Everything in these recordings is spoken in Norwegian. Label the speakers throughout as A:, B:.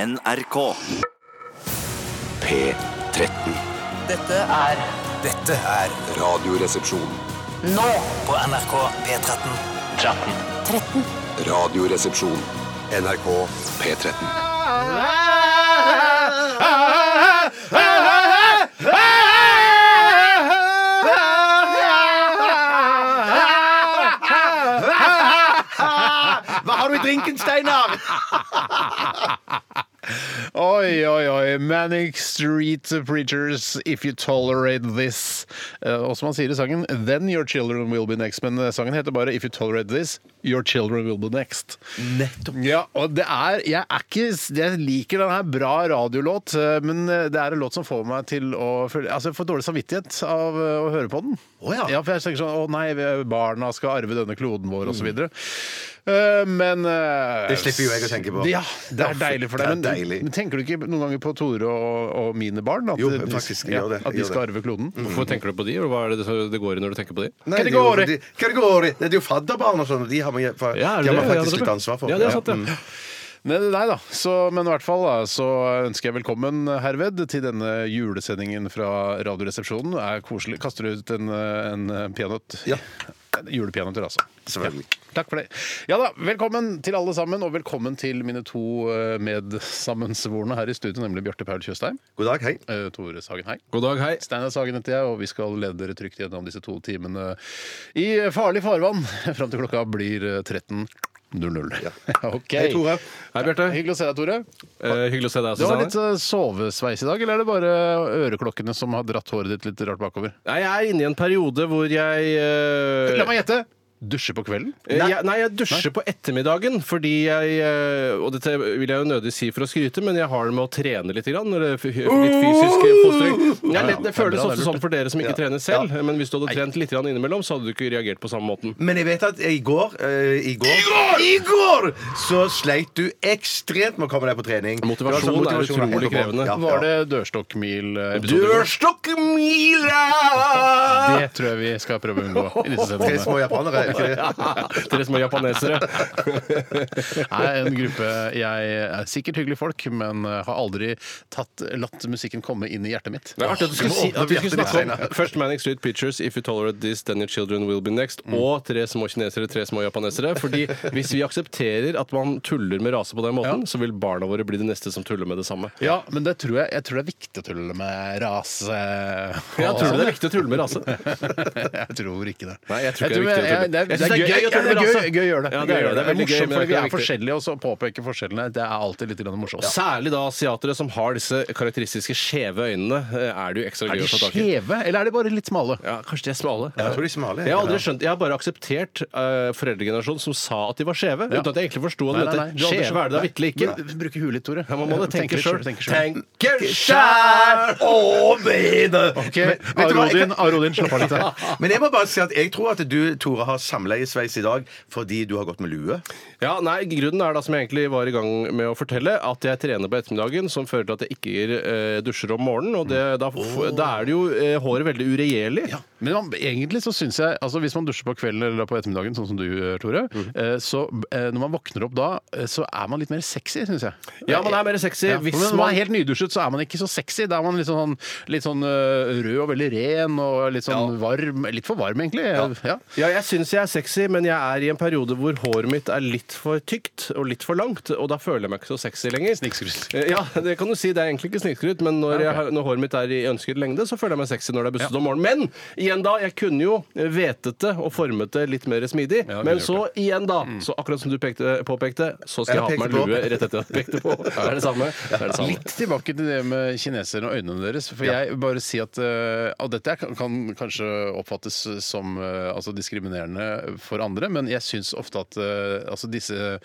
A: NRK.
B: P13.
C: Dette er
D: Dette er
B: Radioresepsjon.
C: nå
D: på NRK P13.
B: Radioresepsjon. NRK P13.
E: Hva har du i drinken, Steinar?
F: Oi, oi, oi. Manic Street Preachers, If You Tolerate This. Eh, Og som han sier i sangen, Then Your Children Will Be Next. Men eh, sangen heter bare If You Tolerate This, Your Children Will Be Next. Nettopp. Ja, og det er Jeg er ikke Jeg liker den her bra radiolåt, eh, men eh, det er en låt som får meg til å føle Altså, jeg får dårlig samvittighet av eh, å høre på den.
E: Å ja.
F: ja, for jeg tenker sånn Å nei, vi- barna skal arve denne kloden vår, og så videre. Eh, Men eh,
E: Mm. Det slipper jo jeg å tenke på.
F: Ja, det er deilig for
E: Det er
F: deg.
E: deilig.
F: Men, men tenker du ikke noen ganger på Tore og, og mine barn? At
E: Jo,
F: de-
E: faktisk, jeg
F: ja,
E: gjør det, jeg
F: At de
E: gjør
F: skal
E: det.
F: arve kloden?
G: Mm. Hvorfor tenker du på de, og hva er det det går i når du tenker på de?
E: Nei, det, er jo,
F: Kategori.
E: de, kategori. Nei, det er jo fadderbarn og sånn, og de har man, de
G: Ja, er
E: har
G: det
E: man
G: det? Ja,
E: faktisk
G: det er
E: litt
G: bra.
E: ansvar for.
G: Ja, det er sant, ja.
E: Mm.
F: Nei, nei da. Så, men i hvert fall da, så ønsker jeg velkommen eh, herved til denne julesendingen fra Radioresepsjonen. Det er koselig. Kaster du ut en, eh, en peanøtt?
E: Ja.
F: Julepeanøtter, altså.
E: Selvfølgelig.
F: Ja. Takk for det. Ja da, velkommen til alle sammen, og velkommen til mine to eh, medsammensvorne her i studio, nemlig Bjarte Paul Tjøstheim.
E: God dag, hei.
F: eh, Tore Sagen, hei.
G: God dag, hei.
F: Steinar Sagen heter jeg, og vi skal lede dere trygt gjennom disse to timene i farlig farvann fram til klokka blir eh, 13.00. Ok.
E: Hei, Tore.
G: Hei, Bjarte.
F: Hyggelig å se deg, Tore.
G: Eh, hyggelig å se deg
F: Du
G: også,
F: har
G: Steinar.
F: litt eh, sovesveis i dag, eller er det bare øreklokkene som har dratt håret ditt litt rart bakover?
G: Nei, Jeg er inne i en periode hvor jeg eh,
F: La meg gjette! Dusjer på kvelden?
G: eh, jeg, Nei, jeg dusjer på ettermiddagen fordi jeg eh, Og dette vil jeg jo nødig si for å skryte, men jeg har det med å trene litt. Grann, eller f- litt fysisk fostring. Jeg er lett- det føles
F: bra, det er
G: også
F: lurt.
G: sånn for dere som ikke trener selv, eh, men hvis du hadde trent litt grann innimellom, så hadde du ikke reagert på samme måten.
E: Men jeg vet at i går, eh, i går I går! Så sleit du ekstremt med å komme deg på trening.
G: Motivasjon
E: Det var
G: er
E: motivasjon
G: utrolig
E: etterpå.
G: krevende.
E: Ja,
F: Var
E: ja.
F: det dørstokkmil-episode?
E: Dørstokkmila!
F: Det tror jeg vi skal prøve å unngå. i disse
E: Tre små
F: sendingene.
E: japanere, er ikke det?
G: Dere små japanesere.
F: Nei, en gruppe jeg er sikkert hyggelige folk, men eh, har aldri tatt, latt musikken komme inn i hjertet mitt.
G: Det er artig at du skulle si at vi skulle snakke om først Manic Street Pictures, If You Tolerate This, Then Your Children Will Be Next,
F: Mm.
G: og Tre små kinesere, tre små japanesere. Fordi hvis vi aksepterer at man tuller med rase på den måten, så vil barna våre bli de neste som tuller med det samme.
F: Ja, men det tror jeg, jeg tror det er viktig å tulle med rase.
G: Jeg tror det er viktig å tulle med rase.
F: jeg tror ikke det.
G: Nei, jeg tror ikke det er viktig
F: jeg-
G: å tulle.
F: jeg- det er-
G: Jeg synes det er gøy å tulle med
F: det er
G: rase.
F: Gøy, gøy å gjøre det.
G: Ja, det er
F: Gøy å
G: det. Det er
F: gjør
G: veldig gøy,
F: morsomt,
G: men
F: fordi vi er
G: det er ikke viktig.
F: forskjellige, og så påpeke forskjellene. Det er alltid litt grann morsomt.
G: Særlig da asiatere som har disse karakteristiske skjeve øynene, eh, er det jo ekstra
F: Er
G: gøy
F: de
G: å få tak i.
F: skjeve, eller er de bare litt smale?
G: Ja, kanskje de er smale.
E: Jeg tror de er smale.
G: Jeg har aldri skjønt, jeg har bare akseptert uh, foreldregenerasjonen som sa at de var skjeve, uten at jeg egentlig forsto at dette
F: du har aldri
G: skjeve er det da
F: skjønt.
G: vitterlig ikke.
F: Men Bruke huet litt, Tore.
G: Ja, man må det
F: Tenke
G: tenke
F: litt
G: sjøl.
F: selv, tenke selv.
G: Tenke
E: Skjær over!
F: Ok, Arodin, Arodin, slapp av litt her.
E: Men jeg må bare si at jeg tror at du, Tore, har samleiesveis i dag fordi du har gått med lue.
G: Ja, nei, Grunnen er da som jeg egentlig var i gang med å fortelle, at jeg trener på ettermiddagen, som fører til at jeg ikke eh, dusjer om morgenen. Og det, da, f
F: Mm.
G: da er det jo eh, håret veldig uregjerlig.
F: Men man, egentlig så syns jeg altså Hvis man dusjer på kvelden eller på ettermiddagen, sånn som du gjør, Tore,
G: Mm.
F: eh, så eh, når man våkner opp da, eh, så er man litt mer sexy, syns jeg.
G: Ja, man er mer sexy
F: Ja,
G: hvis
F: men når man er
G: man
F: helt nydusjet, så er man ikke så sexy. Da er man litt sånn, litt sånn øh, rød og veldig ren og litt sånn varm. Litt for varm, egentlig. Ja.
G: ja, jeg syns jeg er sexy, men jeg er i en periode hvor håret mitt er litt for tykt og litt for langt, og da føler jeg meg ikke så sexy lenger.
F: Snikskryt.
G: Eh, Ja, det kan du si. Det er egentlig ikke snikskryt, men når, jeg, har- når håret mitt er i ønsket lengde, så føler jeg meg sexy når det er busset om morgenen. Men igjen da, jeg kunne jo hvetet det og formet det litt mer smidig.
F: Ja,
G: men
F: kunne
G: så igjen da,
F: Mm.
G: så akkurat som du pekte, påpekte, så skal jeg ha
E: Jeg
G: på meg
E: pekte på.
G: lue rett etter at jeg pekte på. Det er det samme. Det er det samme.
F: Litt tilbake til det med kinesere og øynene deres. For jeg vil bare si at øh, og dette kan, kan kanskje oppfattes som øh, altså diskriminerende for andre, men jeg syns ofte at øh, altså disse øh,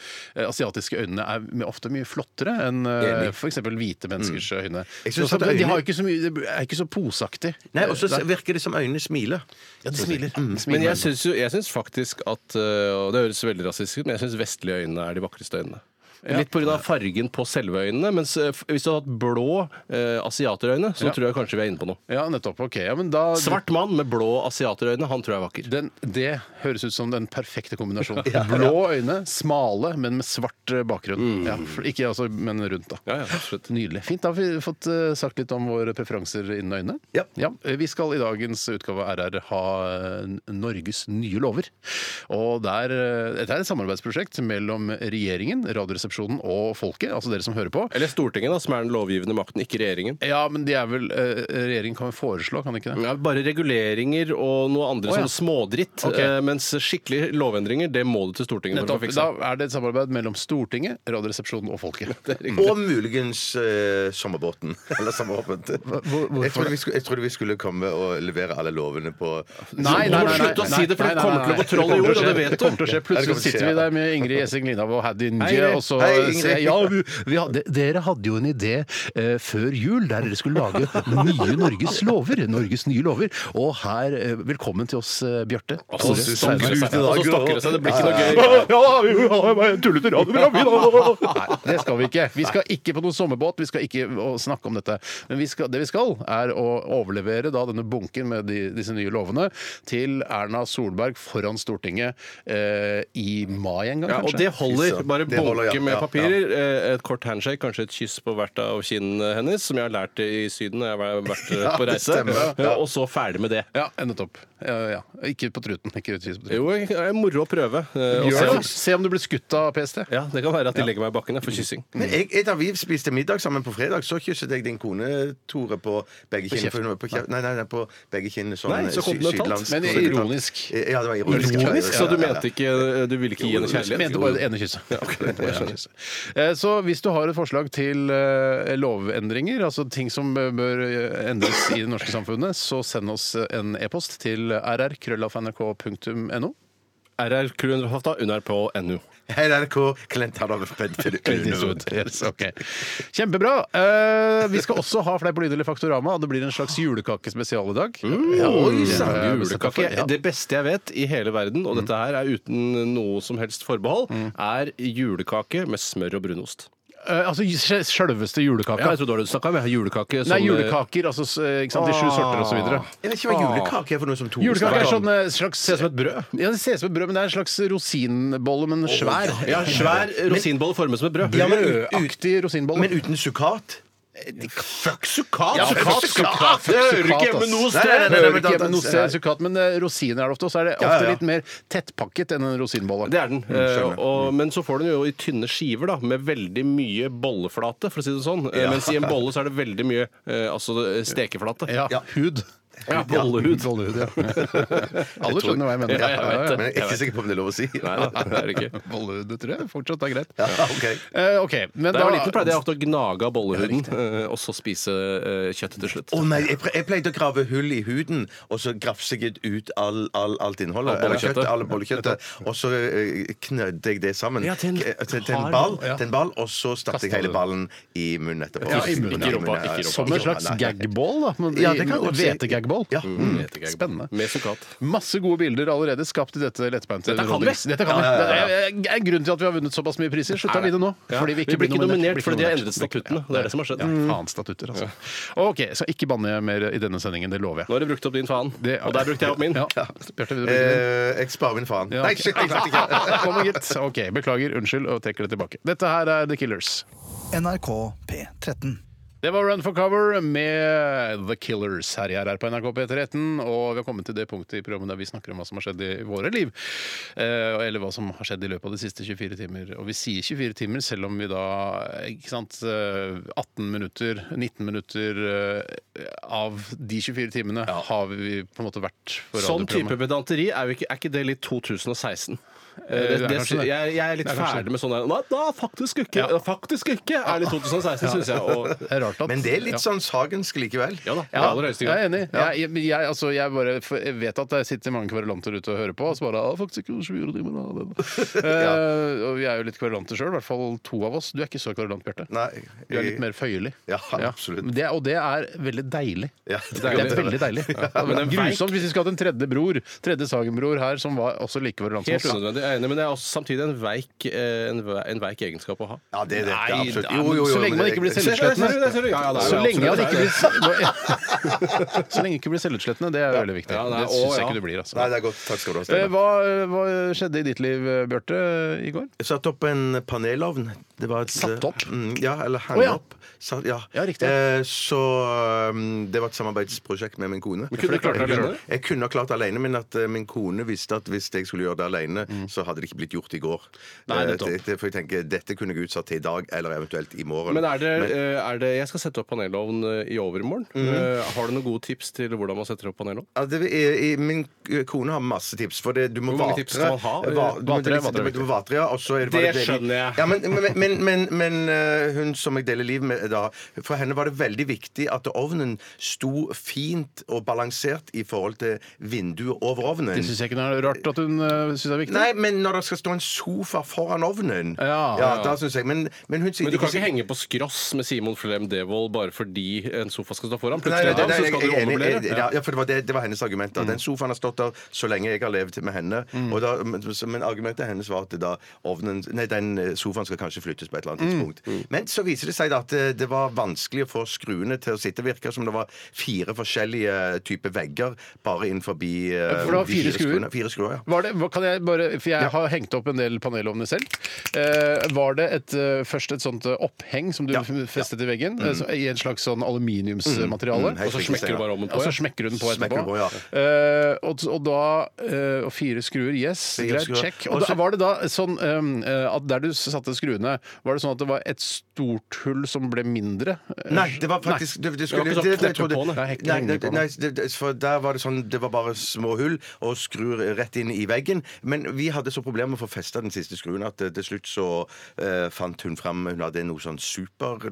F: asiatiske øynene er my- ofte mye flottere enn øh, f.eks. hvite menneskers øyne.
E: Jeg synes
F: Også-
E: at øynene-
F: De har ikke så mye, det er ikke så poseaktig.
E: Nei, Og så virker det som øynene smiler. Mm.
F: Ja, de smiler. smiler.
G: Men jeg eh, syns jo jeg syns faktisk at øh, Og det høres veldig rasistisk ut, men jeg syns vestlige øyne er de vakreste øynene. Litt pga. fargen på selve øynene. Mens eh, f- hvis du hadde hatt blå eh, asiaterøyne, så
F: Ja.
G: tror jeg kanskje vi er inne på noe.
F: Ja, nettopp. Ok, ja, men da
G: Svart mann med blå asiaterøyne, han tror jeg er vakker.
F: Den, det høres ut som den perfekte kombinasjonen. Blå øyne, smale, men med svart eh, bakgrunn. Ja, for- ikke altså, men rundt, da.
G: Mm. Ja, ja, absolutt.
F: Nydelig. Fint. Da har vi fått eh, sagt litt om våre preferanser innen øynene.
E: Ja.
F: eh, Vi skal i dagens utgave av RR ha eh, Norges nye lover. Og der, eh, Dette er et samarbeidsprosjekt mellom regjeringen, Radioresepsjonen og folket, altså dere som hører på.
G: Eller Stortinget, da, som er den lovgivende makten, ikke regjeringen.
F: Ja, men de er vel eh, Regjeringen kan vel foreslå, kan de ikke det?
G: Ja, bare reguleringer og noe andre
F: Å, ja.
G: sånn smådritt.
F: Ok.
G: eh, Mens skikkelige lovendringer, det må du til Stortinget for å
F: Nettopp.
G: fikse.
F: Da er det et samarbeid mellom Stortinget, Radioresepsjonen og folket.
E: Og muligens eh, sommerbåten. Eller sommerbåten. jeg, trodde vi skulle, jeg trodde vi skulle komme og levere alle lovene på
F: Nei, nei,
G: må
F: nei,
G: du
F: nei,
G: slutte å
F: nei,
G: si det, for
F: nei,
G: det
F: nei,
G: kommer
F: nei,
G: til å
F: nei.
G: gå troll
F: Det kommer til å
G: i jord, og det
F: skje.
G: vet du.
F: Det kommer til å skje.
E: Ja, det
F: Plutselig
E: kommer til å
F: sitter
E: skje,
F: vi der med Ingrid Gjessing Linav og Haddy
G: Hei,
F: Nje,
G: Ingrid.
F: og så
E: Hei, Ingrid.
F: sier jeg, ja, vi, vi hadde, Dere hadde jo en idé eh, før jul der dere skulle lage nye Norges lover. Norges nye lover. Og her eh, Velkommen til oss, eh, Bjarte.
G: Og så
F: Tore,
G: stokker det
F: Steinar.
G: seg. Og så stokker det seg. Det blir ikke noe gøy.
F: Ja, vi har bare en tullete radioprogram, vi da! Nei, det skal vi ikke. Vi skal ikke på noen sommerbåt, vi skal ikke å snakke om dette. Men vi skal, det vi skal, er å overlevere da denne bunken med de, disse nye lovene til Erna Solberg foran Stortinget eh, i mai en gang,
G: Ja, og
F: kanskje?
G: det holder.
E: Fy søren.
G: Bare
E: Det holder,
G: bunke
E: ja.
G: med
E: Ja, ja.
G: papirer. eh, Et kort handshake, kanskje et kyss på hvert av kinnene hennes, som jeg har lært i Syden når jeg har vært eh, på
E: det
G: reise.
E: stemmer,
G: Ja, Og så ferdig med det.
F: Ja, nettopp. Ja, ja. Ikke på truten. Ikke kyss på truten.
G: Jo, det er moro å prøve. eh, og
F: Se
G: se
F: om,
G: om-
F: se om du blir skutt av PST.
G: Ja, Det kan være at de legger meg i bakken jeg, for kyssing.
E: Men jeg, jeg, da vi spiste middag sammen på fredag, så kysset jeg din kone, Tore, på begge kinn. for hun var På kjeft. Nei, nei, nei, på begge kinn. Sånn,
G: Nei, så
E: sy-
G: kontinentalt.
E: sydlands-
F: Men
E: kontinentalt.
F: ironisk.
E: Ja, det var ironisk.
G: Ironisk, så du
E: Ja, ja, ja.
G: mente ikke eh, Du ville ikke gi henne
F: Jeg mente
G: kjærlighet?
F: bare det ene kysset. Det ene kysset. Eh, Så hvis du har et forslag til eh, lovendringer, altså ting som eh, bør eh, endres i det norske samfunnet, så send oss eh, en e-post til rrkrøllafnrk.no.
G: RR-kruen under på NU.
E: Hei, det er NRK. Klent har da bedt for det.
F: Yes, ok. Kjempebra! Eh, Vi skal også ha Fleip og lyd eller Faktorama, og det blir en slags julekakespesial i dag.
G: Mm.
E: Oi
G: Ja,
E: sann!
G: Julekake.
F: Ja.
G: Det beste jeg vet i hele verden, og dette her er uten noe som helst forbehold, er julekake med smør og brunost.
F: Eh, Altså sj- sjølveste
G: Ja,
F: julekaka.
G: jeg trodde du snakka om jeg har julekake som
F: Nei, julekaker, altså s- ikke sant, de sju sorter og så
G: Ah.
F: videre.
E: Ah. Jeg vet ikke hva julekake er for noe som Tore
F: Julekake er
E: snakker om.
F: sånn eh, slags Ser ut som et brød? Ja, det ser ut som et brød, men det er en slags rosinbolle, men svær.
G: eh, Ja, svær rosinbolle formet som et brød.
E: Ja, men
F: Brødaktig rosinbolle.
E: Men uten Eh, sukkat?
G: Fuck sukkat!
F: Ja,
G: sukkat,
F: fuck
G: sukkat!
F: sukkat,
G: Det hører
F: sukkat,
G: ikke hjemme
F: ass.
G: noe
E: Nei,
G: sted!
E: nei,
F: Hører
E: nei, men
F: ikke
E: da-
F: hjemme noe
E: nei.
F: sted, sukkat, men eh, rosiner er det ofte, og så er det
E: Ja, ja,
F: ofte
E: ja.
F: litt mer tettpakket enn en rosinbolle. Mm,
G: Det er den. Eh, og, men så får du den jo i tynne skiver, da, med veldig mye bolleflate, for å si det sånn. Eh, Mens i en bolle så er det veldig mye eh, altså, stekeflate.
F: Ja, hud.
G: Ja, bollehud.
F: Bollehud, ja. Alle skjønner hva jeg mener.
G: Ja, jeg vet det.
E: Men jeg er ikke sikker på om det er lov å si.
G: Nei da, det er det ikke.
F: Bollehud, det tror jeg fortsatt er greit.
E: Ja, ok.
F: Eh, ok, men
G: Da jeg var
F: da-
G: liten, pleide jeg ofte å gnage av bollehuden, eh, og så spise eh, kjøttet til slutt.
E: Å nei, jeg, pre- jeg pleide å grave hull i huden, og så grafse jeg ut all, all, alt innholdet.
G: Av bollekjøttet?
E: Kjøttet, alle bollekjøttet. Og så eh, knødde jeg det sammen
G: Ja, til en
E: K- eh, til, til,
G: hard
E: en ball,
G: ball, ja.
E: til en ball, og så stakk jeg
F: Kastet
E: hele
F: du.
E: ballen i munnen etterpå. eh,
F: Ja, i munnen,
G: ikke i rumpa, ikke i rumpa.
F: Som en slags
E: Nei, nei.
F: gagball, da. men
E: Ja,
F: i-
E: det kan jeg godt si.
F: Hvetegagball.
E: Ja. Mm.
G: Hvetegagball.
F: Spennende.
G: Med sukkat.
F: Masse gode bilder allerede skapt i dette lettbeinte
G: Dette kan vi.
F: rådhuset. Dette kan vi.
E: ja, ja,
F: Det er- er grunnen til at vi har vunnet såpass mye priser. Slutta vi det nå?
G: Ja.
F: Fordi
G: vi blir ikke nominert fordi de har endret
F: Vi blir ikke
G: statuttene. Det er det som har skjedd. Mm.
F: nominert. Ja, faen statutter, altså. OK, jeg skal ikke banne mer i denne sendingen, det lover jeg.
G: Nå har du brukt opp din faen, og der brukte jeg opp min.
F: Ja. Bjarte, vil du bruke din?
E: Eh, jeg sparer min faen.
F: Ja,
E: Nei,
F: ok.
E: shit, jeg klarte ikke.
F: Kom igjen, gitt. OK, beklager, unnskyld, og trekker det tilbake. Dette her er The Killers.
D: NRK P13.
F: Det var Run for cover med The Killers her i RR på NRK P13. Og vi har kommet til det punktet i programmet der vi snakker om hva som har skjedd i våre liv. Eh, eller hva som har skjedd i løpet av de siste 24 timer. Og vi sier 24 timer selv om vi da ikke sant, eh, 18 minutter, 19 minutter eh, av de 24 timene har vi på en måte vært for
G: Sånn type
F: radioprogrammet.
G: pedanteri, er, jo ikke, er ikke det litt 2016? Eh,
F: det er
G: det,
F: kanskje det.
G: jeg, jeg er litt
F: Det er kanskje
G: ferdig med sånn der Nei, da, faktisk ikke!
F: Ja.
G: Faktisk ikke! Er litt 2016, syns jeg. Og
F: Det er rart klart at
E: Men det er litt sånn sagensk likevel.
G: Ja da, i
F: Ja,
G: aller høyeste
F: jeg
G: grad.
F: er enig. Jeg, jeg, jeg, altså, jeg, bare, for jeg vet at det sitter mange kverulanter ute og hører på. Og så bare «Ah, faktisk ikke så mye å drive med da, det». Eh, Og vi er jo litt kverulanter sjøl, i hvert fall to av oss. Du er ikke så kverulant, Bjarte.
E: Nei,
F: Du er litt mer føyelig.
E: Ja, absolutt.
F: Men Det, og det er veldig deilig.
E: Ja,
F: det, er veldig deilig.
G: men
F: Det
G: en
F: er grusomt hvis vi skulle hatt en tredje bror, tredje Sagen-bror her, som var også like kverulant
G: Helt
F: som oss.
G: unødvendig. Sånn Jeg er enig, men det er også samtidig en veik, eh, en, ve- en veik egenskap å ha.
E: Ja, det er det. det er
F: Nei,
E: absolutt.
F: da, men så lenge man ikke blir
E: det-
F: selvslettende.
G: Ser du det, ser du det? Ja, ja, det er
F: Så
G: jo
F: lenge
G: absolutt
F: det ikke
G: det.
F: blir Så lenge det ikke blir selvutslettende, det er veldig viktig.
G: Ja, nei,
F: det syns
G: å,
F: jeg
G: ja.
F: ikke du blir, altså.
E: Nei, det er godt. Takk skal du ha,
F: Eh,
E: Steinar.
F: Hva, hva skjedde i ditt liv, Bjarte, i går?
E: Jeg satte opp en panelovn. Det var et,
F: Satt opp?
E: Mm, ja, eller hang
F: Å, ja.
E: opp. Satt, ja.
F: Ja, riktig.
E: Eh, så um, det var et samarbeidsprosjekt med min kone.
G: kunne du klart det alene?
E: Jeg kunne ha klart det alene, men at eh, min kone visste at hvis jeg skulle gjøre det alene,
F: Mm.
E: så hadde det ikke blitt gjort i går.
G: Nei,
E: Eh,
G: nettopp.
E: det- det- for jeg tenker, dette kunne jeg utsatt til i dag, eller eventuelt i morgen.
G: Men er det, eh, er det Jeg skal sette opp panelovn eh, i overmorgen.
E: Mhm.
G: Eh, Har du noen gode tips til hvordan man setter opp panelovn?
E: Ja, det, er, i- min kone har masse tips. For det, du må
G: Hvor mange
E: vatre.
G: tips skal man ha?
E: Va- du må-
F: Vatre,
E: du må-
F: vatre,
E: du må vatre, ja, og så er det,
G: Det
E: var veldig-
G: skjønner jeg.
E: Ja, men, men, men, men, men eh, hun som jeg deler liv med da, for henne var det veldig viktig at ovnen sto fint og balansert i forhold til vinduet over ovnen.
F: Det syns jeg ikke det er rart at hun uh, syns er viktig.
E: Nei, men når det skal stå en sofa foran ovnen
F: Ja,
G: ja.
E: da synes jeg Men, men hun sier
G: Men du kan ikke henge på skross med Simon Flem Devold bare fordi en sofa skal stå foran.
E: Nei, nei,
G: Plutselig
E: nei,
G: da, så
E: nei, jeg-
G: skal
E: jeg
G: du
E: er enig. eh,
G: ommøblere.
E: Jeg- ja, ja, for det var, det, det var hennes argument.
F: Mm.
E: Da. Den sofaen har stått der så lenge jeg har levd med henne. Og da, men, så- men argumentet hennes var at da ovnen, nei, den eh, sofaen skal kanskje flyttes på et eller annet
F: Mm.
E: tidspunkt. Men så viser det seg da at eh, det var vanskelig å få skruene til å sitte. Virker som det var fire forskjellige typer vegger bare innenfor eh,
F: Ja, for det var fire skruer.
E: Fire skruer, ja.
F: Var det, hva- kan jeg bare, for jeg
E: Ja.
F: har hengt opp en del panelovner selv. Eh, var det et, eh, først et sånt eh, oppheng som du
E: Ja.
F: festet i veggen, eh, så- i en slags sånn aluminiumsmateriale?
E: Mm, helt
F: og så
E: riktig,
F: smekker du bare om
G: den på,
F: Og
G: ja.
F: så smekker du den på
E: Smekker
F: etterpå.
E: du på, ja.
F: Eh, og, og da eh, Og fire skruer, yes.
E: Fire
F: greit,
E: skruer.
F: check.
E: Og
F: Og da,
E: så-
F: var det da sånn eh, at der du satte skruene, var det sånn at det var et stort hull som ble mindre?
E: Nei, det var faktisk det, det skulle,
G: Eh, Det var ikke sånn kneppe på det.
E: Nei,
F: Nei,
E: nei,
F: henge på det.
E: nei, det- det- for der var det sånn Det var bare små hull og skrur rett inn i veggen. Men vi hadde så problemer med å få festa den siste skruen at eh, til slutt så eh, fant hun fram Hun hadde noe sånn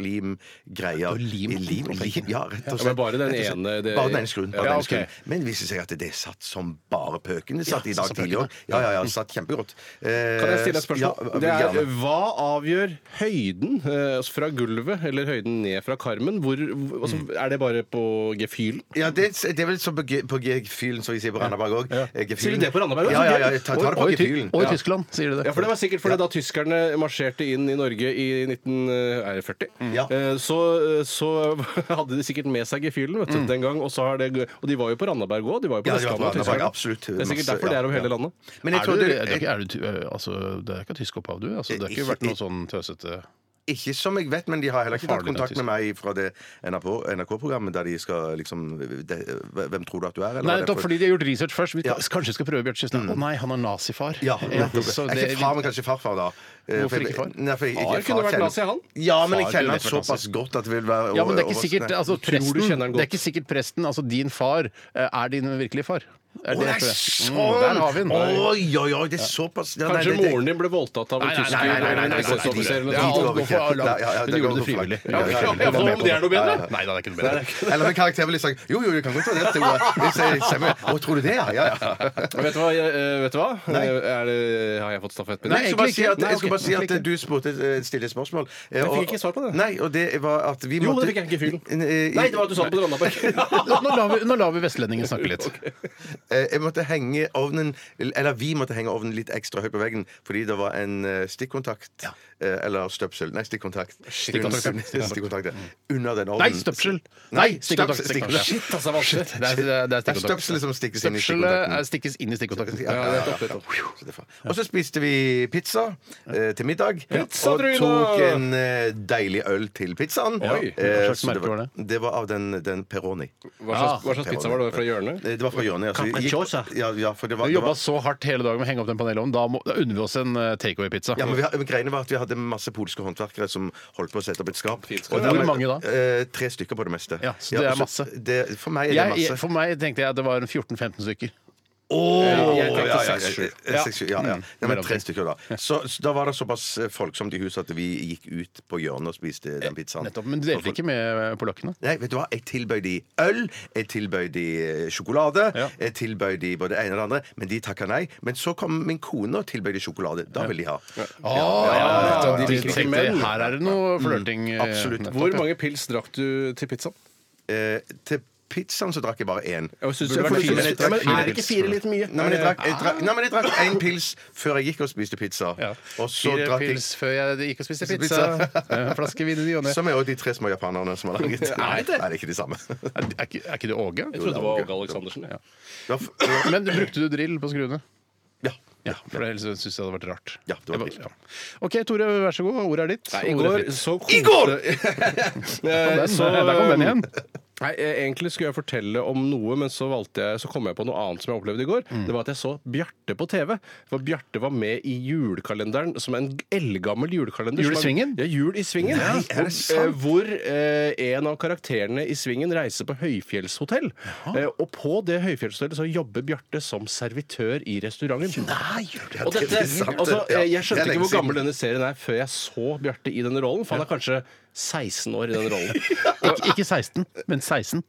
E: superlimgreier.
F: lim
E: I lim,
F: på veggen.
E: lim, ja, rett og
G: Ja,
E: slett.
G: men bare den
E: Rett og slett.
G: ene- det-
E: bare den ene skruen.
F: Ja,
E: Bare den ene
F: ok.
E: skruen. Men det viste seg at det satt som bare pøken. Det satt i dag
F: satt som
E: tidlig
F: pøken,
E: òg. Ja, ja, ja. Satt kjempegodt. Eh,
G: Kan jeg stille et spørsmål?
E: Ja,
G: det er,
E: gjerne.
G: hva avgjør høyden eh, altså fra gulvet, eller høyden ned fra karmen? Hvor, hvor- altså,
E: Mm.
G: er det bare på gefühlen?
E: Ja, det, det er vel som på ge- på gefühlen, som vi sier på Randaberg òg.
G: Sier du det på Randaberg også?
E: Ja, ja, ja, ta, ta det på
F: Og i, Ty-
E: gefühlen.
F: og i Tyskland, sier du det.
G: Ja, for det var sikkert fordi da tyskerne marsjerte inn i Norge i 1940,
E: Ja.
G: så, så hadde de sikkert med seg gefühlen vet du, den gang. Og, så har det, og de var jo på Randaberg òg. De var jo på
E: Ja, de var på
G: Vestlandet.
E: Randaberg,
G: tyskerne.
E: absolutt.
G: Det er
E: Masse,
G: sikkert derfor
E: ja,
G: det er over
E: ja.
G: hele landet.
E: Men jeg
F: er
E: tror
F: du,
E: det, Eh,
F: er du, ikke- er du, ty- eh, altså, det er ikke tysk opphav, du? Altså, det har ikke
E: Ikke-
F: vært noe sånn tøsete
E: Ikke som jeg vet, men de har heller ikke tatt
F: Farlig,
E: kontakt
F: da,
E: med meg fra det NRK-programmet der de skal liksom det, Hvem tror du at du er? eller
F: Nei,
E: hva det er
F: nettopp
E: for-
F: fordi de har gjort research først. Vi
E: Ja. Mm.
F: kanskje vi skal prøve Bjarte Skifstad. Å nei, han er nazifar.
E: Ja,
F: Eh,
E: nettopp.
F: så
E: Jeg er
F: det-
E: ikke far, men kanskje farfar, da. Eh,
F: Hvorfor
E: for jeg-
F: ikke far?
E: Nei, for jeg-
G: Far
E: jeg-
G: kunne vært
E: kjenner-
G: nazi, han.
E: Ja, men
F: Far
E: jeg kjenner han
F: kunne vært
E: såpass godt at det vil være
F: ja, men det er ikke
E: over-
F: sikkert altså,
G: Tror du
F: presten,
G: kjenner han
F: Det er
G: godt?
F: ikke sikkert presten, altså din far, eh, er din virkelige far. Er
E: Å, det
F: jeg tror
E: er
F: jeg.
E: sånn!
F: Mm, der har vi den.
E: Oi, oi, oi, det er såpass ja, nei,
G: Kanskje
E: det- det-
G: moren din ble voldtatt av en tysker?
E: nei, nei, nei, nei, nei, nei, nei,
G: eller
E: nei,
F: Ja,
E: nei,
G: noe sånt.
E: nei,
F: alt går for langt.
E: Ja, ja, ja,
F: Men
E: det
F: du
E: går
F: gjorde det
E: for
F: frivillig.
E: langt. Ja, ja, ja,
G: ja, for om det er noe bedre?
F: Nei, det er ikke noe bedre.
E: Eller med karakter ville jeg sagt jo, jo, du kan godt ta det. til Ola. Hvis jeg stemmer. Å, tror du det, ja? Ja, ja.
G: Vet du hva? Jeg, eh, vet du hva? Er det, har jeg fått stafettpinnen?
E: Nei, jeg skulle bare si at,
G: Nei,
E: jeg skulle bare
G: ok.
E: si at du spurte eh, stille et spørsmål. Jeg
G: fikk ikke svar på det.
E: Nei, og det var at vi
G: Jo,
E: måtte
G: det fikk jeg ikke i fylen.
E: N- eh,
G: Nei, det var at du sa det på Randaberg.
F: Nå, nå, lar vi, nå lar vi vestlendingen snakke litt.
E: eh, Jeg måtte henge ovnen Eller vi måtte henge ovnen litt ekstra høyt på veggen fordi det var en eh, stikkontakt. eh, Eller støpsel. Nei, stikkontakt.
F: Stikkontakt, ja.
E: Under- Stikkontakt, ja. Under den ovnen.
F: Nei, støpsel!
E: Nei,
F: stikkontakt,
E: støpsel,
F: stikkontakt.
E: stikkontakt.
G: Shit, altså, vanskelig.
F: Det er, det er, det er
E: Det er
F: stikkontakten.
E: støpselet som stikkes inn i
F: Støpselet
E: stikkontakten.
F: er- stikkes inn i stikkontakten.
E: "Ah, Ja, ja, ja, ja. Og så spiste vi pizza eh, til middag.
G: Pizza,
E: og
G: Trygve!
E: tok en eh, deilig øl til pizzaen.
G: Oi.
E: Eh,
F: Hva slags
E: så
F: merke
E: det
F: var
E: var, det var av den, den Peroni.
G: Hva slags, hva slags
E: Ja.
G: pizza var det fra hjørnet?
E: Eh, Det var fra hjørnet. altså. Vi gikk-
F: Capricciosa.
E: Ja, ja, for det var,
F: Vi
E: det
F: jobba
E: var
F: så hardt hele dagen med å henge opp den panelovnen. Da, må- da unner vi oss en eh, takeaway-pizza.
E: ja, men vi, men greiene var at vi hadde masse polske håndverkere som holdt på å sette opp et skap.
G: Fint.
E: Og
F: Hvor
E: dermed-
F: mange da?
E: Eh, tre stykker på det meste.
F: Ja, så det er
E: og
F: masse.
E: Det, for meg er det
F: Jeg, jeg,
E: masse.
F: for meg tenkte jeg at det var en 14-15 stykker.
E: Jeg tenkte
F: ja, Mm, ja,
E: seks,
F: ja,
E: sju. Seks, sju, ja, ja. Nei, men tre stykker, da. Så, så da var det såpass eh, folksomt i huset at vi gikk ut på hjørnet og spiste den pizzaen.
F: Nettopp, men du delte ikke med polakkene?
E: Nei, vet du hva? Jeg tilbød de øl, jeg tilbød de eh, sjokolade,
F: Ja.
E: jeg tilbød de både det ene og det andre, men de takka nei. Men så kom min kone og tilbød de sjokolade. Da vil de ha.
F: Ah, ja,
G: ja,
F: nettopp.
G: ja.
F: De
G: De
F: tenkte,
G: menn.
F: Her er det noe flørting. eh,
E: absolutt.
F: nettopp,
G: Hvor
F: ja.
G: mange pils drakk du til pizzaen?
E: Eh, til pizzaen så drakk jeg bare én.
G: Jeg
F: Burde
G: synes
F: vært
G: jeg-
F: fire
G: jeg synes-
F: liter.
G: Ja, men
F: Fire
G: Er ikke
F: pils.
G: fire litt mye?
E: Nei, men jeg drakk, jeg drakk, nei, men jeg drakk én pils før jeg gikk og spiste pizza.
F: Ah. Ja.
E: Og så
F: Fire
E: drakk jeg
F: pils før jeg gikk og spiste pizza.
E: Pizza.
F: En flaske vin i ny og ne.
E: Som er jo de tre små japanerne som har laget.
F: Nei, det-
E: det er ikke de samme. Det
F: Er, er ikke- er ikke det Åge?
G: Jeg trodde det var Åge Aleksandersen. Ja.
E: var f-
F: Men du brukte du drill på skruene?
E: Ja.
F: Ja, for ellers syns jeg det hadde vært rart.
E: Ja, det var
F: Jeg
E: drill.
F: bare- OK, Tore, vær så god. Ordet er ditt.
G: Nei, I
F: Ordet er
G: går
F: fritt.
G: så
E: I går!
F: Der kom den. Der kom den igjen.
G: Nei, eh, Egentlig skulle jeg fortelle om noe, men så, valgte jeg, så kom jeg på noe annet som jeg opplevde i går.
E: Mm.
G: Det var at jeg så Bjarte på TV. For Bjarte var med i julekalenderen, som er en eldgammel julekalender.
F: Jul i
G: som er-
F: svingen?
G: Ja, Jul i Svingen.
E: er det sant?
G: Eh, hvor eh, en av karakterene i Svingen reiser på høyfjellshotell. Eh, og på det høyfjellshotellet så jobber Bjarte som servitør i restauranten.
E: Nei, gjør det
G: Og dette,
E: Det er sant, det.
G: altså,
E: Ja,
G: jeg
E: det
G: skjønte
E: er lenge
G: ikke hvor
E: siden.
G: gammel denne serien er før jeg så Bjarte i denne rollen, for han er kanskje 16 år i den rollen.
F: Ik ikke 16, men 16.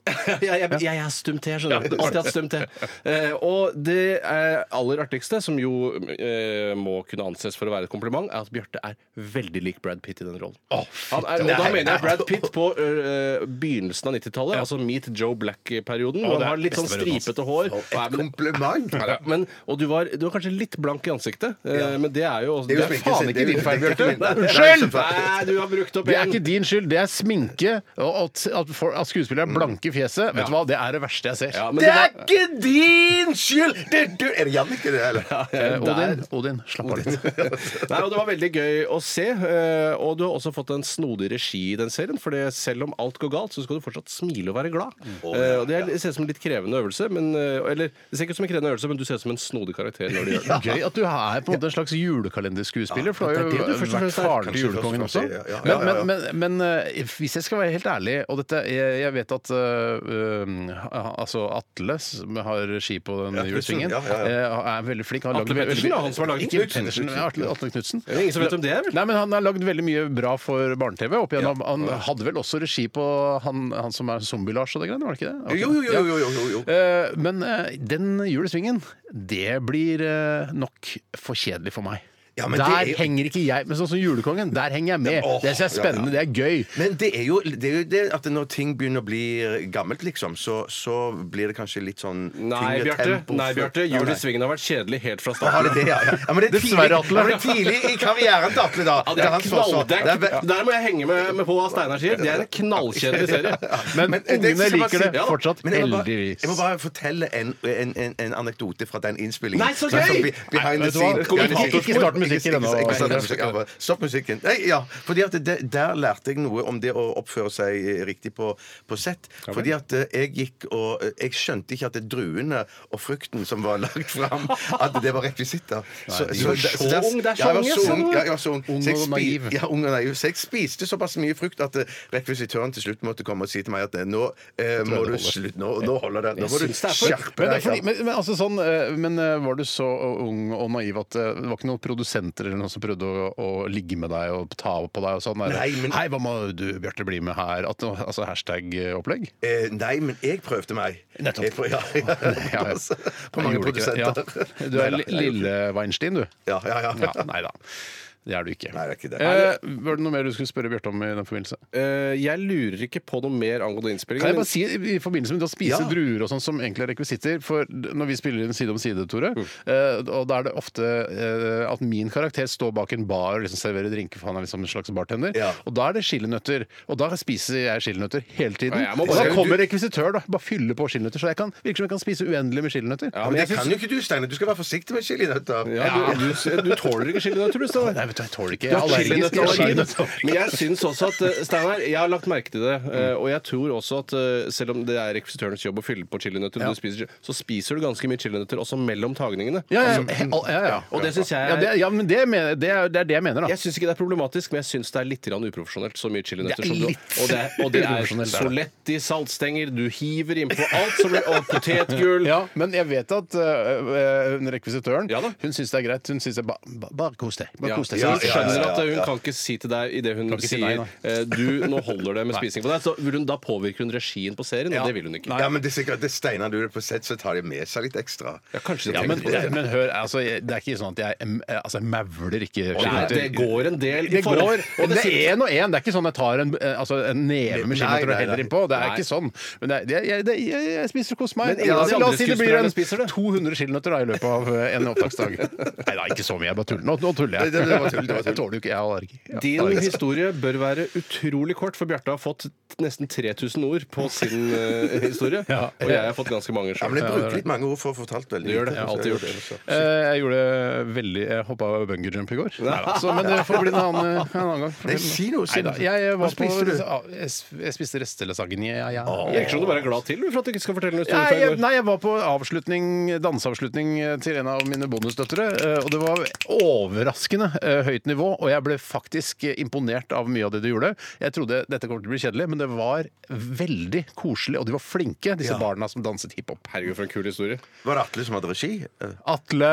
G: Jeg, jeg, jeg er stum T, skjønner du. Alltid hatt stum T. Eh, og det eh, aller artigste, som jo eh, må kunne anses for å være et kompliment, er at Bjarte er veldig lik Brad Pitt i den rollen. Han er, og da mener jeg Brad Pitt på eh, begynnelsen av 90-tallet, altså Meet Joe Black-perioden. hvor
F: det er
G: han har litt sånn
F: besteperioden hans.
G: stripete hår. Og, er, men,
E: Kompliment!
G: ja, men, og du, var, du var kanskje litt blank i ansiktet, eh, men det er jo
E: Det er jo sminken
G: faen
E: sin,
G: ikke
E: det er jo-
G: din feil,
E: det er ikke
G: Bjarte.
E: min- Nei,
G: Unnskyld!
E: det er
G: Nei, du har brukt opp
F: Det er
G: en
F: ikke din skyld, det er sminke og at, at, for, at skuespillere er blanke i fjeset. Vet du hva, Det er det verste jeg ser.
G: Mm. Ja, men
E: Det
G: det
E: er
G: var,
E: ikke din skyld! Det er, du. er det Jannicke, det, eller?
F: Eh, Odin, Odin, slapp av litt.
G: Nei, og Det var veldig gøy å se. eh, Og du har også fått en snodig regi i den serien. For selv om alt går galt, så skal du fortsatt smile og være glad.
E: Mm.
G: Eh, og Det er- det ser ut som en litt krevende øvelse. Men, eh, eller det ser ikke ut som en krevende øvelse, men du ser ut som en snodig karakter når du gjør det.
F: Gøy at du er på en måte en slags julekalenderskuespiller, for du har
G: det er
F: jo
G: det du først og
F: vært
G: fremst er.
F: faren til
E: Kanskje
F: julekongen
E: først
F: også.
E: og fremst, ja, ja,
F: Men,
E: ja, ja, ja.
F: men, men, men, eh, hvis jeg skal være helt ærlig, og dette Jeg, jeg vet at eh, um, ha- altså Atle, som har regi på den
E: Ja, Knudsen,
F: julesvingen,
E: ja, ja,
F: eh, er veldig flink. Han har
G: Atle
F: lagd-
G: Pettersen, ja, han som har laget
F: Ikke
G: Knudsen.
F: Pettersen, men Atle, Atle Knudsen.
G: Det er ingen som vet om det er, vel?
F: Nei, men han har lagd veldig mye bra for barne-TV. opp igjennom. Han hadde vel også regi på han, han som er Zombie-Lars og det greiene, var det ikke det?
E: Jo, jo, jo, jo, jo, jo, jo.
F: Eh, Men eh, den julesvingen, det blir eh, nok for kjedelig for meg.
E: Ja, men
F: der
E: det er jo-
F: henger ikke jeg Men sånn som Julekongen, der henger jeg med.
E: Ja, åh,
F: det synes jeg er spennende,
E: ja,
F: det er gøy.
E: Men det er, jo, det er jo det at når ting begynner å bli gammelt, liksom, så, så blir det kanskje litt sånn
G: Nei,
E: tyngre
G: Bjarte.
E: tempo.
G: Nei, Bjarte.
E: Ja,
G: Jul i
E: nei.
G: svingen har vært kjedelig helt fra
E: Ja, har det
G: starten.
E: det, ja, ja. ja men det er tidlig,
F: Dessverre, Atle.
E: ja, men det er tidlig i karrieren til Atle, da.
G: Ja, det er
E: hans forsvar.
G: knalldekk.
E: Det er-
G: Der må jeg henge med, med på hva Steinar sier. Det er en knallkjedelig serie.
F: Men,
E: eh,
F: ungene
E: det skal man
F: liker
E: si-
F: det
G: ja,
F: fortsatt,
E: Men jeg må, bare,
F: heldigvis.
E: jeg må bare fortelle en, en, en, en anekdote fra den innspillingen.
G: Nei, så
E: Sånn som
G: gøy!
E: be- Behind
F: Nei,
E: the
F: vet du hva?
E: scene.
F: Kom
E: Behind the
F: igjen,
E: scene.
F: ikke start musikken ennå.
E: Ikke- ikke start musikken, ja, bare Stopp musikken. Nei, ja, fordi at det, Der lærte jeg noe om det å oppføre seg eh, riktig på, på sett. Fordi at eh, jeg gikk og eh, Jeg skjønte ikke at det druene og frukten som var lagt fram, at det var rekvisitter. Så,
F: de
G: var så
E: der-
G: ung, det er så
E: ja, jeg var
G: ung, jeg
E: så
G: så
E: ung.
G: ung.
E: Ja, jeg var så ung.
F: Ung
E: Så jeg
F: og
E: spi-
F: naiv.
E: Ja, ung og naiv. Så jeg spiste såpass mye frukt at eh, rekvisitøren til slutt måtte komme og si til meg at eh, nå eh, må du slutte. Nå, nå holder det. Nå må du
G: syns det er for-
E: skjerpe
F: Men, det er
E: deg.
F: fordi, men, men, altså, sånn, eh, men eh, var du så ung og naiv at eh, det var ikke noen produsenter eller noen som prøvde å, å ligge med deg og ta på deg og sånn? der,
E: Nei, men-
F: Hei, hva må du, Bjarte, bli med her? At, altså hashtag-opplegg?
E: Eh, nei, men jeg prøvde meg.
F: Nettopp.
E: Jeg prøv- ja, ja,
F: Ja.
E: Altså, på
F: Jeg
E: mange
F: gjorde ikke det.
E: produsenter.
F: Ja. Du er
E: Neida,
F: li-
E: jeg gjorde
F: lille Weinstein, du.
E: Ja, ja, ja.
F: Nei da. Det er du ikke.
E: Nei, det er ikke det.
F: Eh, var det noe mer du skulle spørre Bjarte om i den forbindelse?
G: Eh, Jeg lurer ikke på noe mer angående innspillingen.
F: Kan jeg bare si i forbindelse med det å spise
E: Ja.
F: druer og sånn som egentlig er rekvisitter For når vi spiller inn Side om side, Tore,
G: Mm.
F: eh, og da er det ofte eh, at min karakter står bak en bar og liksom serverer drinker, for han er liksom en slags bartender,
E: Ja.
F: og da er det chilinøtter. Og da spiser jeg chilinøtter hele tiden.
G: Ja, jeg må
F: Og
G: bare-
F: da kommer rekvisitør, da. Bare fyller på chilinøtter. Så jeg kan, virker som jeg kan spise uendelig med chilinøtter.
G: Ja,
E: Men
G: men
E: det
G: jeg syns-
E: kan jo ikke du, Steinar. Du skal være forsiktig med chilinøtter.
G: Ja, du, du, du tåler ikke chilinøtter, du, Steinar.
F: Nei, vet jeg tåler ikke.
G: Du
F: Jeg
G: er
F: er allergisk.
G: allergisk.
F: Jeg er allergisk.
G: Men jeg syns også at eh, Steinar, jeg har lagt merke til det. eh, Og jeg tror også at eh, selv om det er rekvisitørens jobb å fylle på chilinøtter, og du spiser, så spiser du ganske mye chilinøtter også mellom tagningene.
F: Ja, ja,
G: Altså,
F: he- al- ja, ja.
G: Og det syns jeg
F: Ja, det, ja, men det, mener, det, er, det er det jeg mener, da.
G: Jeg syns ikke det er problematisk, men jeg syns det er litt grann uprofesjonelt. Så mye chilinøtter
F: Det er
G: som du
F: litt
G: Og det er, og det er
F: uprofesjonelt, det er det.
G: solett i saltstenger, du hiver innpå alt som blir Og potetgull.
F: Ja, men jeg vet at øh, øh, hun rekvisitøren
G: Ja da.
F: Hun syns det er greit. Hun syns det er ba, ba, bare kos deg. Bare
G: Ja,
F: kos deg.
G: så hun
E: ja, ja,
G: skjønner
E: ja,
G: at eh, hun kan ikke si til deg idet hun
F: Kan ikke si nei,
G: sier
F: nei.
G: eh, Du, nå holder det med spising på deg. Så vil hun, da påvirker hun regien på serien, og det vil hun ikke.
E: Ja, men det er sikkert, det steiner du det på sett, så tar de med seg litt ekstra.
G: Ja, kanskje de
F: Ja,
G: tenker
F: men,
G: på det.
F: men hør, altså, jeg, det er ikke sånn at jeg em, altså, jeg mauler ikke.
G: Nei, det går en del i
F: Det går,
G: forhold. Og
F: det
G: synes-
F: er én og én. Det er ikke sånn jeg tar en, eh, altså, en neve med
E: Nei,
F: chilinøtter og
E: nei,
F: heller
E: nei.
F: innpå. Det er
G: Nei.
F: ikke sånn. Men det, er- jeg, jeg, det, jeg, jeg spiser og koser meg.
G: Men ingen av de
F: la
G: andre
F: oss si det blir en
G: skuespillerne spiser det.
F: 200 chilinøtter da i løpet av eh, en opptaksdag. Nei da, ikke så mye. Jeg bare tuller. Nå, nå tuller jeg.
E: Det- det- det var tull, det var tull.
F: Jeg tåler jo ikke, jeg har allergi. Ja,
G: Din
F: allergi.
G: historie bør være utrolig kort, for Bjarte har fått nesten 3000 ord på sin eh, historie.
F: Ja.
G: Og jeg har fått ganske mange
E: Ja,
G: sjøl.
E: men jeg bruker litt mange ord for å få fortalt veldig
G: Du gjør det,
E: lite,
G: jeg har
E: så
G: alltid
E: jeg
G: gjort
E: det, så.
F: Eh, Jeg gjorde veldig Jeg hoppa bungee jump i går. Neida, Så, men det får bli en annen, en annen gang.
E: Nei, si noe, si
F: Neida,
E: noe.
F: Jeg, jeg,
E: Hva
F: var på,
E: spiste du?
F: jeg s- jeg spiste restelasagne. Ja, ja.
G: Jeg virker som du bare er glad til for at du ikke skal fortelle en historie
F: Nei
G: fra i
F: jeg,
G: går.
F: nei, jeg var på avslutning, danseavslutning eh, til en av mine bonusdøtre. eh, Og det var overraskende eh, høyt nivå, og jeg ble faktisk eh, imponert av mye av det du gjorde. Jeg trodde dette kommer til å bli kjedelig, men det var veldig koselig, og de var flinke, disse barna som danset hiphop.
G: Herregud, for en kul historie.
E: Var det Atle som hadde regi? Eh,
F: Atle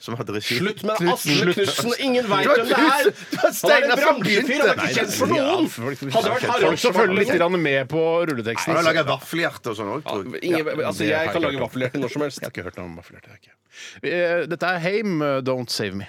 E: Som hadde regi?
G: Slutt med Asle Knutsen! Ingen veit
E: Det var
G: hvem det er!
E: Knudsen. Det var Steinar
G: Han er en
E: som
G: bransjefyr, han er
E: begynte.
G: ikke kjent for
F: Nei,
G: noen!
F: ja, folk-
G: Hadde det vært Harald
F: Folk som følger litt
G: Schwarzenegger-
F: grann med på
E: Han har
F: rulleteksten.
E: laga vaffelhjerte og sånn òg, tror jeg.
G: Ingen, altså,
F: det har
G: jeg
F: jeg
G: kan
F: hørt
G: lage
F: om.
G: vaffelhjerte når som helst.
F: Jeg har ikke hørt noe om vaffelhjerte. det har jeg ikke. Eh, Dette er Heim, eh, Don't Save Me.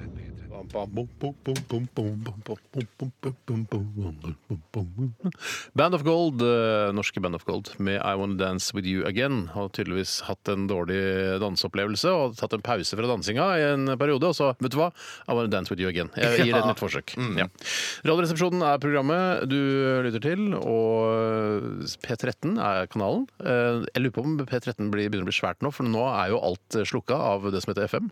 F: Band of Gold, eh, norske Band of Gold med I Wanna Dance With You Again har tydeligvis hatt en dårlig danseopplevelse og tatt en pause fra dansinga i en periode, og så, vet du hva, I Wanna Dance With You Again. Jeg Eh, gir et nytt forsøk. Ja. Radioresepsjonen er programmet du lytter til, og P13 er kanalen. Eh, Jeg lurer på om P13 blir, begynner å bli svært nå, for nå er jo alt slukka av det som heter FM.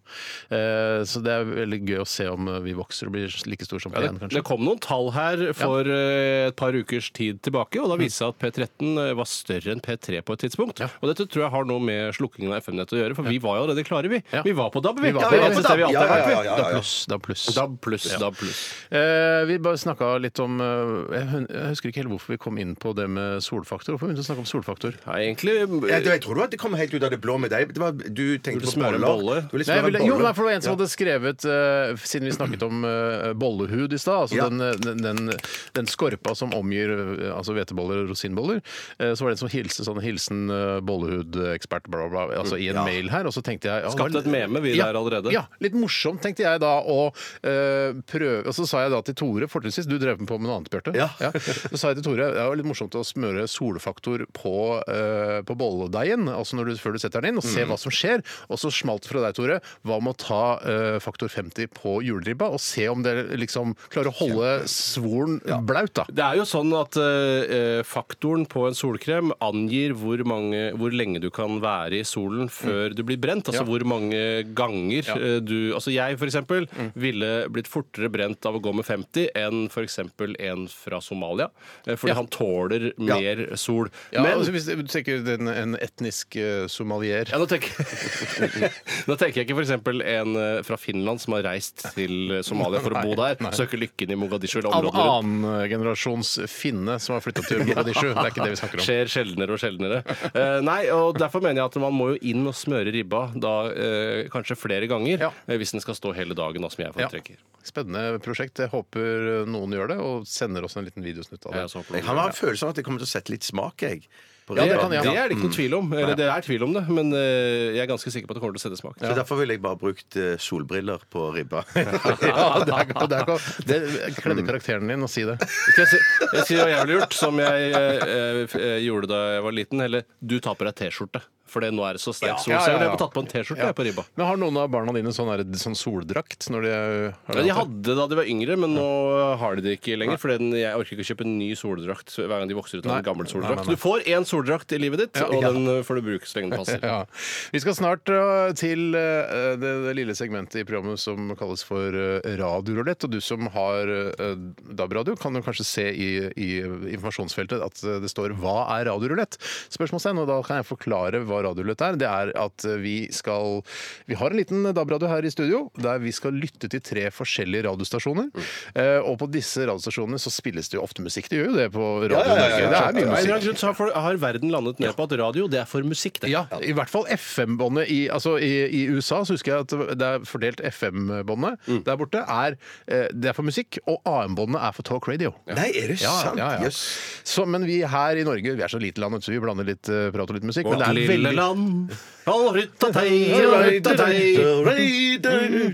F: Eh, Så det er veldig gøy å se om eh, vi vokser og blir like stor som P1, kanskje.
G: Det kom noen tall her for eh, et par ukers tid tilbake, og da viste det seg at P13 eh, var større enn P3 på et tidspunkt. Og dette tror jeg har noe med slukkingen av FM-nettet å gjøre, for vi var jo allerede klare, vi.
F: Ja.
G: Vi var på DAB, vi.
F: Vi var
G: Ja,
F: på
G: vi
F: DAB.
G: var på DAB. Vi alltid har vært,
E: Ja, ja,
G: vi.
E: ja, ja, ja.
F: Da pluss, da pluss.
G: DAB pluss, DAB pluss.
F: Eh, vi bare snakka litt om eh, jeg, hun- jeg husker ikke helt hvorfor vi kom inn på det med solfaktor. Hvorfor begynte vi å snakke om solfaktor?
G: Ja, egentlig
E: Jeg, jeg tror det var- det kom helt ut av det blå med deg. Det var, du tenkte
G: Vil du
E: på
G: smøre en
E: boller.
G: bolle?
E: Du ville
F: Nei, jeg
E: smøre en
F: ville, jo,
E: bolle.
F: nei, for det var en som hadde skrevet eh, Siden vi snakket om eh, bollehud i stad, altså
E: Ja.
F: den, eh, den, den, den skorpa som omgir eh, altså hveteboller og rosinboller, eh, så var det en som hilste sånn Hilsen eh, bollehudekspert, bla, bla, bla, altså i en mail her, og så tenkte jeg ja,
G: Skapte
F: vel-
G: et meme, vi
F: ja,
G: der allerede.
F: Ja. Litt morsomt, tenkte jeg da å eh, prøve Og så sa jeg da til Tore, fortrinnsvis, du drev på med noe annet, Bjarte.
E: Ja.
F: Så sa jeg til Tore det var litt morsomt å smøre solfaktor på, eh, på bolledeigen altså når du, før du setter den inn, og
G: Mm.
F: se hva som skjer. Og så smalt det fra deg, Tore. Hva med å ta eh, faktor 50 på juleribba, og se om dere liksom klarer å holde svoren blaut, da?
G: Det er jo sånn at eh, faktoren på en solkrem angir hvor, mange, hvor lenge du kan være i solen før du blir brent. Altså
F: Mm. Ja.
G: hvor mange ganger eh, du Altså jeg for eksempel
F: Mm.
G: ville blitt fortere brent av å gå med 50 enn for eksempel en fra Somalia. eh, Fordi
F: Ja.
G: han tåler mer sol.
F: Ja,
G: Men
F: altså, hvis du tenker den, en etnisk eh, somalier
G: ja, nå, tenker, nå tenker jeg ikke f.eks. en eh, fra Finland som har reist til Somalia for å bo der. Søker lykken i Mogadishu eller
F: An
G: området rundt.
F: Annengenerasjons eh, finne som har flytta til Mogadishu. Det er ikke det vi snakker om.
G: Skjer sjeldnere og sjeldnere. Eh, nei, og Derfor mener jeg at man må jo inn og smøre ribba da eh, kanskje flere ganger
F: Ja.
G: eh, hvis den skal stå hele dagen, da, som jeg foretrekker.
F: Spennende prosjekt. Jeg håper noen gjør det, og sender oss en liten videosnutt av det.
G: Ja, Eh, sånn. så håper
E: Jeg
G: jeg-
E: har en følelse av at jeg kommer til å sette litt smak, jeg. på
F: Ja,
G: det,
F: det kan jeg ha.
G: det er det ikke noe tvil om. Eller det er tvil om det, men eh, jeg er ganske sikker på at det kommer til å sette smak.
E: Så Derfor ville jeg bare brukt eh, solbriller på ribba.
F: Ja, det er, det er, ikke- det
G: Mm.
F: kledde karakteren din å si det.
G: Skal jeg, si, jeg sier hva jeg ville gjort, som jeg eh, eh, f- eh, gjorde da jeg var liten. Eller du tar på deg T-skjorte For det, nå er det så sterk
F: Ja, ja,
G: solsel.
F: ja.
G: Jeg har tatt på en T-skjorte jeg, på ribba.
F: Men har noen av barna dine sånn, der- sånn soldrakt når de er- har
G: Ja,
F: hatt
G: de
F: det?
G: hadde da de var yngre, men nå har de det ikke lenger. For den, jeg orker ikke å kjøpe en ny soldrakt hver gang de vokser ut av
F: Nei.
G: en gammel
F: Nei,
G: soldrakt.
F: nei, nei.
G: Du får én soldrakt i livet ditt, og den eh, får du bruke så lenge den passer.
F: Ja. Vi skal snart øh, til øh, det, det lille segmentet i programmet som kalles for øh, radiorulett. Og du som har øh, DAB-radio, kan jo kanskje se i, i informasjonsfeltet at øh, det står 'Hva er radiorulett?' Spørsmålstegn. Og da kan jeg forklare hva radiorulett er. Det er at øh, vi skal Vi har en liten DAB-radio her i studio der vi skal lytte til tre forskjellige radiostasjoner.
G: Mm.
F: Eh, Og på disse radiostasjonene så spilles det jo ofte musikk. Det gjør jo det på Radio
G: Ja, ja, ja,
F: Norge. Det
G: sånn. ja. Av en
F: er mye
G: eller
F: musikk.
G: annen grunn så har, folk- har verden landet ned på at radio, det er for musikk, det.
F: Ja, i hvert fall FM-båndet. I, altså, i, I USA så husker jeg at det er fordelt FM-båndet
G: Mm.
F: der borte. Er, eh, det er for musikk, og AM-båndet er for talk radio.
E: Nei, er det sant?
F: ja, ja.
E: Jøss.
F: Så, men vi her i Norge vi er så lite land, vet du, så vi blander litt eh, prat og litt musikk. Men
G: Vårt
F: det er
G: lille
F: veldig-
G: land. All ryttatei, all ryttatei.
F: Mm,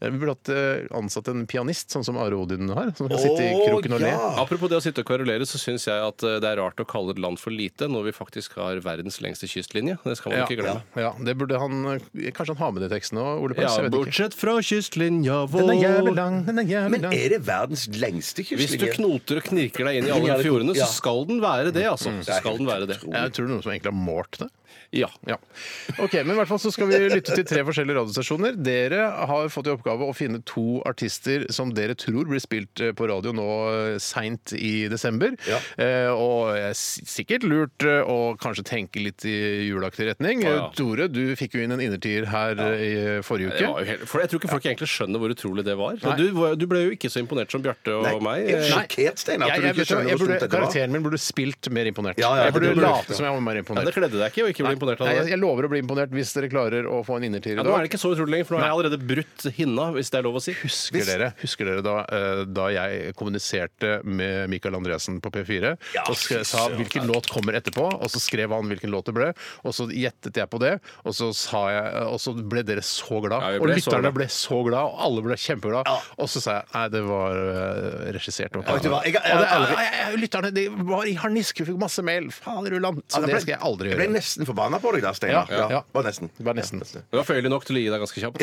F: Vi burde hatt eh, ansatt en pianist, sånn som Are Odin har, som kan sitte i
E: Å,
F: kroken og le.
E: ja.
G: Apropos det å sitte og kverulere, så syns jeg at eh, det er rart å kalle et land for lite når vi faktisk har verdens lengste kystlinje. Det skal man
F: Ja,
G: ikke glemme.
F: ja, det burde han eh, Kanskje han har med det i teksten òg, Ole Paus?
G: Ja,
F: jeg vet ikke.
G: bortsett fra kystlinja
F: Den er jævlig
G: vår.
F: lang, den er jævlig
E: Men
F: lang.
E: er det verdens lengste
G: Hvis du
E: kystlinje?
G: knoter og knirker deg inn i alle
E: Ja, det-
G: fjordene,
E: ja.
G: så skal den være det,
F: Mm.
G: altså. Så skal den være det.
F: Jeg tror det er noen som egentlig har målt det.
G: Ja.
F: Ja. Ok, men i hvert fall så skal vi lytte til tre forskjellige radiostasjoner. Dere har fått i oppgave å finne to artister som dere tror blir spilt eh, på radio nå eh, seint i desember.
E: Ja.
F: Eh, og eh, s- sikkert lurt eh, å kanskje tenke litt i juleaktig retning.
G: Ja, ja.
F: Eh, Tore, du fikk jo inn en innertier her eh, i forrige
G: Det
F: uke.
G: var jo helt, for jeg tror ikke folk egentlig skjønner hvor utrolig det var.
F: Nei.
G: Du, var- du ble jo ikke så imponert som Bjarte og meg.
E: Jeg er
G: Eh,
E: sjokkert, Steinar,
F: Jeg,
E: at du
F: jeg, vet
E: ikke
F: du hva,
E: skjønner
F: jeg burde,
E: hvor stort dette var.
F: karakteren min burde spilt mer imponert.
E: Ja, ja,
F: jeg burde
E: det burde du.
F: late som jeg var mer
G: Ja, det
F: imponert.
G: kledde deg ikke å ikke bli imponert av
F: Nei, jeg,
G: det.
F: jeg lover å bli imponert hvis dere klarer å få en innertier i
G: Ja,
F: dag.
G: nå er det ikke så utrolig lenger, for nå har jeg allerede brutt hinna, hvis det er lov å si.
F: Husker dere, husker dere da, eh, da jeg kommuniserte med Michael Andreassen på P4 og skre- sa hvilken låt kommer etterpå, og så skrev han hvilken låt det ble, og så gjettet jeg på det, og så, sa jeg, og så ble dere så glad,
G: Ja, vi
F: og
G: ble så
F: lytterne
G: glad.
F: ble så glad, og alle ble kjempeglad, og så sa jeg nei, det var eh, regissert. Og,
E: vet du hva, jeg- jeg-
F: Og det-
E: aldri-
F: nei, jeg- lytterne de var i harnisk, vi fikk masse mail, fader Ulland, så
E: Ja, da ble-
F: det skal jeg aldri
E: Altså, Jeg ble
F: gjøre.
E: nesten forbanna på deg der, Steinar.
F: Ja, ja, ja.
E: Bare nesten.
F: Det var nesten.
G: Det var føyelig nok til å gi deg ganske kjapt.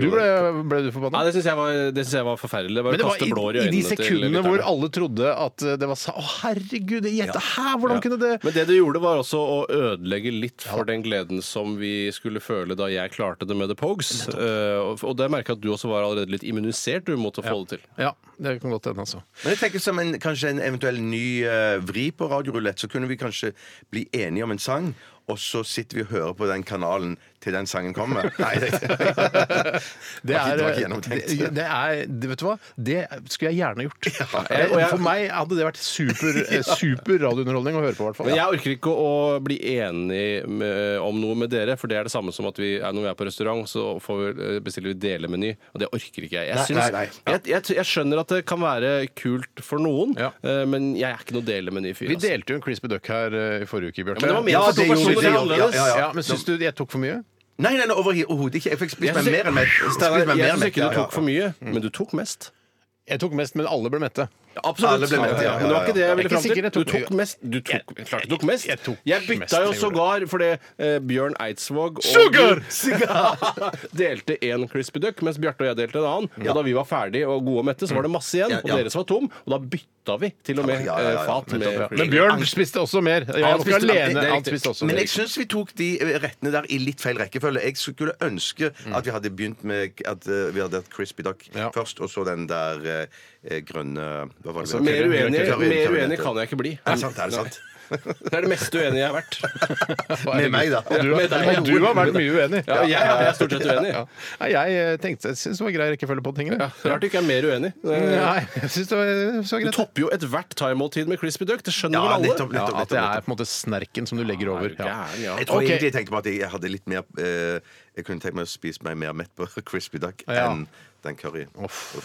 F: Du ble, ble du forbannet?
G: Nei, det syns jeg, var- det synes jeg var forferdelig. Det var
F: Men det
G: å
F: var
G: kaste blår i
F: i, i
G: øynene
F: de
G: til
F: sekundene
G: lytterne.
F: hvor alle trodde at eh, det var sa... Å, herregud, gjette her! Hvordan
G: Ja.
F: kunne det
G: Men det du gjorde, var også å ødelegge litt for den gleden som vi skulle føle da jeg klarte det med The Pogues. Eh, og- og det merka at du også var allerede litt immunisert du, mot å få det til.
F: Ja, det kan godt hende, altså.
E: Men jeg tenker som en, kanskje en eventuell ny eh, vri på radiorulett, så kunne vi kanskje bli enige om en sang, og så sitter vi og hører på den kanalen til den sangen kommer. Nei, det,
F: Det
E: var ikke-
F: er,
E: det var ikke
F: eh,
E: gjennomtenkt.
F: det, det er det, Vet du hva? Det skulle jeg gjerne gjort. Eh, Jeg,
G: og jeg-
F: for meg hadde det vært super, eh, super radiounderholdning å høre på, i hvert fall.
G: Men jeg orker ikke å bli enig med, om noe med dere, for det er det samme som at vi, er- når vi er på restaurant, så får vi, eh, bestiller vi delemeny, og det orker ikke jeg. Jeg,
E: Nei,
G: syns-
E: nei, nei.
G: jeg, jeg, jeg skjønner at det kan være kult for noen,
F: Ja.
G: eh, men jeg er ikke noe delemeny-fyr.
F: Vi
G: altså.
F: delte jo en Crispy Duck her eh, i forrige uke, Bjarte.
G: Ja, men det var mer
E: Ja,
G: for to
E: det gjorde vi,
G: personer, det er
E: ja, ja,
G: annerledes.
E: ja, ja.
F: Ja, men syns du jeg tok for mye?
E: nei, nei, nei overhodet ikke. Jeg fikk spist
G: Jeg
E: meg
G: synes-
E: mer enn mett. Jeg
G: Steinar,
E: spiste meg mer
G: jeg
E: enn
G: syns
E: mett,
G: ikke du
E: ja, Mm. ja.
G: tok for mye, men du tok mest.
F: Jeg tok mest, men alle ble mette.
G: Absolutt.
E: Alle ble med, ja, ja, ja.
G: Men det var ikke det jeg ville
F: Jeg er ikke
G: fram til.
F: sikker jeg
G: Du
F: tok-
G: tok mest. Du tok, klart du tok mest.
F: jeg tok
G: Jeg
F: mest,
G: bytta
F: jeg
G: jo
F: gjorde
G: sågar fordi eh, Bjørn Eidsvåg og
F: Sugar!
G: du delte én Crispy Duck, mens Bjarte og jeg delte en annen. Og da vi var ferdig og gode og mette, så var det masse igjen,
E: Ja,
G: og
E: ja.
G: dere som var tom. Og da bytta vi til og med
E: Ja, ja, ja, ja.
G: eh, fat med
F: Men Bjørn spiste også mer. Jeg
G: Han
F: var ikke
G: spiste- det-
F: alene.
G: det er
F: Han
G: riktig.
F: spiste også
E: Men
F: mer.
E: jeg syns vi tok de eh, rettene der i litt feil rekkefølge. Jeg skulle ønske
G: Mm.
E: at vi hadde begynt med at eh, vi hadde hatt Crispy Duck
F: Ja.
E: først, og så den der eh, grønne Hva var det?
G: Altså, Mer uenig,
E: Klarin-
G: mer
E: klarinette.
G: uenig kan jeg ikke bli.
E: Er det sant? Er det sant?
G: Det er det mest uenige jeg har vært.
E: Med meg, da.
F: Du,
G: Med deg, ja.
F: du har vært mye uenig.
G: Ja, jeg, jeg er stort sett uenig.
F: Ja. Nei, Jeg eh, tenkte, jeg syns det var grei rekkefølge på tingene.
G: Rart du ikke er mer uenig. Eh,
F: Nei, jeg syns det var så
G: Du
F: greit.
G: topper jo ethvert thaimåltid med Crispy Duck. Det skjønner vel
E: Ja,
G: alle?
E: nettopp, nettopp,
F: Ja,
E: nettopp,
F: at det
E: nettopp.
F: er på en måte snerken som du legger over. Ja.
G: Gæren, ja.
E: Jeg tror
F: Ok.
E: egentlig jeg tenkte på at jeg hadde litt mer eh, Jeg kunne tenkt meg å spise meg mer mett på crispy duck
F: Ja.
E: enn den curryen.
F: Uff.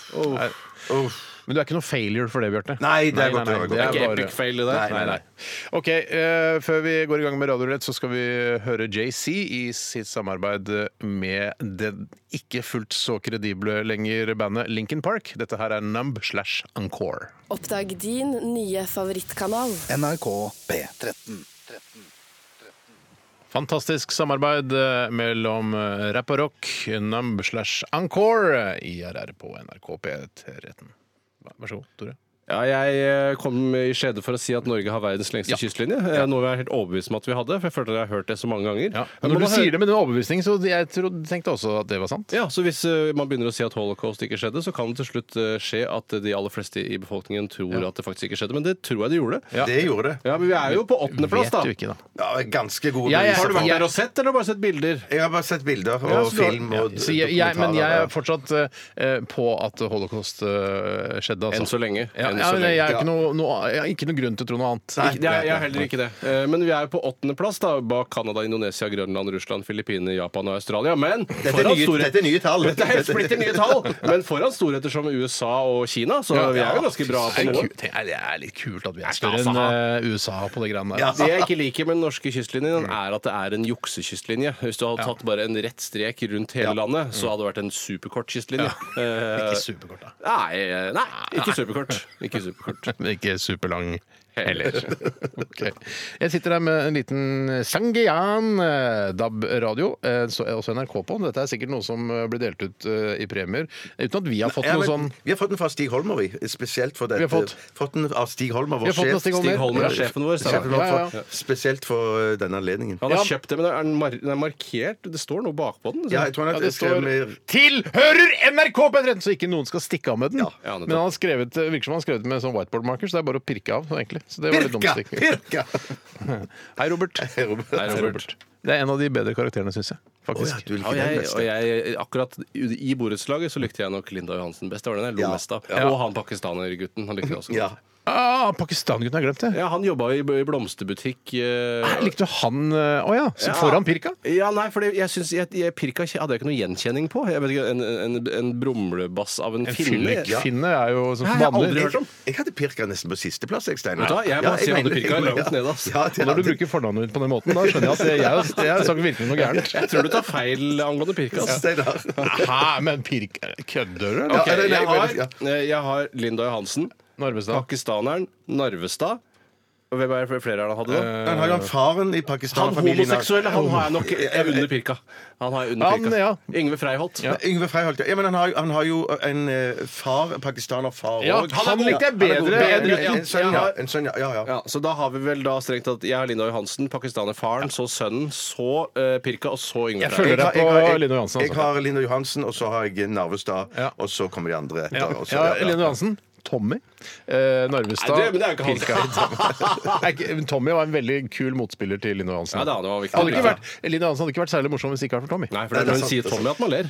F: Men du er ikke noe failure for det, Bjarte?
E: Nei, det er godt, det er
F: nei,
E: godt.
F: det
G: Det er
F: er
G: ikke
F: bare-
G: epic fail i det.
E: Nei, nei, nei.
F: OK, eh, før vi går i gang med Radiorett, så skal vi høre JC i sitt samarbeid med det ikke fullt så kredible lenger bandet Lincoln Park. Dette her er Numb slash Encore.
A: Oppdag din nye favorittkanal.
D: NRK P13.
F: Fantastisk samarbeid eh, mellom eh, Rapp og Rock, Numb slash Encore, eh, IRR på NRK P13. Vær så god, Tore.
G: Ja, jeg eh, kom i skjede for å si at Norge har verdens lengste
F: Ja.
G: kystlinje. Eh, Noe jeg er helt overbevist om at vi hadde, for jeg følte at jeg har hørt det så mange ganger.
F: Ja.
G: Men
F: Når
G: man
F: du
G: har-
F: sier det med den overbevisningen, så jeg trodde, tenkte også at det var sant.
G: Ja, så Hvis eh, man begynner å si at holocaust ikke skjedde, så kan det til slutt eh, skje at de aller fleste i befolkningen tror at det faktisk ikke skjedde. Men det tror jeg det gjorde.
F: Ja.
E: Det gjorde det.
G: Ja, Men vi er jo på åttendeplass,
F: Vet
G: da.
F: du ikke, da.
E: Ja, ganske gode
F: Jeg- jeg-
E: bevis.
G: Har du vært
F: Jeg-
G: der og sett, eller har du bare sett bilder?
E: Jeg har bare sett bilder og
F: Ja, så du har-
E: film
F: ja.
E: og
F: Så jeg, jeg, men jeg
E: dokumentarer.
F: er fortsatt eh, på at holocaust eh, skjedde. Altså.
G: Enn så lenge.
F: Ja,
G: Enn
F: ja,
G: så
F: men
G: lenge.
F: jeg, er ikke noe, noe, jeg har ikke noe grunn til å tro noe annet.
E: Nei,
G: Ikke, det er, jeg
E: nei,
G: er heller ikke det. Eh, Men vi er jo på åttendeplass bak Canada, Indonesia, Grønland, Russland, Filippinene, Japan og Australia. Men
E: Dette er,
G: foran
E: nye,
G: store-
E: dette er nye tall.
G: Dette er helt splitter nye tall! Men foran storheter som USA og Kina, så vi er jo ganske bra på
F: Det er
G: noe.
F: ku- Det er, det er litt kult at vi er
G: Ja,
F: større enn eh, USA på det greiene der. altså.
E: Ja.
G: Det jeg ikke liker med den norske kystlinjen, er at det er en juksekystlinje. Hvis du hadde tatt bare en rett strek rundt hele landet, så hadde det vært en superkort kystlinje.
F: Ikke
G: Eh,
F: superkort, da.
G: Nei, nei, ikke superkort. Ikke superkort.
F: Men ikke superlang.
G: Heller.
F: Ok. Jeg sitter her med en liten Sangeyan eh, DAB-radio, eh, så er også NRK på. Dette er sikkert noe som eh, blir delt ut eh, i premier, uten at vi har fått
E: Ja,
F: noe
E: men
F: sånn
E: Vi har fått den fra Stig Holmer, vi. Spesielt for dette.
F: Vi har fått-
E: den av Stig Holmer,
F: Vi har
E: vår
F: fått den av
E: sjef.
F: Stig Holmer.
G: Stig Holmer er sjefen vår.
E: Sjefen
G: Steinar.
E: vår,
F: Ja, ja,
E: for- Spesielt for eh, denne anledningen.
G: Han har kjøpt det, men den er, mar den er markert. Det står noe bakpå den.
E: Ja, jeg tror han
F: Ja,
E: har
F: det står
E: skrevet
F: 'Tilhører NRK på P13', så ikke noen skal stikke av med den.
G: ja, nettopp.
F: Men han har skrevet, det virker som han har skrevet med sånn whiteboard marker, så det er bare å pirke av. sånn egentlig. Så det var litt dumt
E: Pirka!
F: stikk.
E: Pirka!
F: Hei, Robert.
E: Hei, Robert.
G: Nei, Robert.
F: Det er en av de bedre karakterene, syns jeg.
E: Å, ja,
F: Faktisk.
E: du liker
G: Ja, og
E: den
G: jeg,
E: best,
G: og
E: ja.
G: jeg, akkurat i borettslaget så likte jeg nok Linda Johansen best. Det var den jeg lo
E: Ja.
G: mest av.
E: Ja.
G: Og han pakistanergutten. Han likte jeg også godt.
E: Ja.
F: Ah, Pakistangutten har glemt det.
G: Ja, han jobba i i blomsterbutikk. eh,
F: Hæ, Likte du han eh, Å ja, så
G: Ja.
F: foran pirka?
G: Ja, nei, for jeg synes, jeg, jeg, Pirka kje- hadde jeg ikke noe gjenkjenning på. Jeg vet ikke, En, en, en brumlebass av en, finne.
F: Finne- Finne er jo som
G: Hæ, jeg har aldri
F: vanlig.
G: hørt om.
E: Jeg hadde pirka nesten på sisteplass, jeg, Steinar.
G: Vet du hva, jeg må si jeg hadde
E: mener-
G: pirka langt ned, ass.
E: Ja, det
F: Og når du
E: hadde-
F: bruker fornavnet ditt på den måten, da skjønner jeg at det- jeg har jeg har sagt virkelig noe gærent.
G: Jeg tror du tar feil angående Pirka. ass.
E: Steinar.
F: Hæ, men pirka Kødder du, eller?
E: Ja,
G: Ok,
E: eller-
G: jeg, har,
E: ja.
G: eh, jeg har Linda Johansen,
F: Narvestad.
G: pakistaneren, Narvestad. Og Hvem er det flere er det han hadde? da?
E: Han har jo Eh, han faren i Pakistan.
G: Han
E: familien har-
G: homoseksuelle han har jeg nok jeg under Pirka. Han har jeg under
F: Han,
G: Pirka.
F: ja.
G: Yngve Freiholt.
E: Nei, Yngve Freiholt. Ja, men han har, han har jo en eh, far, pakistanerfar òg.
F: Ja, han likte jeg bedre enn
E: En,
F: gutten.
E: en sønn, ja. En sønn, ja, ja, ja.
G: Ja, så da har vi vel da strengt tatt jeg har Linda Johansen, pakistanerfaren, så sønnen, så eh, Pirka og så Yngve
F: Jeg
G: Freiholt.
F: følger deg
E: Jeg har- jeg-
F: på Lino Johansen.
E: Jeg
F: Altså.
E: har Linda Johansen, og så har jeg Narvestad,
F: Ja.
E: og så kommer de andre etter.
F: Ja,
E: og så-
F: ja,
E: ja, ja.
F: Lino Johansen. Tommy. Eh, Narvestad.
G: Nei, det- men det er jo ikke han.
F: Pirka. Er ikke- men Tommy var en veldig kul motspiller til Lino Johansen.
G: Ja, da, det var viktig.
F: Hadde ikke vært, Lino Johansen hadde ikke vært særlig morsom hvis det ikke hadde vært for Tommy.
G: Nei, for det er
E: Nei,
G: når
E: det er
G: hun sier
E: sant,
G: Tommy at man ler.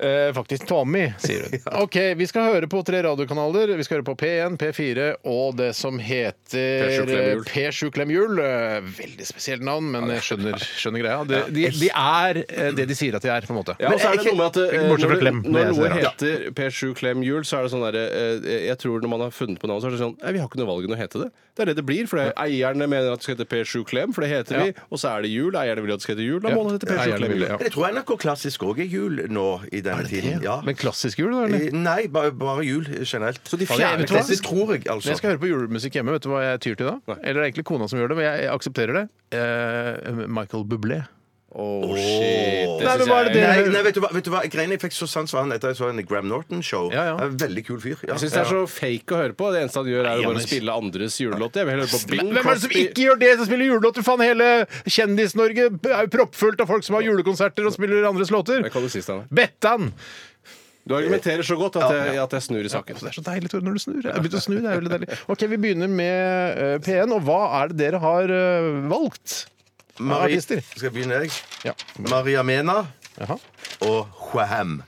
F: Eh, faktisk Tommy, sier hun. OK, vi skal høre på tre radiokanaler. Vi skal høre på P1, P4 og det som
G: P7
F: heter eh,
G: Klemhjul.
F: P7 Klemhjul. Eh, Veldig spesielt navn, men jeg skjønner, skjønner greia. De, de, de er eh, det de sier at de er, på en måte.
G: Ja, og så er det noe med at eh,
F: Bortsett fra
G: når,
F: Klem,
G: det-
F: det
G: når
F: er
G: noe
F: rart.
G: heter P7 Klem Jul, så er det sånn derre eh, Jeg tror når man har funnet på navnet, så er det sånn Nei, vi har ikke noe valg enn å hete det. Det er det det blir. For det, eierne mener at det skal hete P7 Klem, for det heter
F: Ja.
G: vi. Og så er det jul. Eierne vil at det skal hete jul. Da
F: Ja.
G: må det hete P7
F: Eierne
G: Klem
F: vil
G: Jul.
F: det, ja.
E: Men Jeg tror NRK Klassisk òg er jul nå i denne tiden. Ja.
F: Men klassisk jul, da? eller?
E: Eh, Nei, bare, bare jul generelt. Så de
F: fjerner
E: det
F: klassisk?
E: tror jeg, altså.
F: Når jeg skal høre på julemusikk hjemme, vet du hva jeg tyr til da? Eller det er egentlig kona som gjør det, men jeg jeg aksepterer det. Eh, Michael Bublé.
G: Oh, shit.
F: Nei, men
G: synes
F: hva er det
G: jeg-
F: dere-
E: Nei, nei, vet du hva, vet du hva? Greiene jeg fikk så sans for han etter jeg så en Gram Norton-show.
F: Ja, ja.
E: Han er en Veldig kul fyr. Ja.
G: Jeg syns det er så fake å høre på. Det eneste han gjør, er
F: Nei,
G: jo bare
F: men-
G: å spille andres julelåter. Jeg vil heller høre på Bing
F: Hvem er det som
G: Crosby.
F: ikke gjør det, som spiller julelåter? Faen, hele Kjendis-Norge er jo proppfullt av folk som har julekonserter og spiller andres låter.
G: Det kan du si, Steinar.
F: Bettan!
G: Du argumenterer så godt at jeg, at jeg snur i saken.
F: Det er så deilig Tore, når du snur. Jeg har begynt å snu, det er veldig deilig. Ok, Vi begynner med eh, P1, og hva er det dere har eh, valgt?
E: Mari,
F: artister.
E: skal jeg begynne, jeg?
F: Ja.
E: Maria Mena
F: Jaha.
E: og Wham.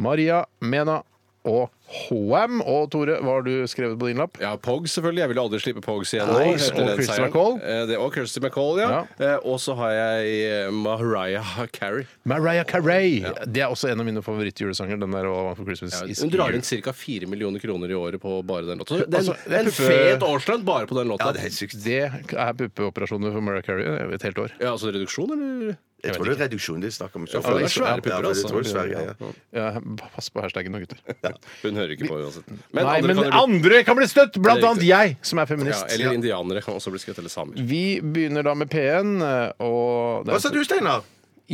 F: Maria, Mena og HM. Og Tore, hva har du skrevet på din lapp?
G: Ja, Pogs selvfølgelig. Jeg vil aldri slippe Pogs igjen.
F: Nei,
G: etter
F: og
G: den
F: Christy
G: seieren.
F: McCall.
G: Eh, Det, og Christy McCall, ja. Eh, Og så har jeg eh, Mariah Carey.
F: Mariah Carey. Det er også en av mine favorittjulesanger. Den der All I Want for Christmas is
G: Hun drar
F: You.
G: inn ca. 4 millioner kroner i året på bare den låta. Så Det er en,
F: Altså, det er
G: en
F: puffe-
G: fet årslønn bare på den låta.
E: Ja, det er helt sykt.
F: Det er puppeoperasjoner for Mariah Carey et helt år.
G: Ja, altså reduksjon, eller?
E: Jeg tror det er reduksjon det er snakk om. i så
G: for det
E: fall.
G: er svære pupper,
E: Ja, for
G: altså.
E: Jeg tror det er svære greier.
F: Ja, pass på hashtaggen nå, gutter.
G: Hun hører ikke på uansett.
F: Nei,
G: andre
F: men
G: kan jo bli-
F: andre kan bli støtt! Blant
G: Det er
F: annet jeg, som er
G: ja,
F: feminist.
G: Eller indianere kan også bli skutt, eller samer.
F: Vi begynner da med P1, eh, og det er- altså-
E: Hva sa du, Steinar?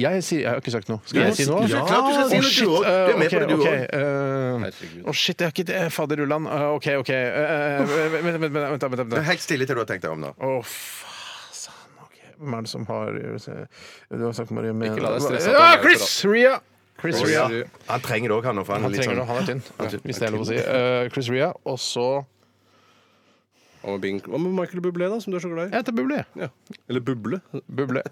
F: Jeg, sier, jeg har ikke sagt noe. Skal jeg si noe?
E: Ja, klart du skal si
F: Å,
E: noe, du
F: shit,
E: også. Du er med
F: eh,
E: på det, du
F: ok,
E: også.
F: ok, eh,
G: Herregud.
F: Å, shit, jeg har ikke det. Fader ullan. Eh, OK, OK. eh, Vent, vent, vent. vent, vent, vent.
E: Helt stille til du har tenkt deg om nå.
F: Å, faen. ok. Hvem er det som har Du har sagt Marie men...
G: Ikke la deg stresse at
F: Ja,
G: han er
F: Chris Ria! Chris
G: Chris
F: Ria.
G: Ria.
E: Han trenger det òg, han nå. for Han
F: Han
E: er litt
F: trenger
E: sånn
F: det, han er tynn.
E: Han er tynn.
F: Hvis det er lov å si. Eh, Chris Ria, og så
G: Hva med, Bing- hva med Michael Bublé, da, som du er så glad i?
F: Jeg heter Bublé.
G: Ja. Eller Buble.
F: Bublé.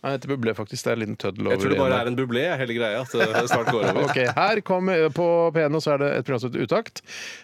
F: Nei, jeg heter Bublé, faktisk. Det er en liten tøddel over
G: Jeg tror det bare er en bublé, er hele greia. At det snart går over.
F: Ok, her kommer På P1 så er det et program som heter Utakt.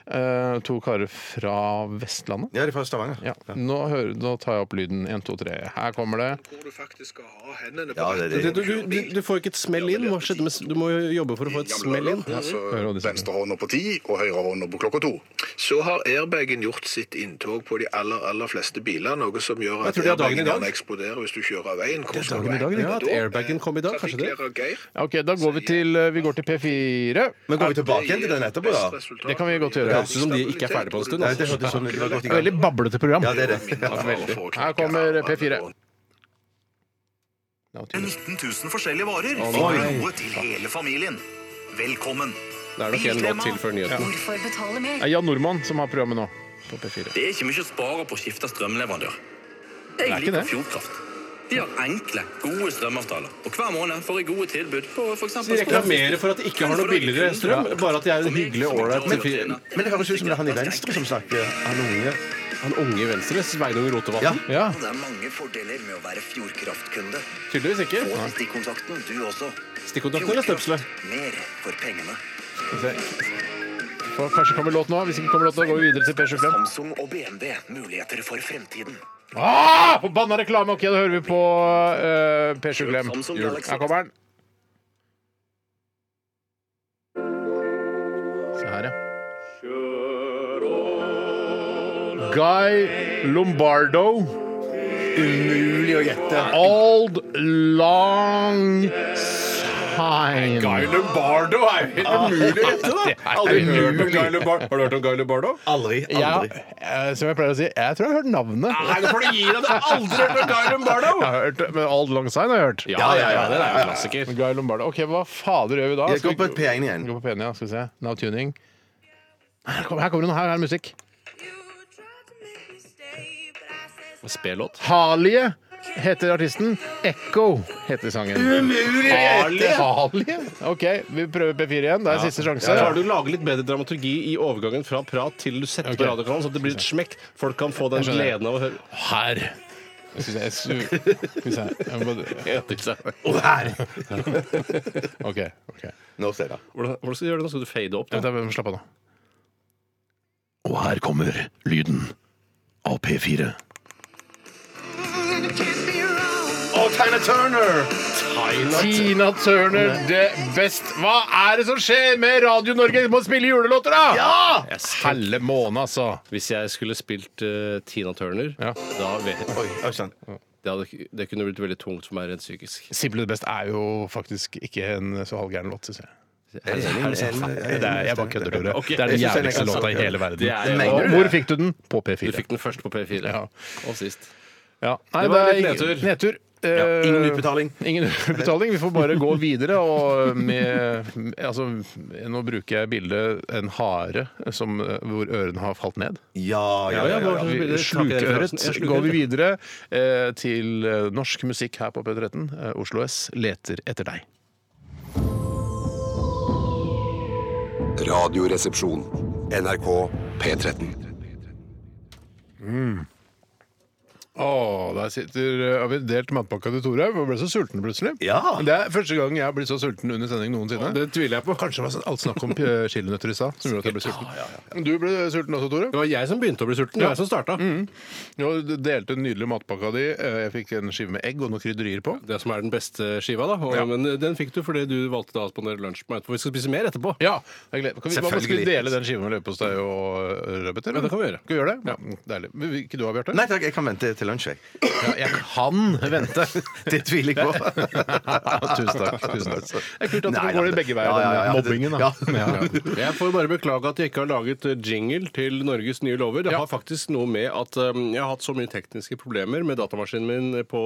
F: Eh, to karer fra Vestlandet.
E: Ja, de er fra Stavanger.
F: Ja. Nå, hører, nå tar jeg opp lyden. 1, 2, 3. Her kommer det.
A: hvor du faktisk skal ha hendene på
E: Ja, det,
A: rattet.
E: er
G: Du,
E: det.
G: du, du, du får ikke et smell inn. Hva skjedde med, du må jo jobbe for å få et smell inn.
A: Altså,
F: hva de sier.
A: venstre hånda på ti og høyre hånda på klokka to. Så har airbagen gjort sitt inntog på de aller, aller fleste biler, noe som gjør
G: Jeg
A: at
G: tror de har dagen i
A: airbagen
G: dag.
A: kan eksplodere hvis du kjører av veien. Hvor skal du
G: dagen i dag,
A: hen?
G: ja, at
A: Da, eh,
G: airbagen kom i dag, kanskje det?
A: trafikklærer Geir
F: Ok, Da går vi til eh, Vi går til P4.
E: Men går vi tilbake igjen til den etterpå,
A: best
E: da?
A: resultat.
F: Det kan vi godt gjøre.
G: Det høres ut som de ikke er ferdig på en stund.
E: Nei, det
G: Altså.
E: hørtes sånn ut. Det var godt i gang.
F: Veldig bablete program.
E: Ja, det er det.
A: Minner for å få
F: Her
A: knekke
F: kommer
A: armene
F: P4.
A: og-
F: Ja, tydelig.
H: 19 000 forskjellige varer
G: Å,
H: for
G: nei.
H: noe til hele familien. Velkommen.
G: Det er nok en låt til før nyheten.
I: Hvorfor betale mer?
F: Det er Jan Nordmann som har programmet nå. På P4.
J: Det er ikke mye å spare på å skifte strømleverandør. Jeg
F: Det er ikke
J: liker
F: det.
J: Fjordkraft. De har enkle, gode strømavtaler. Og hver måned får jeg gode tilbud på f.eks.
G: De reklamerer for at de ikke har noe billigere strøm, bare at de er en hyggelig, ålreit fyr.
E: Men det høres ut som det er han i venstre som snakker. Han unge.
G: Han unge i venstre, Sveinung Rotevatn.
F: Ja,
H: Det er mange fordeler med å være Fjordkraftkunde.
G: Tydeligvis ikke.
H: Få stikkontakten, du også.
G: Stikkontakten eller støpselet?
H: Mer for pengene.
F: skal vi se. Får- Kanskje kommer låt nå. Hvis ikke kommer låt nå, går vi videre til P25.
H: Samsung og BMW. Muligheter for fremtiden.
F: Ah, Forbanna reklame! Ok, da hører vi på eh, P7 Glem.
H: Samsung
F: Her
H: Galaxy.
F: kommer den. Se her, ja. Guy Lombardo. Umulig å gjette. Old Long Sign. Guy Lombardo er helt umulig å gjette, da!
G: Aldri hørt om Guy Lubardo. Har du hørt om Guy Lubardo?
E: Aldri.
F: Ja,
E: Aldri.
F: eh, som jeg pleier å si, jeg tror jeg har hørt navnet.
G: Nei, nå får du gi deg! Du har aldri hørt om Guy Lubardo!
F: Jeg har hørt, men Old Long Sign har jeg hørt.
G: Ja, ja, ja, det er jo en klassiker.
F: Men Guy Lombardo. Ok, hva fader gjør vi da?
E: Jeg
F: Skal
E: går
F: vi-
E: på et P1 igjen.
F: Gå på P1, ja. Skal vi se. Now tuning. Her kommer, her kommer det noe. Her er det musikk.
G: Spelåt.
F: Halie heter artisten. Echo heter sangen. Umulig Halie? OK, vi prøver P4 igjen. Det er siste sjanse.
G: Klarer du å lage litt bedre dramaturgi i overgangen fra prat til du setter på radiokanalen, så det blir et smekk? Folk kan få den
F: Jeg skjønner.
G: gleden av å høre
F: Her. Skal vi se, jeg su- skal vi se. Jeg må bare-
E: Og her!
F: OK. ok.
E: Nå, Steinar.
G: Hvordan hvordan skal du gjøre det nå? Skal du fade opp?
F: Vent,
G: Da?
F: da, vi må Slapp av nå.
B: Og her kommer lyden av P4.
E: Og Tina Turner!
F: Tina Turner, det best. Hva er det som skjer med Radio Norge? Vi må spille julelåter, da! Ja! Helle måne, altså.
G: Hvis jeg skulle spilt eh, Tina Turner,
F: Ja.
G: da vet
E: Oi, oi sann.
G: det, hadde, det kunne blitt veldig tungt for meg rent psykisk.
F: Simply the Best er jo faktisk ikke en så halvgæren låt, syns jeg.
E: Er det
F: Det er, jeg bare kødder, Tore.
G: Ok.
F: Det er den
G: Jeg synes
F: jævligste
E: den er ganske
F: låta i
E: sant, ja.
F: hele verden.
G: Det er-
E: Mener
F: Og
E: du
F: hvor
E: det?
F: fikk du den? På
G: Du
F: P4.
G: fikk den først på P4,
F: Ja.
G: og sist.
F: Ja. Nei,
G: Det var
F: det er
G: litt nedtur.
F: nedtur. Eh,
E: Ingen utbetaling.
F: Ingen utbetaling. Vi får bare gå videre. Og med, altså, nå bruker jeg bildet en hare som, eh, hvor ørene har falt ned.
E: Ja, ja, ja. ja, ja.
F: Vi- Slukøret. Går vi videre eh, til eh, norsk musikk her på P13. Eh, Oslo S leter etter deg.
B: Radioresepsjon. NRK P13.
F: Å, der sitter eh, Har vi delt matpakka til Tore? Jeg ble så sulten plutselig.
E: Ja.
F: Det er første gang jeg har blitt så sulten under sending noensinne. Det tviler jeg på. Kanskje det var sånn alt snakk om eh, chilinøtter i stad som gjorde at jeg ble sulten. Du ble sulten også, Tore.
G: Det var jeg som begynte å bli sulten. Det var jeg som starta.
F: Ja, Du delte den nydelige matpakka di. Eh, Jeg fikk en skive med egg og noen krydderier på.
G: Det som er den beste skiva, da. Og,
F: Ja.
G: Men eh, den fikk du fordi du valgte da å spandere lunsj på meg. For vi skal spise mer etterpå.
F: Ja, jeg gleder. Kan vi, hva, skal vi
E: Selvfølgelig.
F: dele den skiva med leverpostei og eh, rødbeter?
G: Ja, det kan vi gjøre.
F: Skal vi gjøre det? Ja. Mm, Deilig. Men vil Ikke du, Bjarte?
E: Nei takk, jeg kan vente til til lunsj, jeg.
F: Ja, jeg kan vente.
E: Det tviler jeg på.
F: Tusen takk. Tusen takk. Det er kult at
E: Nei,
F: det
E: nei,
F: går
E: det-
F: begge veier,
E: ja, ja, ja,
F: den
E: det-
F: mobbingen. da.
E: ja.
G: Jeg får bare beklage at jeg ikke har laget eh, jingle til Norges nye lover. Det
F: Ja.
G: har faktisk noe med at eh, jeg har hatt så mye tekniske problemer med datamaskinen min på,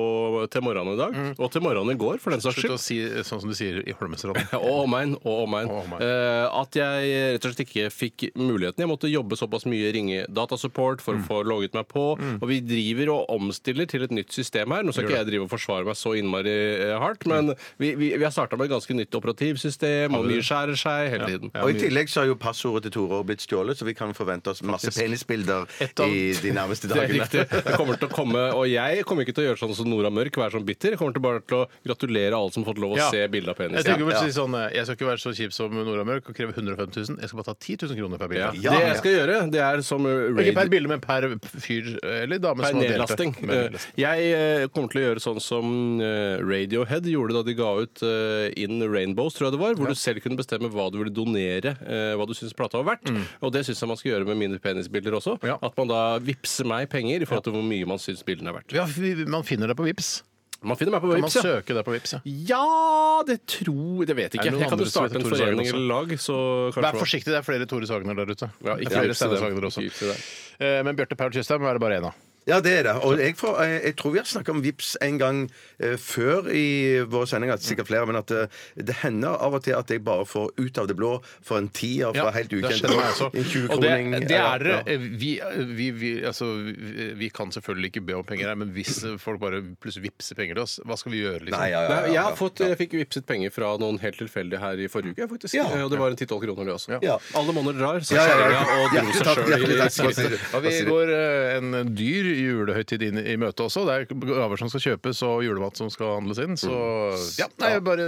G: til morgenen i dag, og til morgenen i går, for den saks
F: Mm. Slutt
G: skyld.
F: å si eh, sånn som du sier i Holmestrand.
G: Ja, Og omegn. Og omegn.
F: Og omegn.
G: Eh, at jeg rett og slett ikke fikk muligheten. Jeg måtte jobbe såpass mye, ringe datasupport
F: Mm.
G: for å få logget meg på. Og vi driver og omstiller til et nytt system her. Nå skal ikke jeg drive og forsvare meg så innmari eh, hardt,
F: Mm.
G: men vi, vi, vi har starta med et ganske nytt operativsystem, og mye skjærer seg hele tiden.
E: Og I tillegg så har jo passordet til Tore blitt stjålet, så vi kan forvente oss masse penisbilder
F: Et av-
E: i de nærmeste
G: Det er
E: dagene.
G: riktig. Jeg kommer til å komme, og jeg kommer ikke til å gjøre sånn som Nora Mørk, være sånn bitter. Jeg kommer til bare til å gratulere alle som har fått lov å
F: Ja.
G: se bilde av
F: Jeg
G: penis.
F: tenker bare å si sånn, eh, jeg skal ikke være så kjip som Nora Mørk og kreve 105 000. Jeg skal bare ta 10 000 kroner per
G: Ja.
F: bilde.
G: Det jeg skal gjøre, det er som uh,
F: Ikke
G: raid
F: per bilde, men per fyr eller dame
G: Per
F: som har delt
G: nedlasting.
F: det. Per nedlasting.
G: Eh, Jeg eh, kommer til å gjøre sånn som eh, Radiohead gjorde da de ga ut eh, In Rainbows, tror jeg det var, hvor du selv kunne bestemme hva du ville donere, eh, hva du syns plata var verdt. Og det syns jeg man skal gjøre med mine penisbilder også.
F: Mm. Ja.
G: At man da vippser meg penger i forhold til hvor mye man syns bildene er verdt.
F: Ja, vi- man finner det på Vips.
G: Man finner meg på
F: Kan man
G: Vips, ja.
F: søke det på Vips, ja.
G: Ja, det tror Det vet jeg
F: Er det
G: ikke.
F: noen
G: Jeg kan
F: andre
G: jo starte
F: som
G: en
F: heter Tore
G: forening
F: Sagen
G: eller lag, så kanskje
F: Vær
G: man-
F: forsiktig, det er flere Tore Sagner der ute.
G: Ja, ikke
F: Det er flere
G: vips til dem.
F: Steinar Sagner også.
G: Ikke vips til dem.
F: Eh, Men Bjarte Paul Tjøstheim er det bare én av.
E: Ja, det er det. Og jeg, får, jeg, jeg tror vi har snakka om VIPS en gang eh, før i våre sendinger, sikkert flere, men at eh, det hender av og til at jeg bare får ut av det blå for en tier fra helt
F: det
E: ukjent
F: skjønner jeg også.
E: En
F: Og det,
E: 20-kroning.
F: det er
E: eller- ja.
F: eh, vi, vi, vi, altså, vi, vi kan selvfølgelig ikke be om penger her, men hvis eh, folk bare plutselig vippser penger til oss, hva skal vi gjøre, liksom?
E: Nei, ja, ja, ja,
G: Nei,
E: ja.
G: jeg, har fått, jeg fikk vippset penger fra noen helt tilfeldige her i forrige uke, faktisk.
E: Ja.
G: Eh, Og det var en 10-12 kroner, det også.
E: Ja.
G: Alle måneder drar, så
E: Ja, ja, ja.
G: kjerringa og dro
E: Hjertelig
G: seg
E: takk,
G: sjøl
E: hjertelig
G: i
E: takk. Hva sier du?
G: skrittet.
F: Ja,
E: Hva
F: vi
E: sier du?
F: går eh, en dyr julehøytid inn i møte også. Det er gaver som skal kjøpes og julemat som skal handles inn. Så
E: Mm.
F: ja, nei, bare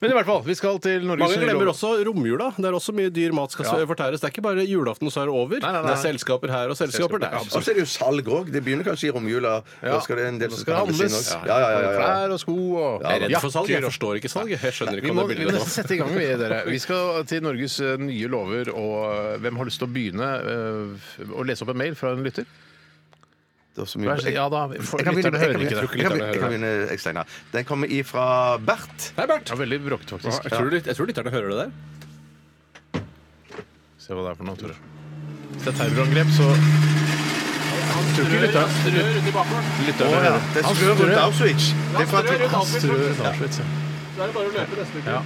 F: Men i hvert fall, vi skal til Norges
G: Mange glemmer også romjula. Det er også mye dyr mat skal
F: Ja.
G: fortæres. Det er ikke bare julaften, og så er det
F: nei,
G: over. Det
F: nei.
G: er selskaper her og selskaper der.
E: Og så er det jo salg òg. Det begynner kanskje i romjula.
F: Ja.
E: Da skal det en del
F: Nå
E: som
F: skal det
E: handles inn
F: handles.
E: også. Ja, ja, ja, ja, ja.
F: Klær og sko og
G: Jeg er redd for salg. Jeg
F: jakker og-
G: forstår ikke salg. Jeg skjønner
F: Vi
G: ikke
F: må,
G: hva det
F: vi må
G: bildet
F: nesten
G: nå.
F: sette i gang, vi, dere. Vi skal til Norges eh, nye lover, og eh, hvem har lyst til å begynne eh, å lese opp en mail fra en lytter?
E: Det er så mye-
F: Vær så- Ja da, for,
E: Jeg kan begynne,
F: lytterne
E: jeg
F: hører
E: kan
F: ikke
E: begynne,
F: det.
E: jeg kan begynne, jeg kan begynne, jeg, Steinar. Den kommer ifra Bert.
G: Hei, Bert.
F: Ja, veldig bråkete, faktisk.
G: Jeg tror, litt- jeg tror lytterne hører det der.
F: Se hva det er for noe, Tore. Hvis det er terrorangrep, så Tror ikke lytterne
G: Rør ut i bakgården.
F: lytterne
E: Å, ja.
F: hører
E: Det
F: Han strør.
E: strør rundt Auschwitz. Det er fra
G: strør rundt
E: Twitter.
F: Han strør Auschwitz, ja.
G: Da er det bare å løpe neste uke.
F: Ja.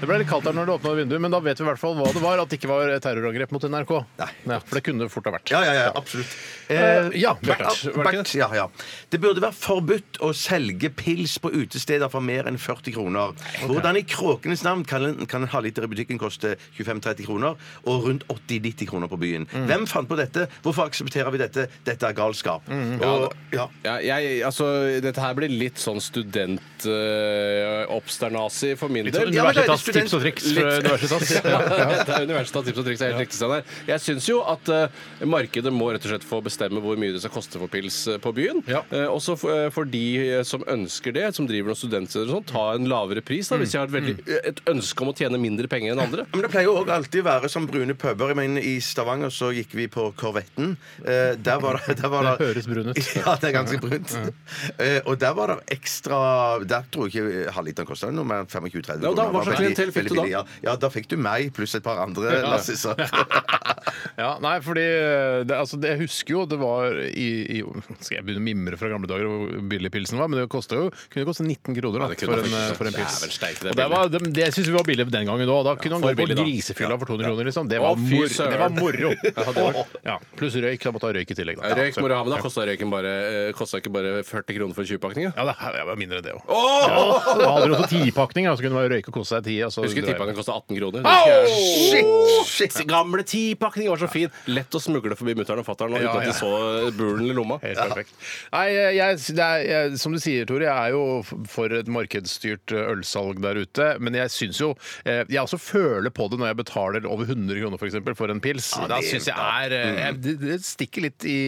F: Det ble litt kaldt her når du åpna vinduet, men da vet vi i hvert fall hva det var. At det ikke var terrorangrep mot NRK.
E: Nei.
F: for det kunne det fort ha vært.
E: Ja, ja, ja, absolutt.
F: Eh, ja, Bert,
E: Bert,
F: var det ikke
E: Bert, ja, ja. Det burde være forbudt å selge pils på utesteder for mer enn 40 kroner. Hvordan i kråkenes navn kan en, kan en halvliter i butikken koste 25-30 kroner, og rundt 80-90 kroner på byen?
F: Mm.
E: Hvem fant på dette? Hvorfor aksepterer vi dette? Dette er galskap.
F: Mm.
E: Og, ja.
G: Ja, jeg, altså, dette her blir litt sånn student-obsternasi for min
F: Litt sånn
G: del.
E: Ja, men det er
F: Universitas
E: student-
F: tips og triks
G: Litt-
F: fra Universitas.
G: Ja, det er Universitetet tips og triks. Det er helt riktig, Steinar. Jeg syns jo at eh, markedet må rett og slett få bestemme hvor mye det skal koste for pils eh, på byen.
F: Ja.
G: Eh, også for, eh, for de eh, som ønsker det, som driver noen studentsteder og sånn, ta en lavere pris da, hvis jeg har et,
F: Mm.
G: veldig, et ønske om å tjene mindre penger enn andre.
E: Men Det pleier jo også alltid å være som brune puber. Jeg mener, I Stavanger så gikk vi på Korvetten. Eh, der var det, der var
F: Det høres brun ut.
E: Ja, det er ganske brunt. Eh, og der var det ekstra Der tror jeg ikke halvliteren kosta noe mer enn 25-30
G: Ja, og da,
E: Det var
G: hva slags
E: veldig-
G: klientell fikk
E: veldig
G: du da?
E: billig, Ja. ja, da fikk du meg pluss et par andre
F: ja.
G: altså.
E: lassiser.
F: Ja, nei, fordi det, altså, det, Jeg husker jo det var i, i Skal jeg begynne å mimre fra gamle dager hvor billig pilsen var? Men det kostet jo, kunne koste 19 kroner da,
G: det kunne
F: for, en, eh,
G: faktisk-
F: for en
G: det er
F: pils.
G: vel sterkt, det er
F: det og det, var, det, det syns vi var billig den gangen òg. Da kunne
G: for
F: han gå
G: billig,
F: på
G: da.
F: grisefylla for 200 kroner, liksom. Det
G: Å,
F: var,
G: fy
F: mor,
G: søren.
F: det var moro.
G: det var-
F: ja, pluss røyk. Da måtte ha røyk i tillegg. Da.
G: Røyk må du ha, men da kosta røyken bare, eh, kostet ikke bare 40 kroner for 20-pakninger.
F: Ja, det her var mindre enn det òg. Da hadde du også tipakning, ja, så kunne man røyke og kose seg ti. Altså,
G: Husker
F: dreie.
G: tipakningen kosta 18 kroner.
E: Shit, shit.
G: Gamle tipakninger var så fin! Lett å smugle forbi mutter'n og fatter'n uten
F: Ja,
G: at
F: ja.
G: de så bulen i lomma.
F: Helt perfekt. Nei, jeg, det er, jeg, som du sier, Tore, jeg er jo f- for et markedsstyrt eh, ølsalg der ute. Men jeg syns jo eh, Jeg også føler på det når jeg betaler over 100 kroner for, eksempel, for en pils. da syns jeg er eh, jeg, det, det stikker litt i,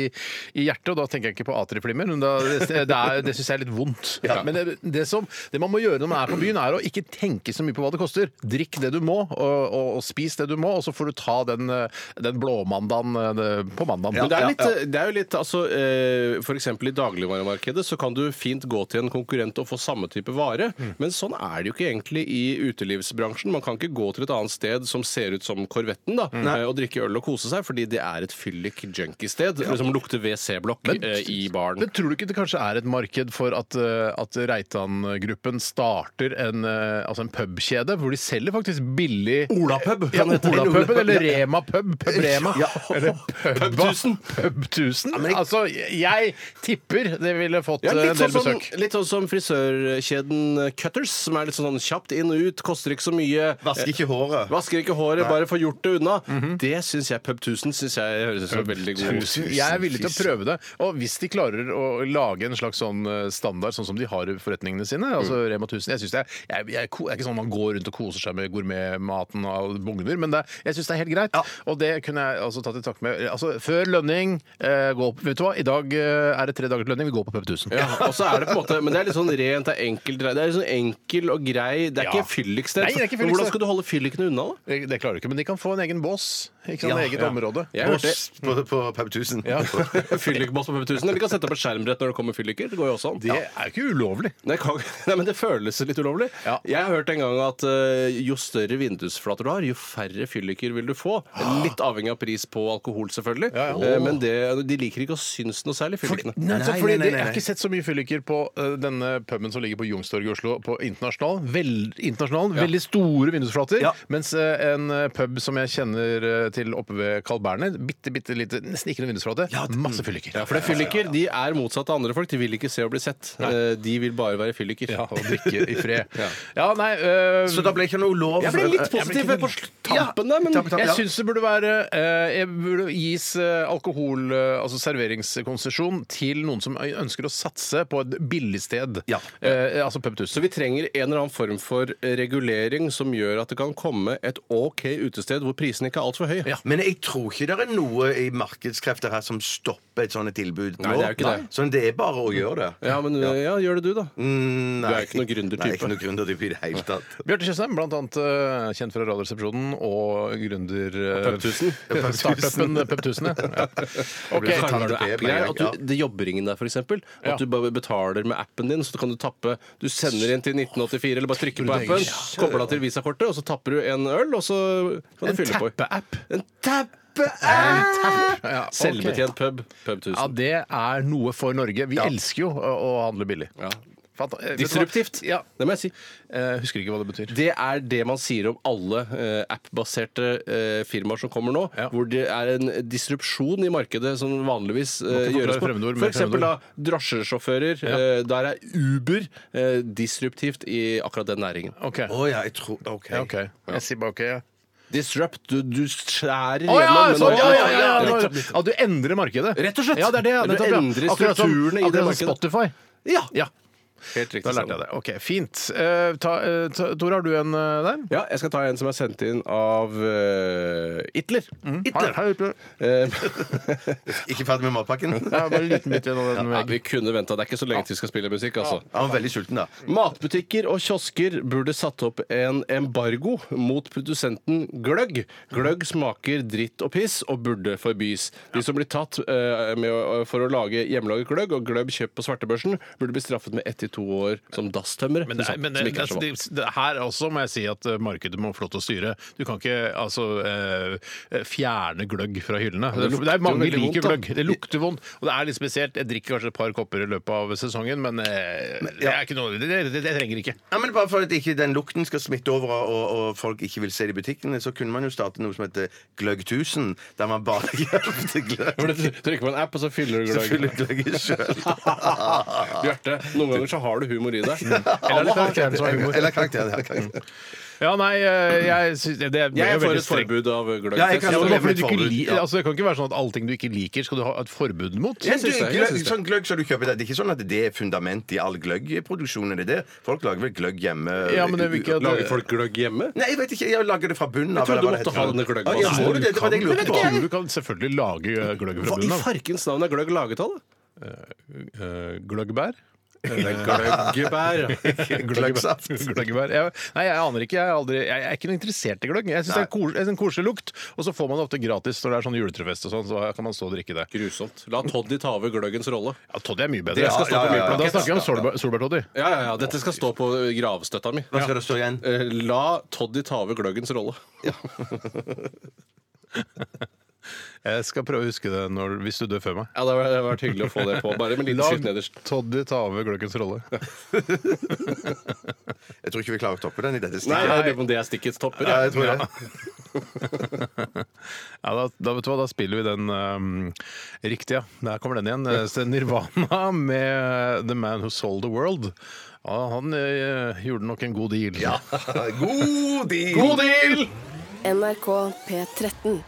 F: i hjertet, og da tenker jeg ikke på atrieflimmer. Men da, det, det, er- det syns jeg er litt vondt. Men det, det, som, det man må gjøre når man er på byen, er å ikke tenke så mye på hva det koster. Drikk det du må, og, og, og spis det du må, og så får du ta den eh, den blåmandagen eh, det- på mandagen.
G: Men det er, litt, det er jo litt altså, eh, For eksempel i dagligvaremarkedet så kan du fint gå til en konkurrent og få samme type vare, men sånn er det jo ikke egentlig i utelivsbransjen. Man kan ikke gå til et annet sted som ser ut som Korvetten da, eh, og drikke øl og kose seg, fordi det er et fyllik junkie-sted som lukter WC-blokk eh, i baren.
F: Men tror du ikke det kanskje er et marked for at, eh, at Reitan-gruppen starter en, eh, altså en pubkjede, hvor de selger faktisk billig
G: Olapub,
F: Ja,
G: kan det hete.
F: Olapuben eller Rema Pub. Pub Rema.
E: Ja.
F: Eller Pub 1000. Pub 1000. Altså, jeg tipper det ville fått
G: Ja,
F: eh, en
G: litt,
F: del
G: sånn, som-
F: besøk.
G: litt sånn som frisørkjeden eh, Cutters, som er litt sånn kjapt inn og ut, koster ikke så mye. eh,
E: Vasker ikke håret.
G: Vasker ikke håret, bare får gjort det unna. Det syns jeg Pub 1000 synes jeg høres ut som veldig god
F: Mhm. Tusen. Jeg er villig til å prøve det. Og hvis de klarer å lage en slags sånn eh, standard, sånn som de har i forretningene sine, altså
G: Mm.
F: Rema 1000 jeg synes det er, jeg, jeg, ko- det er ikke sånn man går rundt og koser seg med gourmetmaten og bugner, men det, jeg syns det er helt greit. Og det kunne jeg altså tatt i takt med. Altså, før lønning eh, gå på, Vet du hva, i dag eh, er det tre dager til lønning, vi går på Pub 1000.
G: Ja, og så er det på en måte Men det er litt sånn rent, det er enkelt Det er litt sånn enkel og grei Det er
F: Ja.
G: ikke fylliksted.
F: Nei, det er ikke fylliksted.
G: Men Hvordan skal du holde fyllikene unna, da?
F: Det, det klarer du ikke, men de kan få en egen bås. Ikke sant,
E: Ja,
F: eget
E: ja.
F: område.
G: Jeg hørte
E: Boss på, på Pub 1000.
F: Ja.
G: Fyllikboss på Pub 1000. Eller de kan sette opp et skjermbrett når det kommer fylliker. Det går jo også an.
F: Det er jo ikke ulovlig.
G: Nei, kan, nei, men det føles litt ulovlig.
F: Ja.
G: Jeg har hørt en gang at eh, jo større vindusflater du har, jo færre fylliker vil du få. Litt avhengig av pris på alkohol, selvfølgelig.
F: Ja, ja.
G: Eh, men det, de liker ikke å synes noe særlig, fyllikene.
F: Nei,
E: Nei,
F: så fordi
E: nei,
F: det-
E: nei,
F: Jeg har
E: nei.
F: ikke sett så mye fylliker på eh, denne puben som ligger på Youngstorget i Oslo, på Internasjonal. Vel, internasjonal Veldig store vindusflater.
E: Ja.
F: Mens eh, en eh, pub som jeg kjenner eh, til oppe ved Carl Berner, bitte, bitte lite, nesten ikke noen vindusflate, masse fylliker.
G: Ja, for det er fylliker de er motsatt av andre folk. De vil ikke se og bli sett. Eh, De vil bare være fylliker.
F: Ja, og drikke i fred.
G: Ja.
F: Ja, nei eh,
E: Så da ble ikke noe lov?
G: Jeg ble litt positiv på sl- tampen der, men
E: tampen, tampen.
F: Jeg
E: Ja.
F: syns det burde være eh, jeg burde gis eh, alkohol, eh, altså serveringskonsesjon, til noen som ønsker å satse på et billigsted.
E: Ja.
F: Eh, altså pub 1000.
G: Så vi trenger en eller annen form for eh, regulering som gjør at det kan komme et OK utested hvor prisene ikke er altfor høye.
F: Ja.
E: Men jeg tror ikke det er noe i markedskrefter her som stopper et sånt tilbud.
G: Nei,
E: nå.
G: det er jo ikke det.
E: Så det er bare å gjøre det.
G: Ja, men eh, ja, gjør det du, da.
E: Mm,
G: Du er ikke noen gründertype.
E: Nei, jeg er ikke noen gründertype i det hele tatt.
F: Bjarte Tjøstheim, blant annet eh, kjent fra Radioresepsjonen og gründer... eh,
G: Pub 1000.
F: Pep- Startupen Pep 1000, ja. Ok,
G: Det sånn. kan være noe
E: Tante P
G: app-greier,
E: på
G: at du-
E: gang, ja.
G: Det jobberingen der, for eksempel. At
F: Ja.
G: du bare betaler med appen din, så kan du tappe Du sender inn til 1984, eller bare trykker på appen, kobler deg til visakortet, og så tapper du en øl, og så kan du
F: En
G: fylle på.
F: tappe-app.
G: En tappe-app!
F: Ja, ok.
G: Selvbetjent pub. Pub
F: Ja,
G: 1000.
F: det er noe for Norge. Vi elsker jo å, å handle billig.
G: Ja.
F: Fant- eh, vet du hva?
G: Disruptivt.
F: Ja.
G: Det må jeg si.
F: Eh, husker ikke hva det betyr.
G: Det er det man sier om alle eh, app-baserte eh, firmaer som kommer nå,
F: Ja.
G: hvor det er en disrupsjon i markedet som vanligvis eh,
F: Må ikke
G: gjøres
F: forklare
G: på.
F: fremmedord med
G: For eksempel da
F: fremmedord.
G: drosjesjåfører. Eh, der er Uber eh, disruptivt i akkurat den næringen.
F: Ok.
E: Å ja, jeg tror OK.
F: Ja, ok. Jeg sier bare ok, ja.
G: Disrupt, du, du skjærer
F: Å ja,
G: gjennom, men-
F: sånn, ja, ja, ja, ja,
G: Ja,
F: ja, ja, du endrer markedet.
G: Rett og slett.
F: Ja, det er det. ja,
G: Du
F: nettopp, ja.
G: endrer
F: Akkurat som-
G: strukturene i det
F: akkurat som
G: markedet. sånn.
F: Spotify.
G: Ja.
F: Ja,
G: Helt riktig.
F: da lærte jeg det. Ok, fint. Eh, ta, eh, ta, Tor, har du en eh, der?
G: Ja, jeg skal ta en som er sendt inn av eh, Hitler.
F: Mm.
G: Hitler.
F: Hei, hei, Hitler.
G: Eh,
E: Ikke ferdig med matpakken?
F: Ja, bare en liten bit igjen av den
G: ja,
F: veggen.
G: vi kunne venta. Det er ikke så lenge til vi skal spille musikk, altså.
E: Han var veldig sulten, da.
G: Matbutikker og kiosker burde satt opp en embargo mot produsenten gløgg. Gløgg smaker dritt og piss og burde forbys. De som blir tatt eh, med å, for å lage hjemmelaget gløgg og gløbb kjøpt på svartebørsen, burde bli straffet med ett til to år som dasstømmere.
F: Men, det, er-
G: som-
F: men
G: som
F: det,
G: ikke er så
F: altså,
G: vanlig.
F: det, det, her også må jeg si at eh, markedet må få lov til å styre. Du kan ikke altså eh, fjerne gløgg fra hyllene. Det,
G: det lukter
F: er mange
G: jo veldig
F: liker
G: vondt, da.
F: gløgg. Det lukter vondt, og det er litt spesielt. Jeg drikker kanskje et par kopper i løpet av sesongen, men, eh, det er ikke noe det, det, det, det trenger ikke.
E: Ja, men Bare for at ikke den lukten skal smitte over og, og folk ikke vil se det i butikkene, så kunne man jo starte noe som heter Gløgg 1000, der man bare gjemte
G: For
E: gløgg.
G: du trykker på en app, og så fyller du
E: Så fyller
G: gløgg.
E: du gløgget sjøl.
G: Bjarte, noen ganger så har du humor i
F: Mm.
G: deg.
F: Eller er det karakteren
G: sånn
F: som har humor?
E: Eller karakteren. Eller karakteren.
F: Ja, nei, eh, jeg synes, det, det
G: Jeg
F: er
G: er for
F: veldig
G: et
F: strengt.
G: forbud av gløgg.
E: Ja, jeg kan-
F: Ja, men bare
E: Jeg er for
F: fordi
E: et
F: du ikke
E: forbud,
F: li-
E: ja.
F: altså, det kan ikke være sånn at allting du ikke liker, skal du ha et forbud mot.
E: Men du,
G: synes det, jeg
E: gløgg,
G: synes det.
E: sånn gløgg som du kjøper der, det er ikke sånn at det er fundament i all gløggproduksjon? Er det det? Folk lager vel gløgg hjemme?
F: Ja, men det vil ikke at-
G: Lager folk gløgg hjemme?
E: Nei, jeg vet ikke. Jeg lager det fra bunnen av.
G: Jeg trodde
E: eller hva
G: du
E: det heter.
G: måtte ha denne gløggbasen.
E: Ja, må du det? Det var det jeg lurte
F: Jeg tror
E: på.
F: du kan selvfølgelig lage eh, gløgg fra
G: Hva i
F: bunnen av.
G: farkens navn er gløgg laget av, da?
F: Eh, Gløggbær?
G: Gløggebær.
E: Gløggsaft.
F: Gløggebær. Jeg, nei, jeg aner ikke. Jeg er, aldri, jeg er ikke noe interessert i gløgg. Jeg syns det er kos, en sånn koselig lukt, og så får man det ofte gratis når det er sånn juletrefest og sånn, så kan man stå og drikke det.
G: Grusomt. La Toddy ta over gløggens rolle.
F: Ja, Toddy er mye bedre.
G: Det skal stå på
F: Ja, ja, ja,
G: min
F: ja. Da
G: plakett.
F: snakker vi om solbær- solbær-Toddy.
G: Ja, ja, ja. Dette skal stå på gravstøtta mi.
E: Hva skal det stå igjen?
G: Eh, La Toddy ta over gløggens rolle.
F: Jeg skal prøve å huske det når, hvis du dør før meg.
G: Ja, Det hadde vært hyggelig å få det på. Bare med litt skrift nederst.
F: Toddy ta over gløggens rolle.
E: Jeg tror ikke vi klarer å toppe den i dette
G: Nei,
E: stikket.
G: jeg lurer på om det er stikkets topper.
E: Nei,
G: jeg.
E: jeg tror det.
F: Ja, da, da, vet du hva, da spiller vi den um, riktige. Der kommer den igjen. Eh, Nirvana med The Man Who Sold The World. Ja, han eh, gjorde nok en god deal. Ja.
E: God deal!
I: NRK P13.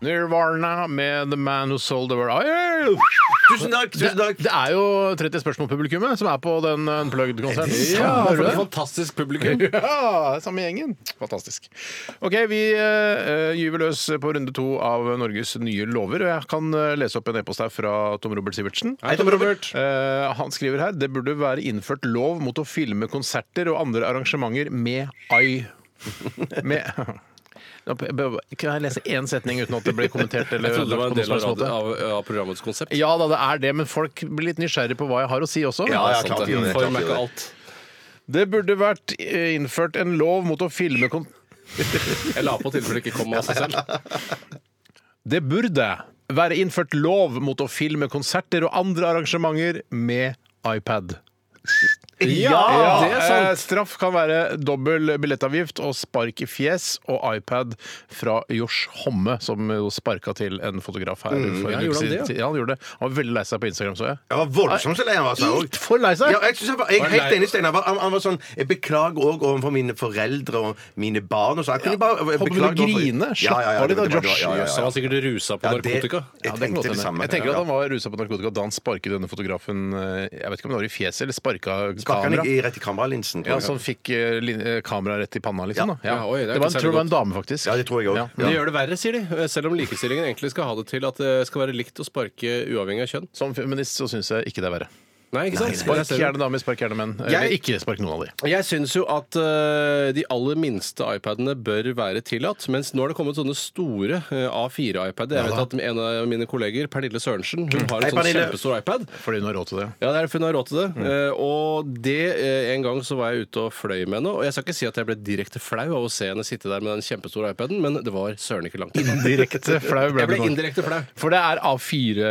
F: Nirvana med The Man Who Sold The World. Ah, yeah!
E: Tusen takk!
F: Det,
E: tusen takk
F: det er jo 30 spørsmål-publikummet som er på den Unplugged-konserten. Ja,
G: For
F: hører du
G: et
F: det?
G: fantastisk publikum.
F: Ja, samme gjengen. Fantastisk. OK, vi eh, gyver løs på runde to av Norges nye lover. og Jeg kan eh, lese opp en e-post her fra Tom Robert Sivertsen.
G: Hei, Tom Robert.
F: Eh, han skriver her det burde være innført lov mot å filme konserter og andre arrangementer med ai. Med Nå, b- b- Kan jeg lese én setning uten at det blir kommentert? Eller
G: Jeg trodde det var en
F: ødelagt
G: del
F: på noen som helst
G: av,
F: måte?
G: radio- av, av programmets konsept.
F: Ja da, det er det, men folk blir litt nysgjerrig på hva jeg har å si også.
E: Ja, ja,
G: Sant
E: klart
G: det.
E: gjør det, klart
G: Form er
E: gjør det.
G: ikke alt.
F: Det burde vært eh, innført en lov mot å filme kon...
G: Jeg la på tilfelle det ikke kom av seg selv.
F: Det burde være innført lov mot å filme konserter og andre arrangementer med iPad.
G: Ja, det er sant.
F: eh, Straff kan være dobbel billettavgift og spark i fjes og iPad fra Josh Homme, som jo sparka til en fotograf her. for en uke
G: Ja, gjorde han det,
F: siden. Mm, ja, han gjorde det. Han var veldig lei seg på Instagram, så jeg.
E: Jeg var voldsomt så lei han var. sa jeg også.
F: Litt for lei seg.
E: Ja, jeg, synes han var, jeg er helt
G: lei-
E: enig, Steinar. Han, han var sånn Jeg beklager òg overfor mine foreldre og mine barn. Og så. Jeg kunne bare
F: Håper du
E: beklage overfor-
F: grine. Slapp av litt da,
E: det var- det var-
F: Josh.
E: ja, ja, ja.
G: Så han var sikkert rusa på
E: Ja, det- Jeg
G: narkotika.
F: Ja, det kan
E: tenkte
F: godt
E: det
F: hende.
E: samme.
F: Jeg tenker at
E: Ja.
F: han var rusa på narkotika da han sparket denne fotografen eh, Jeg vet ikke om det var i fjeset eller sparka
E: Sparka han
F: kamera.
E: i- i rett i kameralinsen? tror
F: Ja,
E: jeg.
F: som fikk eh, lin- eh, kamera rett i panna, liksom. Da. Ja.
G: Ja, oi, det
F: det,
G: er ikke
F: var, en- tror
G: særlig
F: det var en dame, faktisk.
E: Ja, det tror jeg òg.
G: Men det gjør det verre, sier de. Selv om likestillingen egentlig skal ha det til at det skal være likt å sparke uavhengig av kjønn.
F: Som feminist så syns jeg ikke det er verre.
G: Nei, ikke sant?
F: Spark
G: Jeg ser det.
F: gjerne damer, spark gjerne menn. Eller ikke spark noen av de.
G: Jeg syns jo at eh, de aller minste iPadene bør være tillatt, mens nå har det kommet sånne store eh, A4-iPader. Jeg vet at en av mine kolleger, Pernille Sørensen, hun har en
E: Hei,
G: sånn
E: Pernille.
G: kjempestor iPad.
F: Fordi hun har råd til det.
G: Ja, det er derfor hun har råd til det. Eh, og det eh, en gang så var jeg ute og fløy med henne, og jeg skal ikke si at jeg ble direkte flau av å se henne sitte der med den kjempestore iPaden, men det var søren ikke langt. unna.
F: Indirekte flau ble
G: Jeg
F: du
G: ble
F: nå.
G: indirekte flau.
F: For det er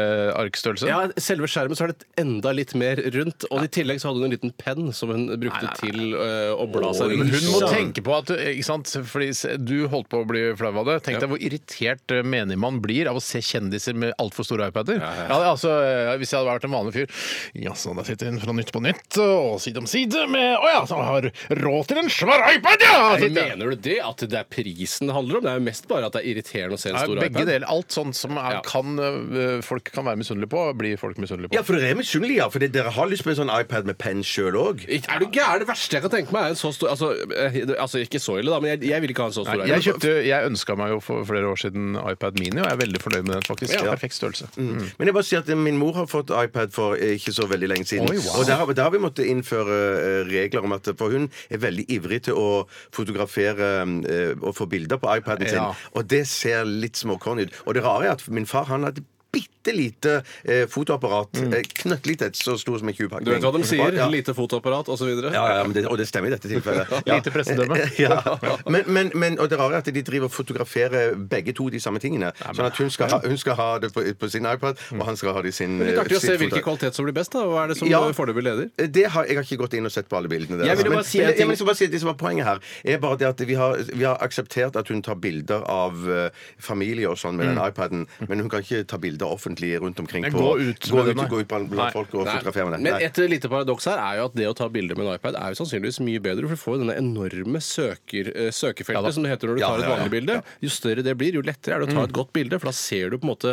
F: A4-arkstørrelse.
G: Ja, Selve skjermen så er det enda litt mer rundt, og i tillegg så hadde hun en liten penn som hun brukte til eh, å bla seg
F: Men hun må
G: Så-
F: tenke på at ikke sant? Fordi se- Du holdt på å bli flau av det. Tenk deg hvor irritert eh, menigmann blir av å se kjendiser med altfor store iPader. Ja, altså, eh, hvis jeg hadde vært en vanlig fyr Jaså, der sitter en fra Nytt på Nytt og Side om side med Å ja, så har råd til en svær iPad, ja!
G: Nei,
F: sitter jeg.
G: mener du det? At det er prisen det handler om? Det er jo mest bare at det er irriterende å se en
F: Ja,
G: stor
F: begge
G: iPad.
F: deler. Alt sånt som er,
G: Ja.
F: kan, eh, folk kan være misunnelige på, blir folk misunnelige på.
E: Ja, for dere er misunnelige, ja. For det- dere har lyst på en sånn iPad med penn sjøl òg.
G: Ikke- Er du gæren? Det verste jeg kan tenke meg, er en så stor Altså, eh, det- altså ikke så ille, da, men jeg, jeg vil ikke ha en så stor
F: Nei,
G: iPad.
F: jeg kjøpte, jeg ønska meg jo for flere år siden iPad Mini, og jeg er veldig fornøyd med den. faktisk. Perfekt størrelse.
E: Men jeg bare sier at min mor har fått iPad for eh, ikke så veldig lenge siden.
F: Oi, wow.
E: Og der, har- der har vi måttet innføre eh, regler om at For hun er veldig ivrig til å fotografere eh, og få bilder på iPaden sin.
F: Ja.
E: Og det ser litt småkorn ut. Og det rare er at min far han hadde bitte lite eh, fotoapparat.
F: Mm.
E: Eh, knøttlite, så stor som en tjuvpakning.
G: Du vet hva de sier?
E: Ja.
G: Lite fotoapparat osv.
E: Ja, ja, men det, og det stemmer i dette tilfellet. Ja.
F: Lite pressedømme.
E: Ja. Men, men, men, og det rare er at de driver og fotograferer begge to de samme tingene. Sånn at hun skal ha, hun skal ha det på, på sin iPad, og han skal ha det i sin
G: Litt artig å se
E: sitt
G: hvilken
E: foto.
G: kvalitet som blir best. da Hva er det som
E: Ja.
G: eh, foreløpig leder?
E: det har, jeg har ikke gått inn og sett på alle bildene deres.
G: Jeg ville bare
E: men,
G: si
E: men,
G: en ting.
E: jeg vil liksom bare si at Det som var poenget her, er bare det at vi har, vi har akseptert at hun tar bilder av eh, familie og sånn med den iPaden, men hun kan ikke ta bilder offentlig rundt omkring.
F: Nei,
E: På,
F: gå ut
E: gå
F: med den,
E: ut,
F: nei.
E: gå ut blant,
F: Nei,
E: blant folk og fotografere med den.
G: Men
E: Nei.
G: et lite paradoks her er jo at det å ta bilder med en iPad er jo sannsynligvis mye bedre, for du får jo denne enorme søker, eh, søkefeltet, som det heter når du
E: Ja,
G: tar et
E: ja, ja.
G: vanlig bilde. Jo større det blir, jo lettere er det å
F: Mm.
G: ta et godt bilde, for da ser du på en måte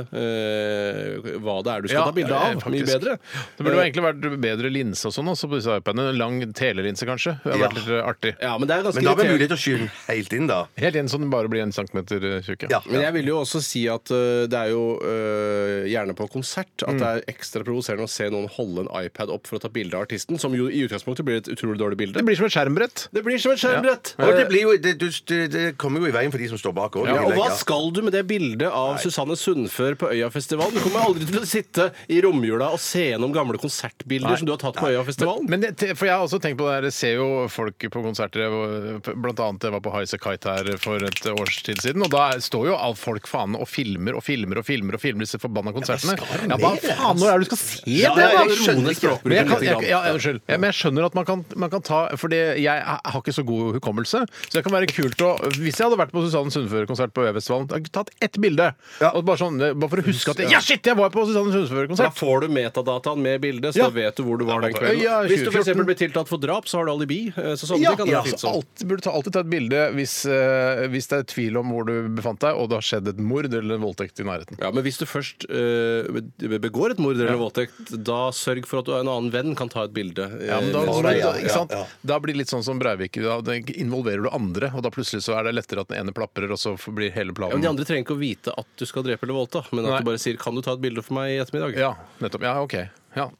G: eh, hva det er du skal ta bilde av.
F: eh, faktisk.
G: mye bedre. Eh,
F: Det burde jo egentlig vært bedre linse og sånn også på disse iPadene. Lang telelinse, kanskje. Det hadde
E: Ja.
F: vært litt eh, artig. sånn,
G: Ja, men det er ganske
E: Men da har vi
G: irriterende.
E: mulighet til å skyve den helt inn, da.
F: Helt inn så den bare blir en centimeter eh, tjukk.
E: Ja.
G: Men jeg vil eh, jo også si at øh, det er jo øh, gjerne på konsert, at
F: Mm.
G: det er ekstra provoserende å se noen holde en iPad opp for å ta bilde av artisten, som jo i utgangspunktet blir et utrolig dårlig bilde.
F: Det blir som et skjermbrett.
G: Det blir som et skjermbrett!
E: Og
F: Eh,
E: det, blir jo, det, du- det, det kommer jo i veien for de som står bak òg.
G: Ja, og hva skal du med det bildet av Susanne Sundfør på Øyafestivalen? Du kommer aldri til å sitte i romjula og se gjennom gamle konsertbilder som du har tatt på Øyafestivalen.
F: Men det, for jeg har også tenkt på det her, jeg ser jo folk på konserter jeg var- Blant annet jeg var på Highasakite Kite her for et års tid siden, og da står jo all folk faen og filmer og filmer og filmer og filmer disse forbanna konsertene. Ja, hva faen nå er det du skal se
G: altså. Ja,
F: det,
G: jeg
F: da?
G: skjønner
F: Men jeg kan-
G: språkbruken lite grann.
F: jeg- Ja, unnskyld. Ja, men jeg skjønner at man kan, man kan ta For jeg har ikke så god hukommelse, så det kan være kult å Hvis jeg hadde vært på Susanne Sundfør-konsert på Øyafestivalen, hadde jeg tatt ett bilde, og bare, sånn, bare for å huske at jeg, Ja, shit, jeg var på Susanne
G: Da
F: Sundfør-konsert!
G: får du metadataen med bildet, så
F: Ja.
G: da vet du hvor du var den kvelden.
F: Øya
G: Hvis du f.eks.
F: 2014.
G: blir tiltalt for drap, så har du alibi. eh, Så sånn,
F: Ja,
G: det kan
F: ja,
G: være fint
F: så
G: sånn.
F: alltid, burde ta, alltid ta et bilde hvis, eh, hvis det er tvil om hvor du befant deg, og det har skjedd et mord eller en voldtekt i nærheten.
G: Ja, Men hvis du først eh, be- begår et mord eller voldtekt, da sørg for at du- en annen venn kan ta et bilde. eh,
F: Ja, men da,
G: mens du-
F: da, ikke sant? da blir det litt sånn som Breivik. Da involverer du andre, og da plutselig så er det lettere at den ene plaprer, og så blir hele
G: Ja, men
F: planen
G: De andre trenger ikke å vite at du skal drepe eller voldta, men at
F: Nei.
G: du bare sier 'Kan du ta et bilde for meg i ettermiddag?'
F: Ja, nettopp. Ja, OK. Ja.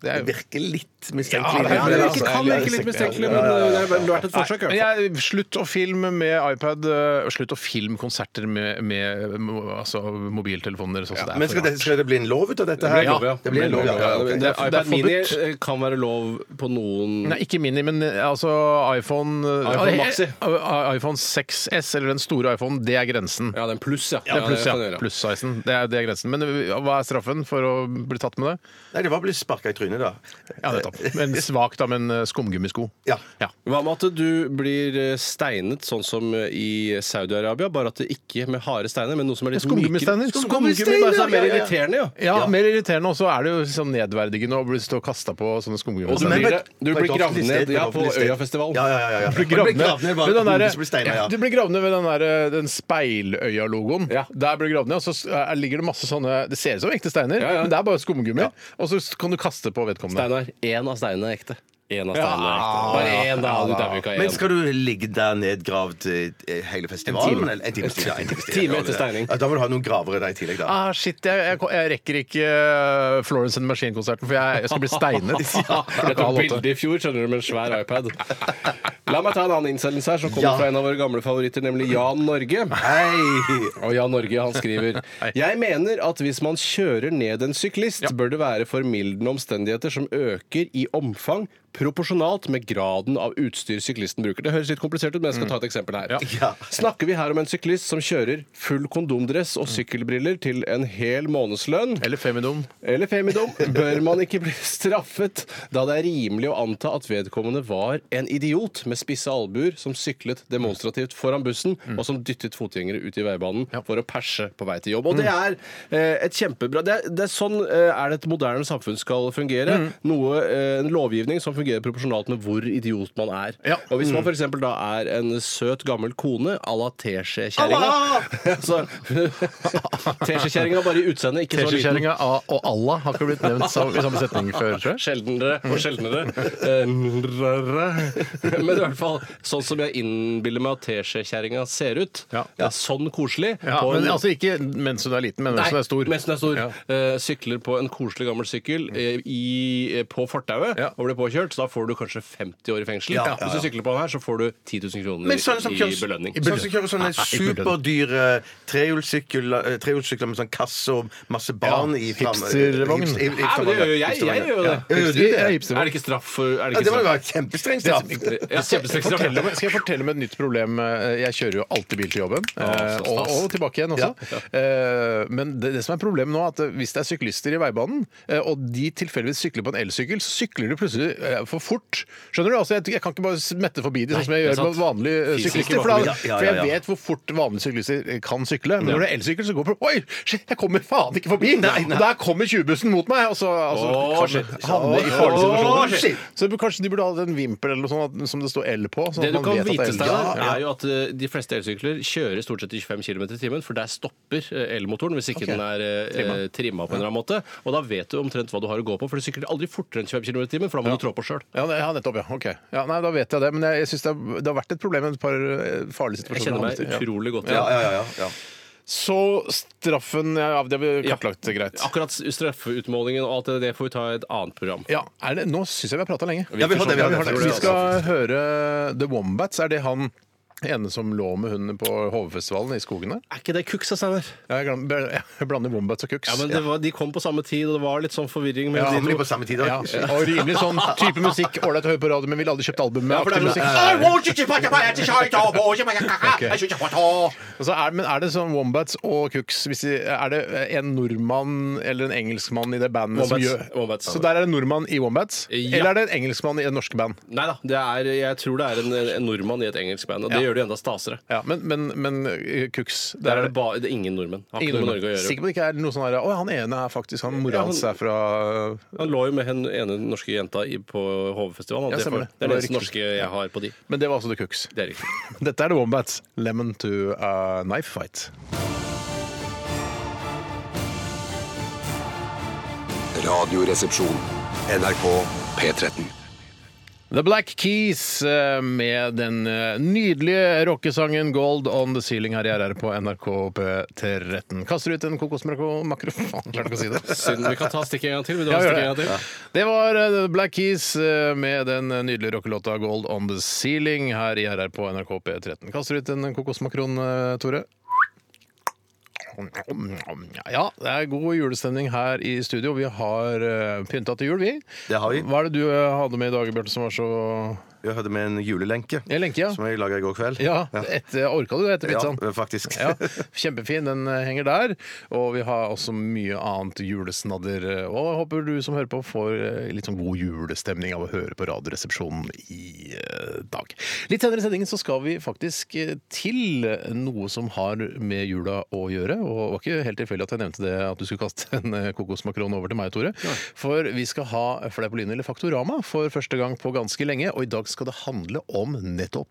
F: Det er jo
E: virker litt
F: Ja,
E: mistenkelig.
F: det er-
G: det
F: altså,
G: virker, kan virke litt mistenkelig, men eh, det har vært et forsøk. i hvert
F: Men
G: fall.
F: jeg, slutt å filme med iPad, eh, slutt å filme konserter med, med mo- altså, mobiltelefoner. Sånn, som det er
E: Men
F: for
E: skal det, skal det bli en lov ut av dette her?
F: blir lov, ja.
E: Det blir en lov, ja.
F: Ja,
E: ok.
F: det er-
G: iPad
F: det er
G: Mini
F: forbudt.
G: eh, kan være lov på noen
F: Nei, ikke mini, men eh, altså iPhone
G: iPhone Maxi.
F: eh, iPhone 6S, eller den store iPhonen, det er grensen.
G: Ja, den pluss, ja.
F: Det er pluss,
G: det
F: ja.
G: kan jeg gjøre.
F: Pluss-sizen. Det, er- det er grensen. Men eh, hva er straffen for å bli tatt med det?
E: Nei, det var å bli sparka i trynet, da.
F: Ja, nettopp. Men svakt, da, men eh, skumgummisko.
E: Ja.
G: Hva med at du blir eh, steinet sånn som i Saudi-Arabia, bare at det ikke med harde steiner, men noe som er litt
F: Skumgummisteiner.
G: mykere? Skumgummi,
F: Skumgummisteiner,
G: bare så
F: ja,
G: er det mer
F: ja, ja.
G: irriterende, ja.
F: Ja, mer irriterende, og så er det jo sånn nedverdigende å bli stå og kasta på sånne
G: Og du
E: Men
F: skumgummisteiner.
G: blir,
E: på et-
G: du
E: på
G: blir
E: et
G: gravd
E: offentlig
G: ned
E: sted,
G: ja,
E: et
G: på
E: offentlig sted.
G: Øyafestivalen.
E: Ja, ja, ja, ja.
F: Du blir gravd ned
E: bare
F: ved den
E: hodet
F: derre-
E: som blir steina,
F: ja,
E: ja.
F: du blir gravd ned ved den, der, eh, den speiløya-logoen.
G: Ja.
F: Der blir du gravd ned, og så s- eh, ligger det masse sånne Det ser ut som ekte steiner,
G: Ja, ja.
F: men det er bare skumgummi. Og så s- kan du kaste på vedkommende.
G: Steinar, én av steinene er ekte. Én av
F: Ja,
G: steinene er ekte. Bare én, da. Du dauer ikke av
E: Men
G: én.
E: skal du ligge der nedgravd eh, hele festivalen?
G: time.
E: eller- En time, ja, en time,
G: Time etter steining.
E: Ja, da må du ha noen gravere der i tillegg, da.
F: Ah, shit, jeg, jeg, jeg rekker ikke eh, Florence and the Machine-konserten, for jeg, jeg skal bli steinet.
G: Jeg tok bilde i fjor skjønner du, med en svær iPad. La meg ta en annen innsendelse her, som kommer
E: Ja.
G: fra en av våre gamle favoritter, nemlig Jan Norge.
E: Hei!
G: Og Jan Norge han skriver Jeg mener at hvis man kjører ned en syklist, bør det være formildende omstendigheter som øker i omfang proporsjonalt med graden av utstyr syklisten bruker. Det høres litt komplisert ut, men jeg skal ta et eksempel her.
E: Ja.
G: Snakker vi her om en syklist som kjører full kondomdress og sykkelbriller til en hel månedslønn?
F: Eller Femidom.
G: eller femidom, bør man ikke bli straffet, da det er rimelig å anta at vedkommende var en idiot med spisse albuer som syklet demonstrativt foran bussen,
F: Mm.
G: og som dyttet fotgjengere ut i veibanen for å perse på vei til jobb. Og det
F: Mm.
G: er eh, et kjempebra det er, det er Sånn eh, er det et moderne samfunn skal fungere.
F: Mm.
G: Noe, eh, en lovgivning som fungerer proporsjonalt med hvor idiot man er.
F: Ja. Mm.
G: Og hvis man f.eks. da er en søt, gammel kone à la teskjekjerringa så- Teskjekjerringa bare i utseendet, ikke så liten.
F: Teskjekjerringa A- og Allah har ikke blitt nevnt sam- i samme setning før, tror jeg.
G: Sjeldnere og sjeldnere. Eh, Men i hvert fall sånn som jeg innbiller meg at teskjekjerringa ser ut.
F: Ja.
G: Det er Sånn koselig.
F: Ja,
G: på en-
F: men altså ikke mens hun er liten, men mens hun
G: Nei,
F: er stor.
G: mens den er stor.
F: Ja.
G: Eh, sykler på en koselig gammel sykkel eh, i, eh, på fortauet
F: Ja.
G: og blir påkjørt, så da får du kanskje 50 år i fengsel.
E: Ja, ja,
G: Hvis du sykler på den her, så får du 10 000 kroner
E: Men sånne som
G: i
E: kjører,
G: belønning.
E: Sånne som kjører sånne superdyre trehjulssykler eh, trehjulssykler med sånn kasse og masse barn
F: Ja,
E: i fram-
F: hipstervogn.
E: hips- hip-
G: Nei, men det
E: hipstervogn,
G: gjør jo
E: ja.
G: jeg. Jeg gjør jo det.
E: Ja, gjør du det?
F: Ja, hipster.
G: Er det ikke straff for er
E: Ja,
G: det
E: det må
G: ikke
E: jo være kjempestreng straff.
G: straff? Ja, kjempestreng straff.
F: Fortell meg- Skal jeg fortelle om et nytt problem? Eh, Jeg kjører jo alltid bil til jobben, eh,
G: så
F: og,
G: stas.
F: og tilbake igjen også. Eh, Men det, det som er problemet nå, er at eh, hvis det er syklister i veibanen, eh, og de tilfeldigvis sykler på en elsykkel, så sykler de plutselig eh, for fort. Skjønner du? Altså, jeg, jeg kan ikke bare smette forbi de, sånn som jeg
G: det er
F: gjør med
G: sant.
F: vanlige eh,
G: Fysisk
F: syklister.
G: ikke
F: For,
G: bare
F: da,
E: forbi. Ja, ja,
F: for
E: ja,
F: jeg
E: ja.
F: vet hvor fort vanlige syklister eh, kan sykle, men når det er elsykkel, så går det på Oi, shit, jeg kommer faen ikke forbi! Og Der kommer 20-bussen mot meg! Og så altså,
G: Åh,
F: kanskje
G: shit.
F: havner i farlige
G: Åh,
F: situasjoner.
G: shit.
F: Så det burde- kanskje de burde ha en vimpel eller noe sånt at- som det står L på. Sånn
G: Det
F: at
G: du
F: man
G: kan
F: vet at det
G: vite,
F: er L.
G: Steinar,
F: Ja, ja.
G: er jo at eh, de fleste elsykler kjører stort sett i 25 km i timen, for der stopper eh, elmotoren hvis ikke
F: Ok.
G: den er eh,
F: Trimma.
G: trimma på en eller annen måte. Og da vet du omtrent hva du har å gå på, for du sykler aldri fortere enn 25 km i timen, for da må du trå på sjøl.
F: Ja, ne- ja, nettopp, ja. Ok. Ja, nei, da vet jeg det. Men jeg, jeg syns det, har- det har vært et problem med et par eh, farlige
G: Jeg
F: situasjoner.
G: kjenner meg utrolig godt
E: Ja,
G: igjen.
E: ja, ja, ja.
F: Så straffen ja, Det blir kartlagt greit.
G: Akkurat straffeutmålingen og alt det, det får vi ta i et annet program.
F: Ja, er det, Nå syns jeg vi har prata lenge.
G: Ja, vi har det, vi har det.
F: Vi
G: Jeg tror det,
F: skal høre The Wombats. Er det han ene som lå med hunden på Hovefestivalen i skogen der?
G: Er ikke det Kuksa, Steinar?
F: Ja, Jeg glam- jeg blander Wombats og Cooks.
G: Ja, men det var, De kom på samme tid, og det var litt sånn forvirring.
F: Ja,
G: mellom
F: men
G: de
F: de
G: to.
E: på samme tid
F: Ja,
E: da.
F: og rimelig sånn type musikk. Ålreit å høre på radio, men ville aldri kjøpt album med
G: Ja, for det er
F: aktiv
G: musikk.
F: musikk. Og så er, men er det sånn Wombats og Cooks hvis de, Er det en nordmann eller en engelskmann i det bandet som
G: Wombats.
F: gjør
G: Wombats.
F: Så der er det en nordmann i Wombats?
G: Ja.
F: Eller er det en engelskmann i det norske band?
G: Nei da, det er, jeg tror det er en, en nordmann i et engelsk band, og det
F: Ja.
G: gjør det enda stasere.
F: Ja, men, men, men eh, Cooks
G: Der er det, ba, det er ingen nordmenn. Har ikke
F: Ingen
G: noe med
F: nordmenn.
G: Norge å gjøre.
F: Sikker på det ikke er noe sånn her Å, han ene er faktisk Han mora
G: Ja,
F: hans
G: han-
F: er fra
G: Han lå jo med den ene norske jenta i, på Hovefestivalen.
F: Ja,
G: og det,
F: stemmer
G: får-
F: det.
G: det er
F: Det
G: det
F: var
G: eneste
F: riktig.
G: norske jeg har på de.
F: Men det var altså The Cooks.
G: Det er riktig.
F: Dette er The Wombats. Lemon to a knife fight.
B: Radioresepsjon. NRK P13.
F: The Black Keys eh, med den eh, nydelige rockesangen 'Gold On The Ceiling' her i RR på NRK P13. Kaster ut en kokosmakrell Faen, klarte ikke å si det.
G: Siden vi kan ta stikket en gang til. Vil du
F: Ja,
G: ha
F: gjør
G: stikket en gang til?
F: Det var eh, The Black Keys eh, med den eh, nydelige rockelåta 'Gold On The Ceiling' her i RR på NRK P13. Kaster ut en kokosmakron, eh, Tore. Ja, det er god julestemning her i studio. Vi har eh, pynta til jul, vi.
E: Det har vi.
F: Hva er det du eh, hadde med i dag, Bjarte, som var så
E: Jeg hadde med en julelenke
F: Jeg lenker, ja.
E: som jeg laga i går kveld.
F: Ja, etter, orka du det sånn? etter pizzaen?
E: Ja, faktisk.
F: Ja, kjempefin. Den eh, henger der. Og vi har også mye annet julesnadder. eh, Og jeg håper du som hører på, får eh, litt sånn god julestemning av å høre på Radioresepsjonen i eh, dag. Litt senere i sendingen så skal vi faktisk eh, til noe som har med jula å gjøre. Og det var ikke helt tilfeldig at jeg nevnte det, at du skulle kaste en eh, kokosmakron over til meg, Tore. For vi skal ha Fleipolini eller Faktorama for første gang på ganske lenge. Og i dag skal det handle om nettopp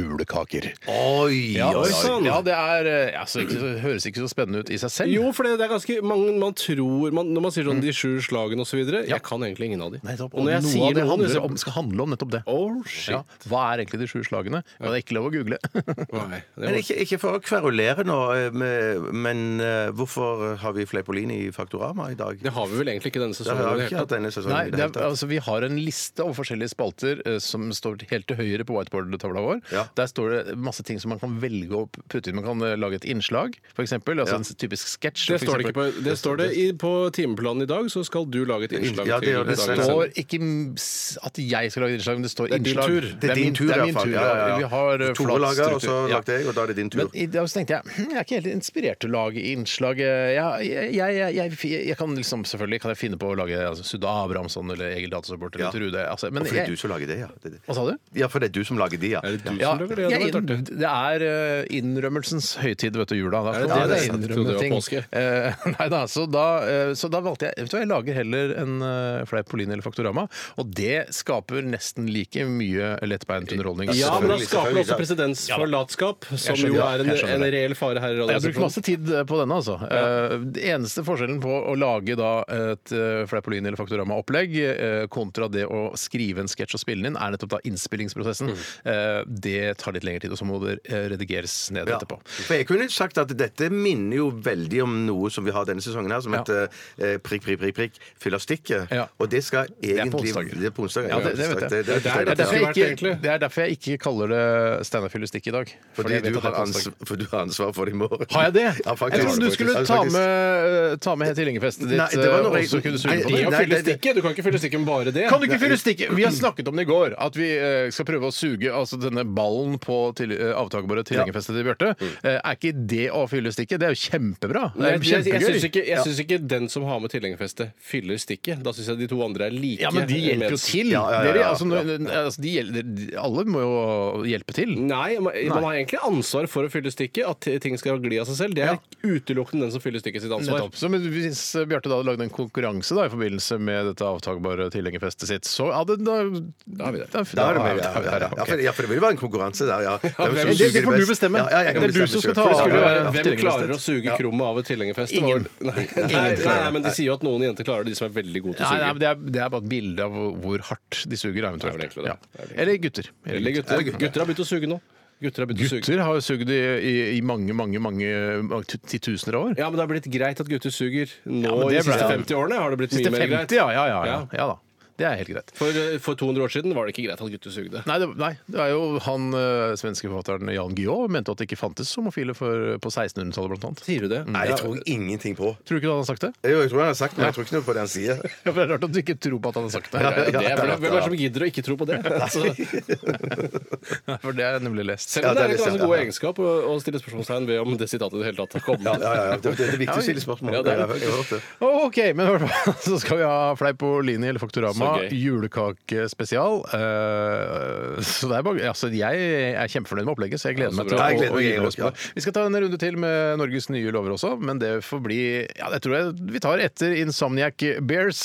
F: julekaker.
E: Oi,
F: Ja,
E: oi, oi.
F: ja det er, eh, altså, ikke, så- høres ikke så spennende ut i seg selv.
G: Jo, for det, det er ganske mange man tror man, Når man sier sånn de sju slagene osv. videre Jeg kan egentlig ingen av de.
F: Mm. Nettopp,
G: og når jeg
F: noe av
G: sier
F: det
G: noen,
F: handler
G: liksom-
F: om, skal handle om nettopp det.
G: Oh, shit.
F: Ja, hva er egentlig de sju slagene? Ja, det er ikke lov å google.
G: Nei, det
E: Men
G: var,
E: ikke, ikke for å kverulere nå, eh, med- men eh, hvorfor har vi Fleipolini i Faktorama i dag?
G: det har vi vel egentlig ikke denne
E: Det har
G: sesongen.
E: vi
G: i det
E: ikke
G: hele
E: hatt
G: tatt.
E: denne sesongen
F: Nei,
E: i
F: det
E: det hele
F: er,
E: tatt.
F: altså, vi har en liste over forskjellige spalter eh, som står helt til høyre på whiteboard-tavla vår.
E: Ja.
F: Der står det masse ting som man kan velge å putte inn. Man kan eh, lage et innslag, f.eks. Altså
E: Ja.
F: en typisk sketsj.
G: Det
F: for
G: står det, ikke
F: eksempel.
G: på, det står det i, på timeplanen i dag, så skal du lage et innslag
E: Ja, det
G: til
E: gjør det.
G: dagens
F: Det
G: sending.
F: står ikke m- s- at jeg skal lage et innslag, men det står
G: er din
F: innslag.
G: tur.
E: Det er din tur,
F: min- det er
E: i
F: min
E: hvert fall.
F: tur.
E: Ja, ja, ja.
F: Vi har eh,
E: Tore
F: flat
E: lager, og
F: struktur.
E: så
F: Ja.
E: lagde jeg, og da er det din tur.
F: Men i dag så tenkte jeg hm, jeg er ikke helt inspirert til å lage innslag. Jeg, jeg, jeg, jeg, jeg kan liksom, selvfølgelig kan jeg finne på å lage altså, Sudda Abrahamsson eller Egil Datasport eller
E: Ja.
F: Trude. Altså,
E: Og
F: men
E: fordi det er du
F: jeg,
E: som lager det, ja. Det- det-
F: hva sa du?
E: Ja, for det er du som lager de, ja.
G: Er det du
F: Ja,
G: som lager det?
F: jeg,
G: Det hadde vært
F: inn-
G: artig.
F: det er eh, innrømmelsens høytid, vet du, jula. Da
G: Er
F: får
G: det det?
F: man
G: Jeg trodde det
F: innrømme
G: var
F: ting.
G: påske.
F: Eh, nei da, så da, eh, så da valgte jeg Vet du hva, jeg lager heller en uh, Fleipolini eller Faktorama, og det skaper nesten like mye lettbeint underholdning.
G: Ja, men
E: Selvfølgelig,
G: da skaper det
E: selvfølgelig.
G: også presedens for latskap, som
F: skjønner
G: jo
F: det.
G: er en,
F: Jeg skjønner
G: en
F: det.
G: reell fare her i
F: Jeg har brukt
G: Radioresepsjonen.
F: masse tid på denne, altså. Eh, det eneste forskjellen på å lage da et eh, Fleipolini eller Faktorama-opplegg eh, kontra det å skrive en sketsj og spille den inn, er nettopp da
E: Mm.
F: innspillingsprosessen. Eh, det tar litt lengre tid, og så må det eh, redigeres ned
E: Ja.
F: etterpå.
E: For jeg kunne sagt at dette minner jo veldig om noe som vi har denne sesongen her, som
F: Ja.
E: heter eh, prikk, prikk, prikk, prikk, fyllastikke.
F: Ja.
E: Og det skal
F: er på
E: egentlig
F: onsdager.
E: Det er på onsdager.
F: Ja, det- det vet jeg.
E: det,
G: Det er
E: det,
F: Det er,
E: det,
F: derfor jeg
G: vært
F: ikke,
G: egentlig.
F: det er derfor jeg ikke kaller det Steinar Fyllestikk i dag. Fordi
E: fordi
F: jeg vet
E: du
F: at det er
E: har,
F: på onsdag.
E: ansvar, for du har ansvar for det i morgen.
F: Har jeg det?
E: Ja, faktisk.
F: jeg trodde du skulle
E: Ja,
F: ta
E: faktisk.
F: med, eh, ta med helt til Ingefestet ditt. eh,
E: Nei, det var noe-
F: og så kunne du surre
E: Nei,
F: på
E: det
F: det.
E: er å fylle
G: Ikke, du kan ikke fylle stikket med bare det.
F: Kan du ikke fylle stikket? Vi har snakket om det i går, at vi eh, skal prøve å suge altså, denne ballen på til, eh, avtakerbare tilhengerfestet til Bjarte. Eh, er ikke det å fylle stikket? Det er jo kjempebra. Det
G: Nei,
F: er
G: jeg,
F: jo
G: jeg, jeg syns
F: kjempegøy.
G: ikke, jeg synes ikke den som har med tilhengerfeste, fyller stikket. Da syns jeg de to andre er like.
F: Ja, men de hjelper jo
G: med-
F: til.
E: Ja, ja, ja, ja.
F: Dere, altså, når- altså, de hjel- alle må jo hjelpe til.
G: Nei, man, man har egentlig ansvar for å fylle stikket. At t- ting skal gli av seg selv. Det er utelukkende den som fyller stikket sitt ansvar.
F: Nettopp. Så men Hvis eh, Bjarte da hadde lagd en konkurranse da, i forbindelse med dette avtakbare tilhengerfestet sitt, så hadde da, da er vi der. Da,
E: Da er det
F: er
E: med,
F: vi
E: ja,
F: der,
E: ja, ja.
F: ok.
E: Ja, for, ja, for det vil være en konkurranse der, ja. Hvem som
F: det-
E: suger
F: det får du
E: best.
F: bestemme.
E: Ja, ja, jeg kan
F: Det er du
E: bestemme
F: som
E: selv.
F: skal ta
E: For det
F: av-
E: skulle
G: Det
E: jo
G: skulle jo
F: Ja,
E: være-
F: ja,
G: være,
F: ja.
G: hvem klarer å suge krummet av et tilhengerfest? Det var vel- Nei. Nei, nei, men de sier jo at noen jenter klarer det, de som er veldig gode til å
F: Nei, nei, men
G: suge.
F: det, er, det er bare et bilde av hvor- hvor hardt de suger,
G: Det er vel
F: eventuelt.
G: egentlig det.
F: Ja. Eller gutter.
G: Eller gutter. Gutter har begynt å suge nå. Gutter har begynt å suge.
F: Gutter har jo sugd i, i, i mange, mange, mange, mange tu- titusener av år.
G: Ja, men det har blitt greit at gutter suger nå
F: Ja, men
G: i de
F: det ble-
G: siste 50 årene. har det blitt
F: Siste 50,
G: mye mer greit.
F: ja, ja, ja, ja.
G: Ja.
F: ja da. Det er helt greit.
G: For, eh, for 200 år siden var det ikke greit at gutter sugde.
F: Nei det, nei, det er jo han eh, svenske forfatteren Jan Guillaud mente at det ikke fantes homofile for, på 1600-tallet, blant annet.
G: Sier du det?
E: Nei, jeg tror ingenting på.
F: Tror du ikke han har sagt det?
E: Jo, jeg tror han har sagt det, men jeg tror ikke noe på det han sier.
F: Ja, for Det er rart at du ikke tror på at han har sagt det.
G: Ja, det er, vel- hvem er det som gidder å ikke tro på det? Altså,
F: For det har jeg nemlig lest.
G: selv om det
E: det
G: er
E: er
G: en
E: sant,
G: ganske god
E: ja.
G: egenskap å, å stille spørsmålstegn ved om det sitatet i det hele tatt kom.
E: Ja, ja, ja. Det, det er viktig å stille spørsmål.
G: Ja, det er det.
E: Jeg har hørt det.
F: Ok, men i hvert fall så skal vi ha Fleipolini eller Faktorama.
G: Så gøy.
F: Julekakespesial. Eh, så det er bare, altså, jeg er kjempefornøyd med opplegget, så jeg gleder
G: Ja, så
F: meg til å,
G: bra.
E: Jeg
F: å
E: gleder meg,
F: gi
E: jeg
F: løs på
E: også,
F: det. Vi skal ta en runde til med Norges nye lover også, men det får bli ja, det tror jeg vi tar etter Insomniac Bears.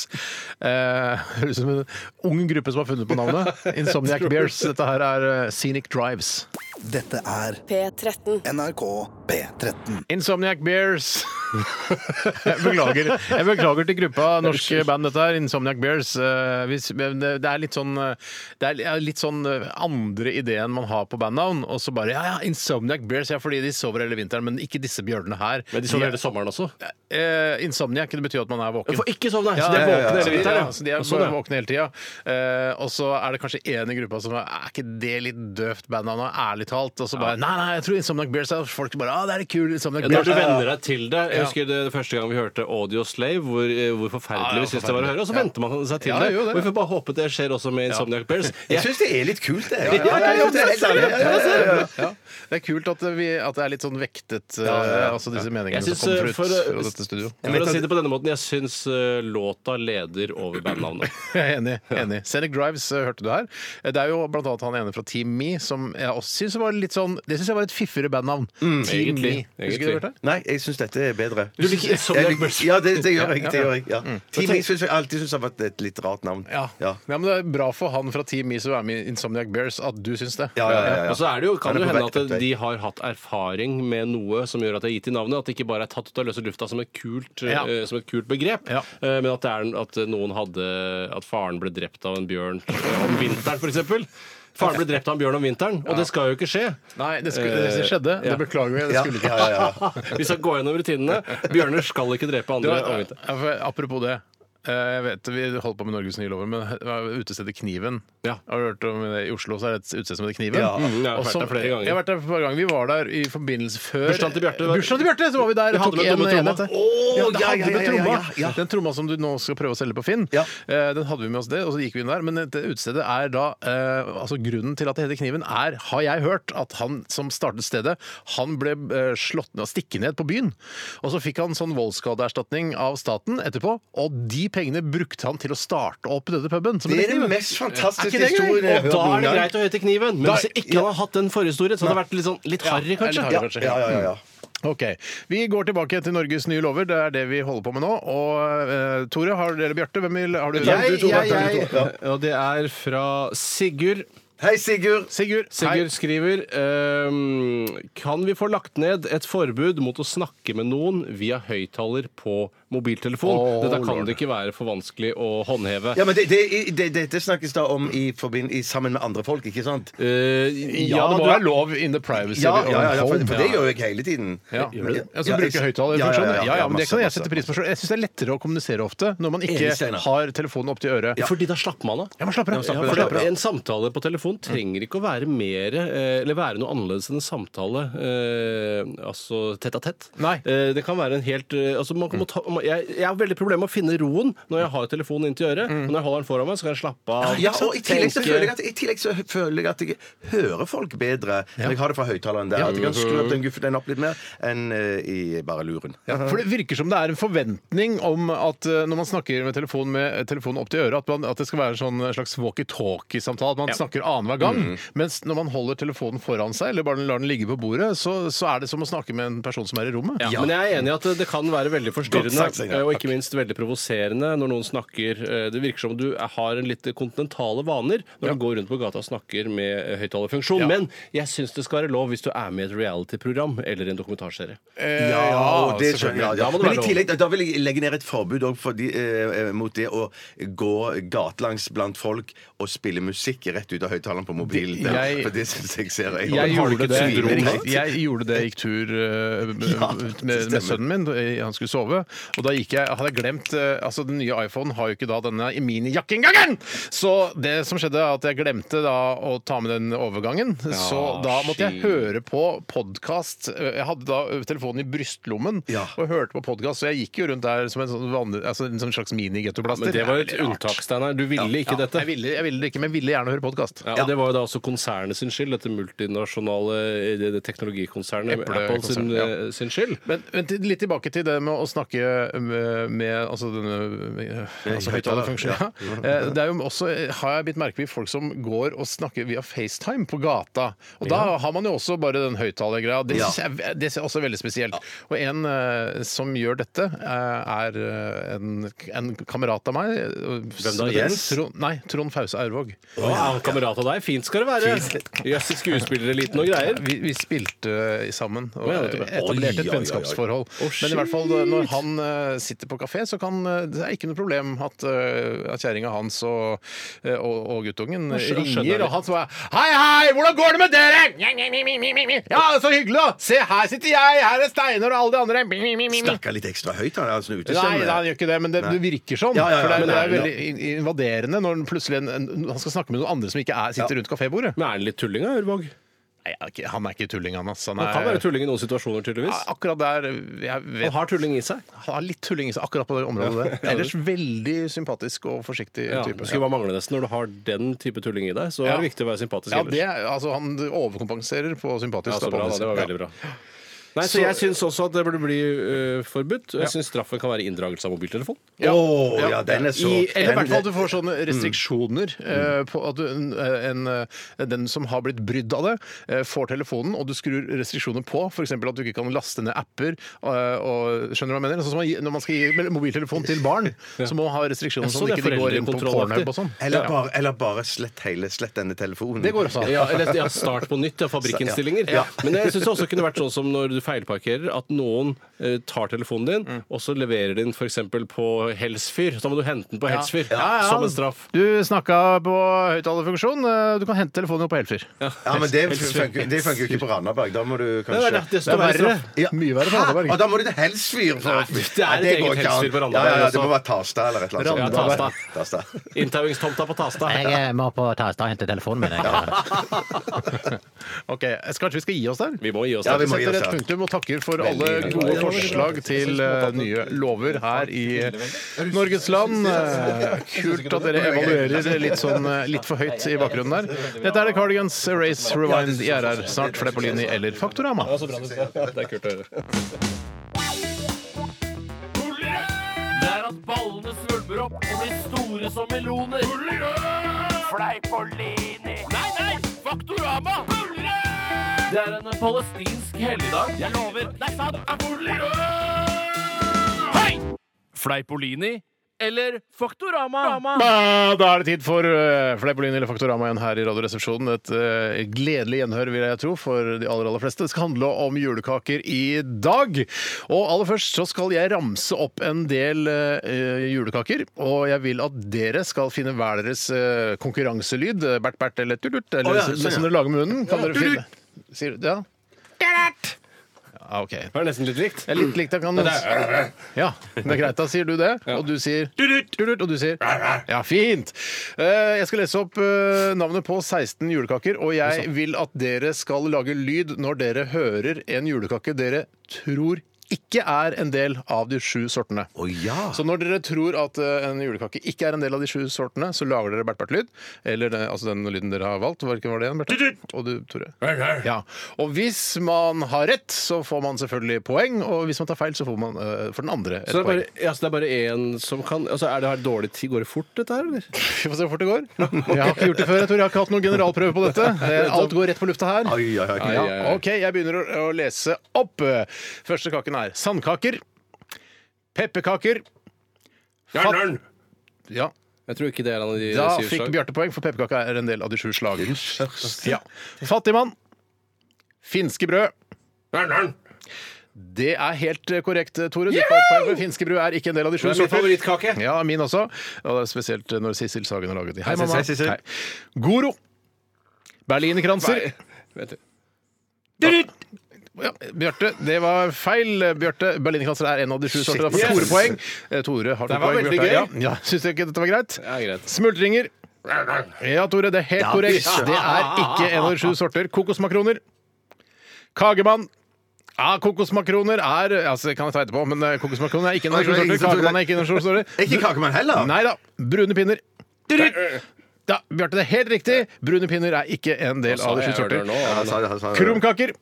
F: Eh, Høres ut som en ung gruppe som har funnet på navnet. Insomniac Bears. Dette her er eh, Scenic Drives.
D: Dette er
I: P13.
D: NRK P13.
F: Insomniac Bears. jeg, beklager. jeg beklager til gruppa norske band, dette her. Insomniac Bears. Eh, hvis- men Det det er litt sånn eh, Det er ja, litt sånn eh, andre ideen man har på bandnavn. Og så bare ja, ja, Insomniac Bears. Ja, fordi de sover hele vinteren, men ikke disse bjørnene her.
G: Men de sover hele sommeren også.
F: Eh, Insomniac det betyr at man er våken.
G: For ikke sovne!
F: Ja,
G: så de er
F: ja, ja, ja.
G: våkne
F: Ja,
G: hele vinteren.
F: ja,
G: ja.
F: så de er
G: Sånn, ja.
F: våkne hele tida. Eh, og så er det kanskje en i gruppa som er Er ikke det litt døvt bandnavn, ærlig talt? Og så bare Nei, nei, jeg tror Insomniac Bears er folk bare Å, det er litt kul Insomniac
G: Ja, når
F: Bears.
G: du
F: Ja, ja.
G: venner deg til det Jeg husker det, det første gang vi hørte Audio Slave, hvor, eh, hvor
F: Ja, ja,
G: forferdelig vi syntes det var å høre. Og så venter man seg til
F: Ja,
G: det.
F: jo, det,
G: Og vi får bare håpe det skjer også med Insomniac Bears.
E: Jeg syns det er litt kult, det.
F: ja,
E: det er helt ærlig. Ja, ja, ja, ja.
F: Ja. Det er kult at, vi, at det er litt sånn vektet, eh, altså disse meningene
G: Jeg synes,
F: som kommer
G: eh,
F: ut
G: for, eh,
F: fra dette studio.
G: For å si det på denne måten, jeg syns eh, låta leder over bandnavnet.
F: Jeg er enig. enig. Scenic Drives eh, hørte du her. Eh, Det er jo blant annet han ene fra Team Me som jeg også syns var litt sånn Det syns jeg var et fiffigere bandnavn. Team
G: egentlig.
F: Me. Husker du
G: Egentlig.
F: det? Bjarte?
E: Nei, jeg syns dette er bedre.
G: Du liker Insomniac
E: Jeg
G: Bears?
E: liker- Ja, det, det gjør jeg. Det gjør jeg ja. Team X synes jeg alltid syns har vært et litt rart navn.
F: Mm. Ja. ja. Men det er bra for han fra Team Me som er med i Insomniac Bears, at du syns det.
E: Ja, ja, ja, ja.
G: Og så er det jo, kan
E: Er det
G: det jo
E: på
G: hende
E: vei-
G: at
E: vei?
G: de har hatt erfaring med noe som gjør at det er gitt i navnet. At det ikke bare er tatt ut av løse lufta som et kult,
F: Ja.
G: eh, som et kult begrep,
F: Ja.
G: eh, men at, det er, at noen hadde At faren ble drept av en bjørn eh, om vinteren, f.eks. Faren ble drept av en bjørn om vinteren, og det skal jo ikke skje.
F: Nei, det, skulle, det skjedde.
G: Eh, ja.
F: Det beklager vi. Det
E: Ja,
F: skulle ikke.
E: ja, ja, ja.
G: Vi skal gå gjennom rutinene. Bjørner skal ikke drepe
F: Du eh,
G: andre om
F: vet,
G: vinteren.
F: ja, for apropos det. eh, Jeg vet, Vi holder på med Norges nye lover, men eh, utestedet Kniven
G: Ja.
F: Har du hørt om det? I Oslo så er det et utested som heter Kniven.
E: Ja.
G: Mm, jeg har
F: Og
G: vært
F: som-
G: der flere ganger.
F: Jeg har vært der flere ganger. Vi var der i forbindelse før
G: Bursdagen til Bjarte var-
F: Bursdagen til Bjarte, så var vi der
G: Vi
F: og tok
G: hadde
F: en
G: med dumme tromma.
F: enhet. ja,
E: Å,
F: det
E: ja,
F: hadde
E: ja,
F: med
E: ja, ja,
F: tromma.
E: ja, ja.
F: Den tromma som du nå skal prøve å selge på Finn,
E: Ja.
F: eh, den hadde vi med oss det, og så gikk vi inn der. Men det utestedet er da eh, altså Grunnen til at det heter Kniven, er, har jeg hørt, at han som startet stedet, han ble eh, slått ned, stikket ned på byen. Og så fikk han sånn voldsskadeerstatning av staten etterpå, og de pengene brukte han til å starte opp denne puben. som
E: Det er
F: heter Kniven.
E: den mest
F: Er
E: fantastiske
F: ikke det gøy?
E: historien jeg har
G: Og
E: hørt
G: da
E: noen
G: er det
E: gang.
G: greit å hete Kniven, men
E: Da-
G: hvis ikke han har hatt den forhistorien, så hadde det vært litt, sånn, litt harry,
F: litt
G: kanskje.
F: harry.
E: Ja,
F: kanskje.
E: ja, ja, ja, ja.
F: Ok, Vi går tilbake til Norges nye lover. Det er det vi holder på med nå. Og eh, Tore, har dere Bjarte? Hvem vil har du?
E: Jeg-
F: Tore.
E: jeg- jeg- Ja.
G: Og det er fra Sigurd.
E: Hei, Sigurd.
F: Sigurd.
G: Sigurd skriver ehm, Kan vi få lagt ned et forbud mot å snakke med noen via høyttaler på mobiltelefon?
F: Åh,
G: Dette kan
F: lord.
G: det ikke være for vanskelig å håndheve.
E: Ja, men det, det, det, dette snakkes da om i, forbind, i sammen med andre folk, ikke sant?
G: Eh,
F: Hei.
G: ja,
F: Ja, det må
G: du-
F: være lov in the privacy.
E: Ja,
F: of
E: ja, ja,
F: home.
E: for, for det gjør jeg hele tiden.
F: Ja.
E: Gjør du det?
F: Altså,
E: Ja,
F: bruke
E: jeg-
F: høyttalerfunksjonen. Ja, ja, men det
E: masse,
F: kan jeg
E: masse,
F: sette pris på selv. Jeg syns det er lettere å kommunisere ofte når man ikke
E: Enig, Steinar.
F: har telefonen opp til øret.
G: Fordi da slapper man av.
F: Ja, man slapper av. Ja,
G: Ja,
F: man
G: for
F: slapper av.
G: En samtale på telefon trenger ikke å være mer eh, Eller være noe annerledes enn en samtale eh, Altså tett a tett.
F: Nei.
G: Eh, det kan være en helt eh, altså, man kan må ta, man, jeg, jeg har veldig problemer med å finne roen når jeg har telefonen inntil øret. Og når jeg holder den foran meg, så kan jeg slappe av.
E: Mm. Ja, og i tillegg, så
G: tenke-
E: føler jeg at, I tillegg så føler jeg at jeg hører folk bedre når jeg har det fra høyttaleren der. At jeg kan skru opp den guffen opp litt mer enn eh, i bare luren.
F: For det virker som det er en forventning om at eh, når man snakker med telefonen med eh, telefonen opp til øret, at, man, at det skal være en sånn slags walkietalkie-samtale, at man snakker annenhver gang. Mens når man holder telefonen foran seg, eller bare lar den ligge på bordet, så, så er det som å snakke med en person som er i rommet.
G: Ja, Men jeg er enig i at det kan være veldig forstyrrende Eh, Og ikke minst veldig provoserende når noen snakker eh, Det virker som du har en litt kontinentale vaner når du går rundt på gata og snakker med eh, høyttalerfunksjon. Men jeg syns det skal være lov hvis du er med i et reality-program eller en dokumentarserie.
F: Eh,
E: Ja, og det skjønner jeg. Ja,
G: Da må det
E: Men
G: være
E: i
G: lov.
E: tillegg, da- da vil jeg legge ned et forbud også for de, eh, eh, mot det å gå gatelangs blant folk og spille musikk rett ut av høyttaleren på mobilen.
F: Det- jeg-
E: for det syns jeg ser jeg.
F: Jeg
E: Har
F: gjorde,
E: du ikke
F: det,
E: et svime-
F: Riktig. jeg gjorde det. Jeg gikk tur eh, med, med sønnen min. eh, Han skulle sove. Og da gikk jeg, hadde jeg glemt eh, Altså, Den nye iPhonen har jo ikke da denne minijakkeinngangen! Så det som skjedde, er at jeg glemte da å ta med den overgangen. så da måtte jeg høre på podkast. Jeg hadde da eh, telefonen i brystlommen
E: Ja.
F: og hørte på podkast, så jeg gikk jo rundt der som en, sånn vanlig, altså en sånn slags mini-gettoplaster.
G: Men det var et unntak, Steinar. Du ville ikke dette.
F: Jeg ville, jeg ville det ikke, men jeg ville gjerne høre podkast.
G: Ja, og Det var jo da også konsernet sin skyld, dette multinasjonale eh, det- det teknologikonsernet
F: Apple-
G: Apple
F: konsern,
G: sin,
F: ja.
G: eh, sin skyld.
F: Men, men til- litt tilbake til det med å snakke med, med altså denne med- altså høyttalerfunksjonen. Eh, Det er jo også, har jeg bitt merke i folk som går og snakker via FaceTime på gata. Og da har man jo også bare den høyttalergreia. Det
E: Ja.
F: syns jeg det synes jeg også er veldig spesielt. Og en eh, som gjør dette, eh, er eh, en, en kamerat av meg. eh, Hvem
E: da, Jens?
F: Trond, nei, Trond Fause Aurvåg.
G: Å, ja, han kamerat av deg. Fint skal det være. Jøss, skuespillereliten og greier.
F: Vi, vi spilte eh, sammen og
G: Å, ja, nettopp, ja.
F: etablerte
E: Oi, oi,
F: et
E: oi, oi.
F: vennskapsforhold.
G: Å,
F: Men i hvert fall når han eh, sitter på kafé, så kan eh, det er ikke noe problem at, eh, at kjerringa hans og, eh, og, og guttungen
G: skjønner- skjønner
F: ringer, og han svarer Hei, hei, hvordan går det med dere? Mjau, mjau, mjau, mjau, mjau, mjau. Ja, så hyggelig! da! Se, her sitter jeg, her er Steinar og alle de andre. Mjau, mjau, mjau, mjau.
E: Snakka litt ekstra høyt, han altså, ute.
F: Nei, nei, han gjør ikke det, men det, det virker sånn.
E: Ja, ja, ja,
F: for det, er-
E: men
F: det er
E: det er-
F: veldig in- invaderende når han plutselig en, en, han skal snakke med noen andre som ikke er, sitter rundt kafébordet.
G: Men er han litt tulling, da, Urvåg?
F: Nei, han er ikke- han er ikke tulling, han, ass. Han
G: Han kan
F: er-
G: være tulling i noen situasjoner, tydeligvis.
F: Ja, Akkurat der jeg vet,
G: Han har tulling i seg.
F: han har litt tulling i seg akkurat på det området. der. Ellers veldig sympatisk og forsiktig
G: Ja,
F: type.
G: det skulle bare mangle nesten når du har den type tulling i deg. Så
F: Ja.
G: er det viktig å være sympatisk
F: Ja,
G: ellers.
F: det, er- altså, han overkompenserer på sympatisk.
G: Ja, så bra, da. Det var
F: Ja.
G: veldig bra. Nei, så Jeg syns også at det burde bli eh, forbudt. Og jeg syns straffen kan være inndragelse av mobiltelefon.
E: Å, ja, den er så
F: I, eller i
E: den-
F: hvert fall at du får sånne
G: Mm.
F: restriksjoner eh, på at du, en, en, eh, den som har blitt brydd av det, eh, får telefonen, og du skrur restriksjoner på. F.eks. at du ikke kan laste ned apper. eh, Og, skjønner du hva jeg mener? Sånn som man gi- når man skal gi mobiltelefon til barn, så må man ha restriksjoner
G: Jeg så
F: sånn at
G: det
F: ikke de går inn på
G: foreldrekontrollaktig.
F: pornhub og sånn.
E: Eller bare, eller bare slett hele slett denne telefonen.
F: Det går også an.
G: Ja, eller ja, start på nytt, ja, fabrikkinnstillinger.
E: Ja.
G: Men jeg syns det også kunne vært sånn som når du feilparkerer, at noen eh, tar telefonen din, og så leverer den f.eks. på Helsfyr. Så da må du hente den på Helsfyr som en straff.
F: Du snakka på høyttalerfunksjon. eh, Du kan hente telefonen på Helfyr.
E: Ja, men det funker, det funker jo ikke på Randaberg. Da må du kanskje
G: Nei, nei, det
F: Det
G: står
F: er
G: verre.
F: verre. Mye verre på Randaberg.
E: Hæ? Og da må du til Helsfyr! for-
G: Nei, det er
E: Nei,
G: et eget
E: går ikke an.
G: Helsfyr på
E: Ja,
G: Randaberg
E: ja, ja,
G: også.
E: det må være Tasta eller et eller annet. sånt.
G: Randaberg.
E: Ja, Tasta.
G: Inntauingstomta på Tasta.
C: eh, må på Tasta og hente telefonen min. Jeg.
F: Ok, jeg skal, Kanskje vi skal gi oss der?
G: Vi må gi oss
E: Ja,
G: der.
E: vi må gi
F: setter et
E: oss der.
F: punktum og takker for alle
E: hyggelig.
F: gode
E: Ja, det var veldig
F: forslag til eh, nye lover her i Norges land. Eh, Kult at dere evaluerer litt sånn eh, litt for høyt i bakgrunnen der. Dette er The Cardigans Race Rewind i RR. Snart Fleppolini eller Faktorama.
G: Det er kult å høre.
J: Det er at ballene svulmer opp og blir store som meloner. Fleipolini. Nei, nei! Faktorama! Det er en palestinsk helligdag. Jeg lover. Nei, sant! Hei! Fleipolini eller Faktorama?
F: Ja, Da er det tid for eh, Fleipolini eller Faktorama igjen her i Radioresepsjonen. Et eh, gledelig gjenhør, vil jeg tro, for de aller aller fleste. Det skal handle om julekaker i dag. Og aller først så skal jeg ramse opp en del eh, julekaker. Og jeg vil at dere skal finne hver deres eh, konkurranselyd. eh, Bert, bert eller tutut. Eller
E: Å ja,
F: som-
E: sånn, ja.
F: som dere lager med munnen. Kan dere
E: tutut.
F: finne Sier du Ja? Ja, OK.
G: Det er nesten litt likt.
F: Det er litt likt. da Kan... Ja, det er greit. Da sier du det, og du sier dudut, dudut, og du sier Ja, fint! Eh, Jeg skal lese opp eh, navnet på 16 julekaker, og jeg vil at dere skal lage lyd når dere hører en julekake dere tror ikke er en del av de sju sortene.
E: Å ja!
F: Så når dere tror at eh, en julekake ikke er en del av de sju sortene, så lager dere bert-bert-lyd. Eller eh, altså den lyden dere har valgt. Hvilken var det igjen, Berte? Og du, Tore? Ja. Og hvis man har rett, så får man selvfølgelig poeng. Og hvis man tar feil, så får man eh, for den andre et
G: Så det er
F: poeng.
G: bare, ja, så det er bare én som kan altså, Er det her dårlig tid? Går det fort, dette her, eller?
F: Vi får se hvor fort det går. Jeg har ikke gjort det før. Jeg tror jeg har ikke hatt noen generalprøve på dette. Eh, Alt går rett på lufta her.
E: Ai, ai, ai.
F: Ja, OK, jeg begynner å å lese opp. Første kaken er sandkaker. Pepperkaker. Fat-
G: Jernørn!
F: Ja.
G: Jeg tror ikke det er en av de
F: Da
G: syv
F: fikk
G: slag.
F: Bjarte poeng, for pepperkaka er en del av de sju slag. Ja. Fattigmann. Finske brød.
G: Jernørn!
F: Det er helt eh, korrekt, Tore. Du får et poeng, men finske brød er ikke en del av de sju.
G: Det er min
F: sortene.
G: favorittkake.
F: Ja, min også. Og det er spesielt når Sissel Sagen har laget de. Hei,
E: Hei,
F: mamma.
E: Sissel.
F: Hei. Goro. Berlinerkranser.
G: Vent litt.
F: Ja, Bjarte, det var feil. Bjarte, Berlinerkranser er en av de sju sortene. Det er
G: Yes.
F: Store poeng. Eh, Tore har to
G: Det var
F: poeng.
G: veldig
F: Bjarte.
G: gøy.
F: Ja, ja. Syns du ikke dette var greit?
G: Ja, greit.
F: Smultringer. Ja, Tore, det er helt korrekt. Det er ikke en av de sju sorter. Kokosmakroner. Kagemann. Ja, kokosmakroner er altså, det kan jeg ta etterpå, men eh, kokosmakroner er ikke en av de sju sorter. Kagemann er ikke en av de sju sorter.
E: Ikke kakemann heller!
F: Nei da. Brune pinner. Da, Bjarte, det er helt riktig. Brune pinner er ikke en del
G: Sa
F: av de
G: Altså, jeg
F: sju sorter.
G: Jernørn nå?
E: Ja, han sa det, han sa det.
F: Krumkaker.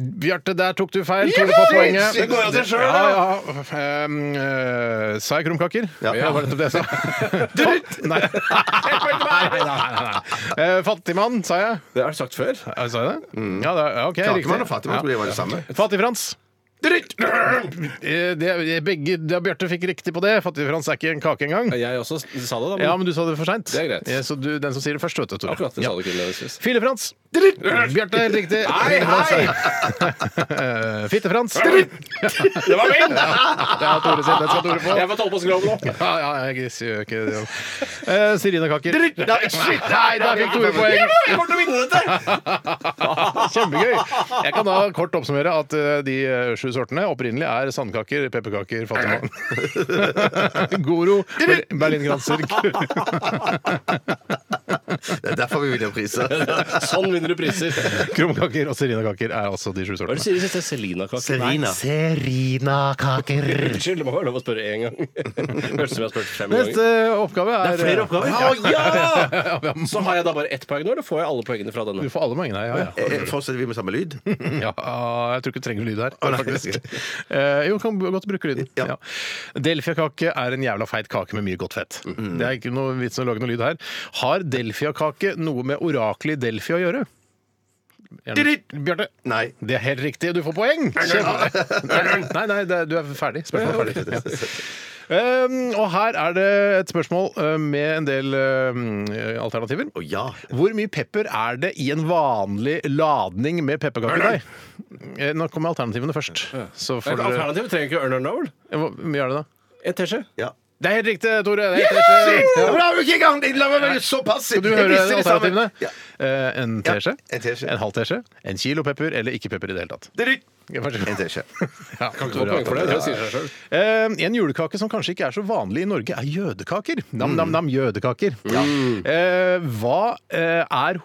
F: Bjarte, der tok du feil. Tore får poenget.
E: Det går av seg selv,
F: ja, ja. Um, eh, sa jeg krumkaker? Ja. det var nettopp det jeg sa. Fatt- Nei. Nei, nei, nei, nei. Eh, Fattigmann, sa jeg.
G: Det har jeg sagt før.
F: Eh, Sa jeg det?
E: Mm.
F: Ja, det ja, OK.
E: Kakemann og fattigmann tror jeg var det samme.
F: Fattig-Frans. Eh, Det, det- begge, det, Bjarte fikk riktig på det. Fattig-Frans er ikke en kake engang.
G: Jeg også sa det, da. Men
F: Ja, men du sa det for seint.
G: Mm. Det er greit.
F: Så du, den som sier det først, vet du, Tore.
G: akkurat det
F: Ja.
G: sa du ikke nødvendigvis.
F: Fille-Frans. Bjarte er helt riktig. Eh, Fille-Frans. Fitte-Frans.
G: Det var min!
F: Det er Tore sitt. Den skal Tore få.
G: Jeg får tolv på skroll nå.
F: Ja, ja, jeg griser jo ikke det. Uh, Serinakaker. Nei, shit, nei, der fikk Tore poeng!
G: Jeg kommer til å vinne dette!
F: Kjempegøy! Jeg kan da kort oppsummere at eh, de eh, sju sortene opprinnelig er sandkaker, pepperkaker, fattigmann Goro, ber- berlingranser
E: Det er derfor vi vinner priser.
G: Sånn vinner du priser. Hva
F: Krumkaker og serinakaker er altså de sju
G: er det du
F: sortene.
G: sier du siste? Selina-kake?
E: Serina.
C: Serinakaker.
G: Unnskyld, det må være lov å spørre én gang. Hørtes ut som jeg har spurt fem ganger.
F: Neste oppgave er eh,
G: Det er flere oppgaver. Ja,
F: Ja, vi har-
G: Så har jeg da bare ett poeng nå, eller får jeg alle poengene fra denne?
F: Du får alle poengene. Ja, ja.
E: Eh, Fortsetter vi med samme lyd?
F: ja, jeg tror ikke du trenger lyd her.
E: nei.
F: faktisk. Eh, jo, kan godt bruke lyden.
E: Ja.
F: Ja. Delfiakake er en jævla feit kake med mye godt fett. Det er ikke noe vits i å lage noe lyd her. Har delfiakake noe med oraklet i Delfi å gjøre? Gjerne. Bjarte.
E: Nei.
F: Det er helt riktig, du får poeng! Kjempe- Nei, nei, det er, du er ferdig. Spørsmålet er ferdig. Ja. Um, og her er det et spørsmål uh, med en del um, alternativer.
E: Å ja.
F: Hvor mye pepper er det i en vanlig ladning med pepperkakedeig? Eh, Nå kommer alternativene først. Så får dere
G: Alternativet trenger ikke Ørner Novel.
F: Hvor mye er det, da?
G: En teskje.
E: ja.
F: Det er helt riktig, Tore. Det er helt riktig. Ja.
E: Bra, du er ikke i gang! La meg være så
F: Skal
E: passiv!
F: du
E: Jeg
F: høre
E: visste det samme.
F: alternativene?
E: Ja.
F: Eh, En teskje?
E: Ja, en teskje.
F: En halv teskje? En kilo pepper eller ikke pepper i det hele tatt? Ja, vær så god.
E: En teskje.
F: Ja,
G: Få
F: Tore har
G: poeng for det.
F: tatt
G: Det sier seg selv.
F: Eh, en julekake som kanskje ikke er så vanlig i Norge, er jødekaker.
G: Mm.
F: Nam-nam-nam, jødekaker. Eh, hva eh, er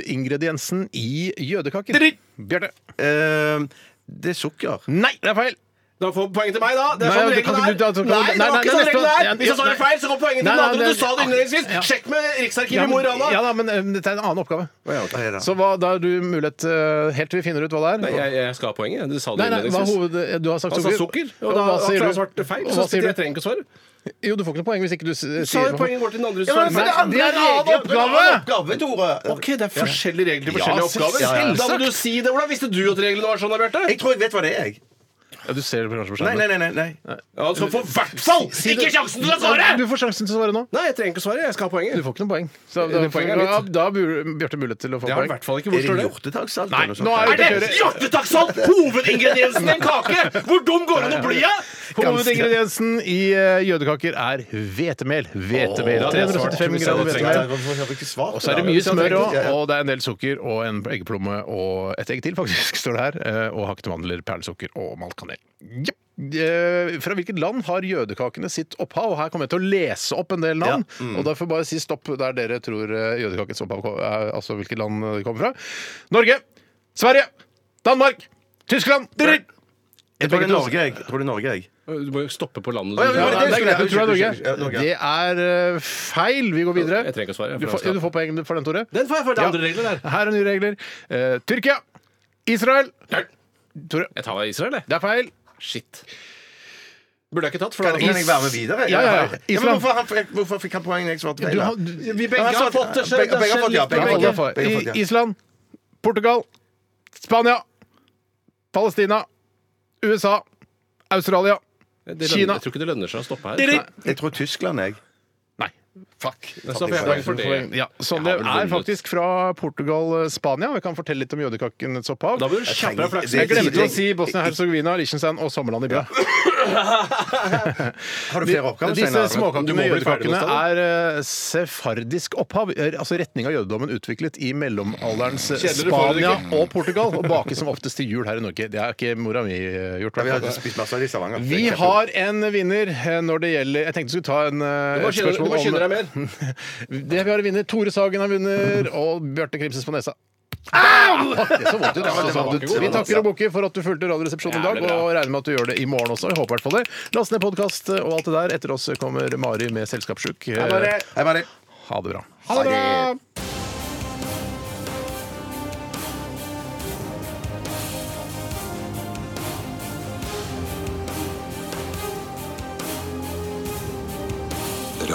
F: hovedingrediensen i jødekaker? Bjarte.
E: Eh, det er sukker.
F: Nei, det er feil!
G: Da får poeng til meg, da. Det er
F: Nei,
G: sånn
F: du
G: reglene
F: kan
G: er.
F: ikke- du- du-
G: Nei,
F: nei,
G: det var
F: nei,
G: ikke sånn
F: neste-
G: reglene
F: ja,
G: er! Hvis jeg
F: ja,
G: svarer feil, så går poenget
F: Nei,
G: til den
F: nei,
G: andre.
F: det-
G: Du sa det innledningsvis.
F: Ja.
G: Sjekk med Riksarkivet i
F: men-
G: Mo i Rana.
F: ja da, men eh, dette er en annen oppgave.
E: Hva er det?
F: Så hva, da har du mulighet eh, helt til vi finner ut hva det er.
G: Nei, jeg, jeg skal ha poenget. Du sa det
F: Nei, nei, hva er
G: innledningsvis.
F: hoved... eh, Du har sagt
G: Han sa sukker, og da
F: hva sier
G: har
F: du?
G: svart feil.
F: Og
G: Så
F: hva sier du?
G: jeg trenger ikke å svare.
F: Jo, du får ikke noe poeng hvis ikke du s- sier
G: Du sa jo
F: noe.
G: poenget går til den andre.
E: Ja, men for
G: svarer.
E: det
F: Nei, det
E: andre
F: er
E: er en annen
F: regel-
E: oppgave!
F: oppgave!
E: oppgave, Tore.
G: OK, det er forskjellige regler til
E: Ja,
G: forskjellige
E: selvsagt.
G: oppgaver.
E: Ja, ja,
G: Da må du si det. Hvordan visste du at reglene var sånn, da, Bjarte?
E: Jeg tror jeg vet hva det er, jeg.
F: Ja, du ser det kanskje på
E: Nei,
F: skjermen.
E: nei, nei. nei, nei.
G: Ja, så for hvert fall! Ikke sjansen til å svare!
F: Du får sjansen til å svare nå.
G: Nei, jeg trenger ikke å svare. Jeg skal ha
F: Du
G: poenget.
F: får ikke noe poeng. Så da
G: Det poenget er
F: da-
G: mitt.
F: da har Bjør- Bjarte mulighet til å få
G: Jeg har i
F: poeng.
G: hvert fall ikke
E: Er
G: Hvor står
E: det
G: det?
E: hjortetakksalt?
F: Nei,
E: eller noe sånt?
F: nå er
G: Er det hjertetakksalt hovedingrediensen i en kake?! Hvor dum går det an å bli, da?!
F: Hovedingrediensen i eh, jødekaker er hvetemel. Hvetemel.
G: Åh, det er svart.
F: 345
G: Jeg
F: gram
G: hadde
E: Nei,
F: hvetemel.
E: hvorfor har vi ikke svart
F: Og så er det
E: på
F: mye
E: Ja,
F: smør òg,
E: ja, ja.
F: og det er en del sukker og en eggeplomme og et egg til, faktisk, står det her. eh, Og hakket mandler, perlesukker og malt kanel. Ja. Eh, Fra hvilket land har jødekakene sitt opphav? Og Her kommer jeg til å lese opp en del navn. Og da får jeg bare si stopp der dere tror eh, jødekakens opphav ko- er, altså hvilket land det kommer fra. Norge, Sverige, Danmark, Tyskland
E: Jeg tror det er Norge, jeg. Jeg Tror det er Norge, jeg.
G: Du må jo stoppe på landet.
E: Å, ja, men-
G: du.
F: Ja, det er greit, du tror det
E: Unnskyld, unnskyld,
F: er
E: unnskyld. Ja,
F: Norge.
E: Norge.
F: Det er eh, feil. Vi går videre.
G: Jeg trenger ikke å svare,
F: Du
G: for jeg
F: får,
G: skal-
F: du får poeng for den, Tore.
G: Den får jeg for det er andre regler der.
F: Her er nye regler. Eh, Tyrkia. Israel. Tore.
G: Jeg tar Israel, jeg.
F: Det er feil.
G: Shit. Burde jeg ikke tatt, for
E: Kan
G: da
E: jeg kan jeg være med videre?
F: Ja, ja, ja.
E: men
F: Islam.
E: hvorfor, han, hvorfor fikk han poeng når jeg svarte feil?
F: Du
E: da?
F: har- du-
G: Vi
E: Ja,
G: begge
E: han
G: har
E: svarte-
G: fått det
E: begge- begge har fått ja,
F: Ja,
E: begge
F: alle
E: har
F: er
E: fått-
F: for.
E: begge har fått, ja.
F: I- Island. Portugal. Spania. Palestina. USA. Australia.
G: Det lønner,
F: Kina.
G: Jeg tror ikke det lønner seg å stoppe her.
F: Diri.
E: Jeg tror Tyskland, jeg.
F: Nei. Fuck.
G: Da får jeg poeng for det.
F: Ja, sånn det
G: Jeg har vel
F: er
G: vunnet.
F: faktisk fra Portugal, eh, Spania. Vi kan fortelle litt om jødekakenes opphav.
G: Da blir du kjappere flaks.
F: Jeg glemte å si Bosnia-Hercegovina, Liechtenstein og sommerland i Bø.
E: Har du flere oppgaver?
F: Disse
E: Steinar?
G: Du
F: småkakene
G: må
F: og
G: bli ferdig
F: jødekakene
G: med oss,
F: er eh, sefardisk opphav. Er, altså retning av jødedommen utviklet i mellomalderens eh,
G: Kjedelig
F: Spania
G: foredrag.
F: og Portugal, og bakes som oftest til jul her i Norge. Det har ikke mora mi eh, gjort.
E: Ja, vi har
F: hvertfall.
E: spist masse av de i Stavanger.
F: Vi har en vinner eh, når det gjelder Jeg tenkte du skulle ta en, eh,
G: Du må
F: et
G: skynde-
F: spørsmål
G: du må skynde deg
F: mer. Det vi har en vinner. Tore Sagen har vunnet, og Bjarte Krimses på nesa. Au! Det så vondt ut. altså, så vondt ut. Vi takker og bukker for at du fulgte Radioresepsjonen i dag,
G: Jævlig bra.
F: og regner med at du gjør det i morgen også. Jeg håper i hvert fall det. Last ned podkast og alt det der. Etter oss kommer Mari med Selskapssjuk. Eh,
E: Hei, Mari.
F: Ha det bra.
E: Ha det bra!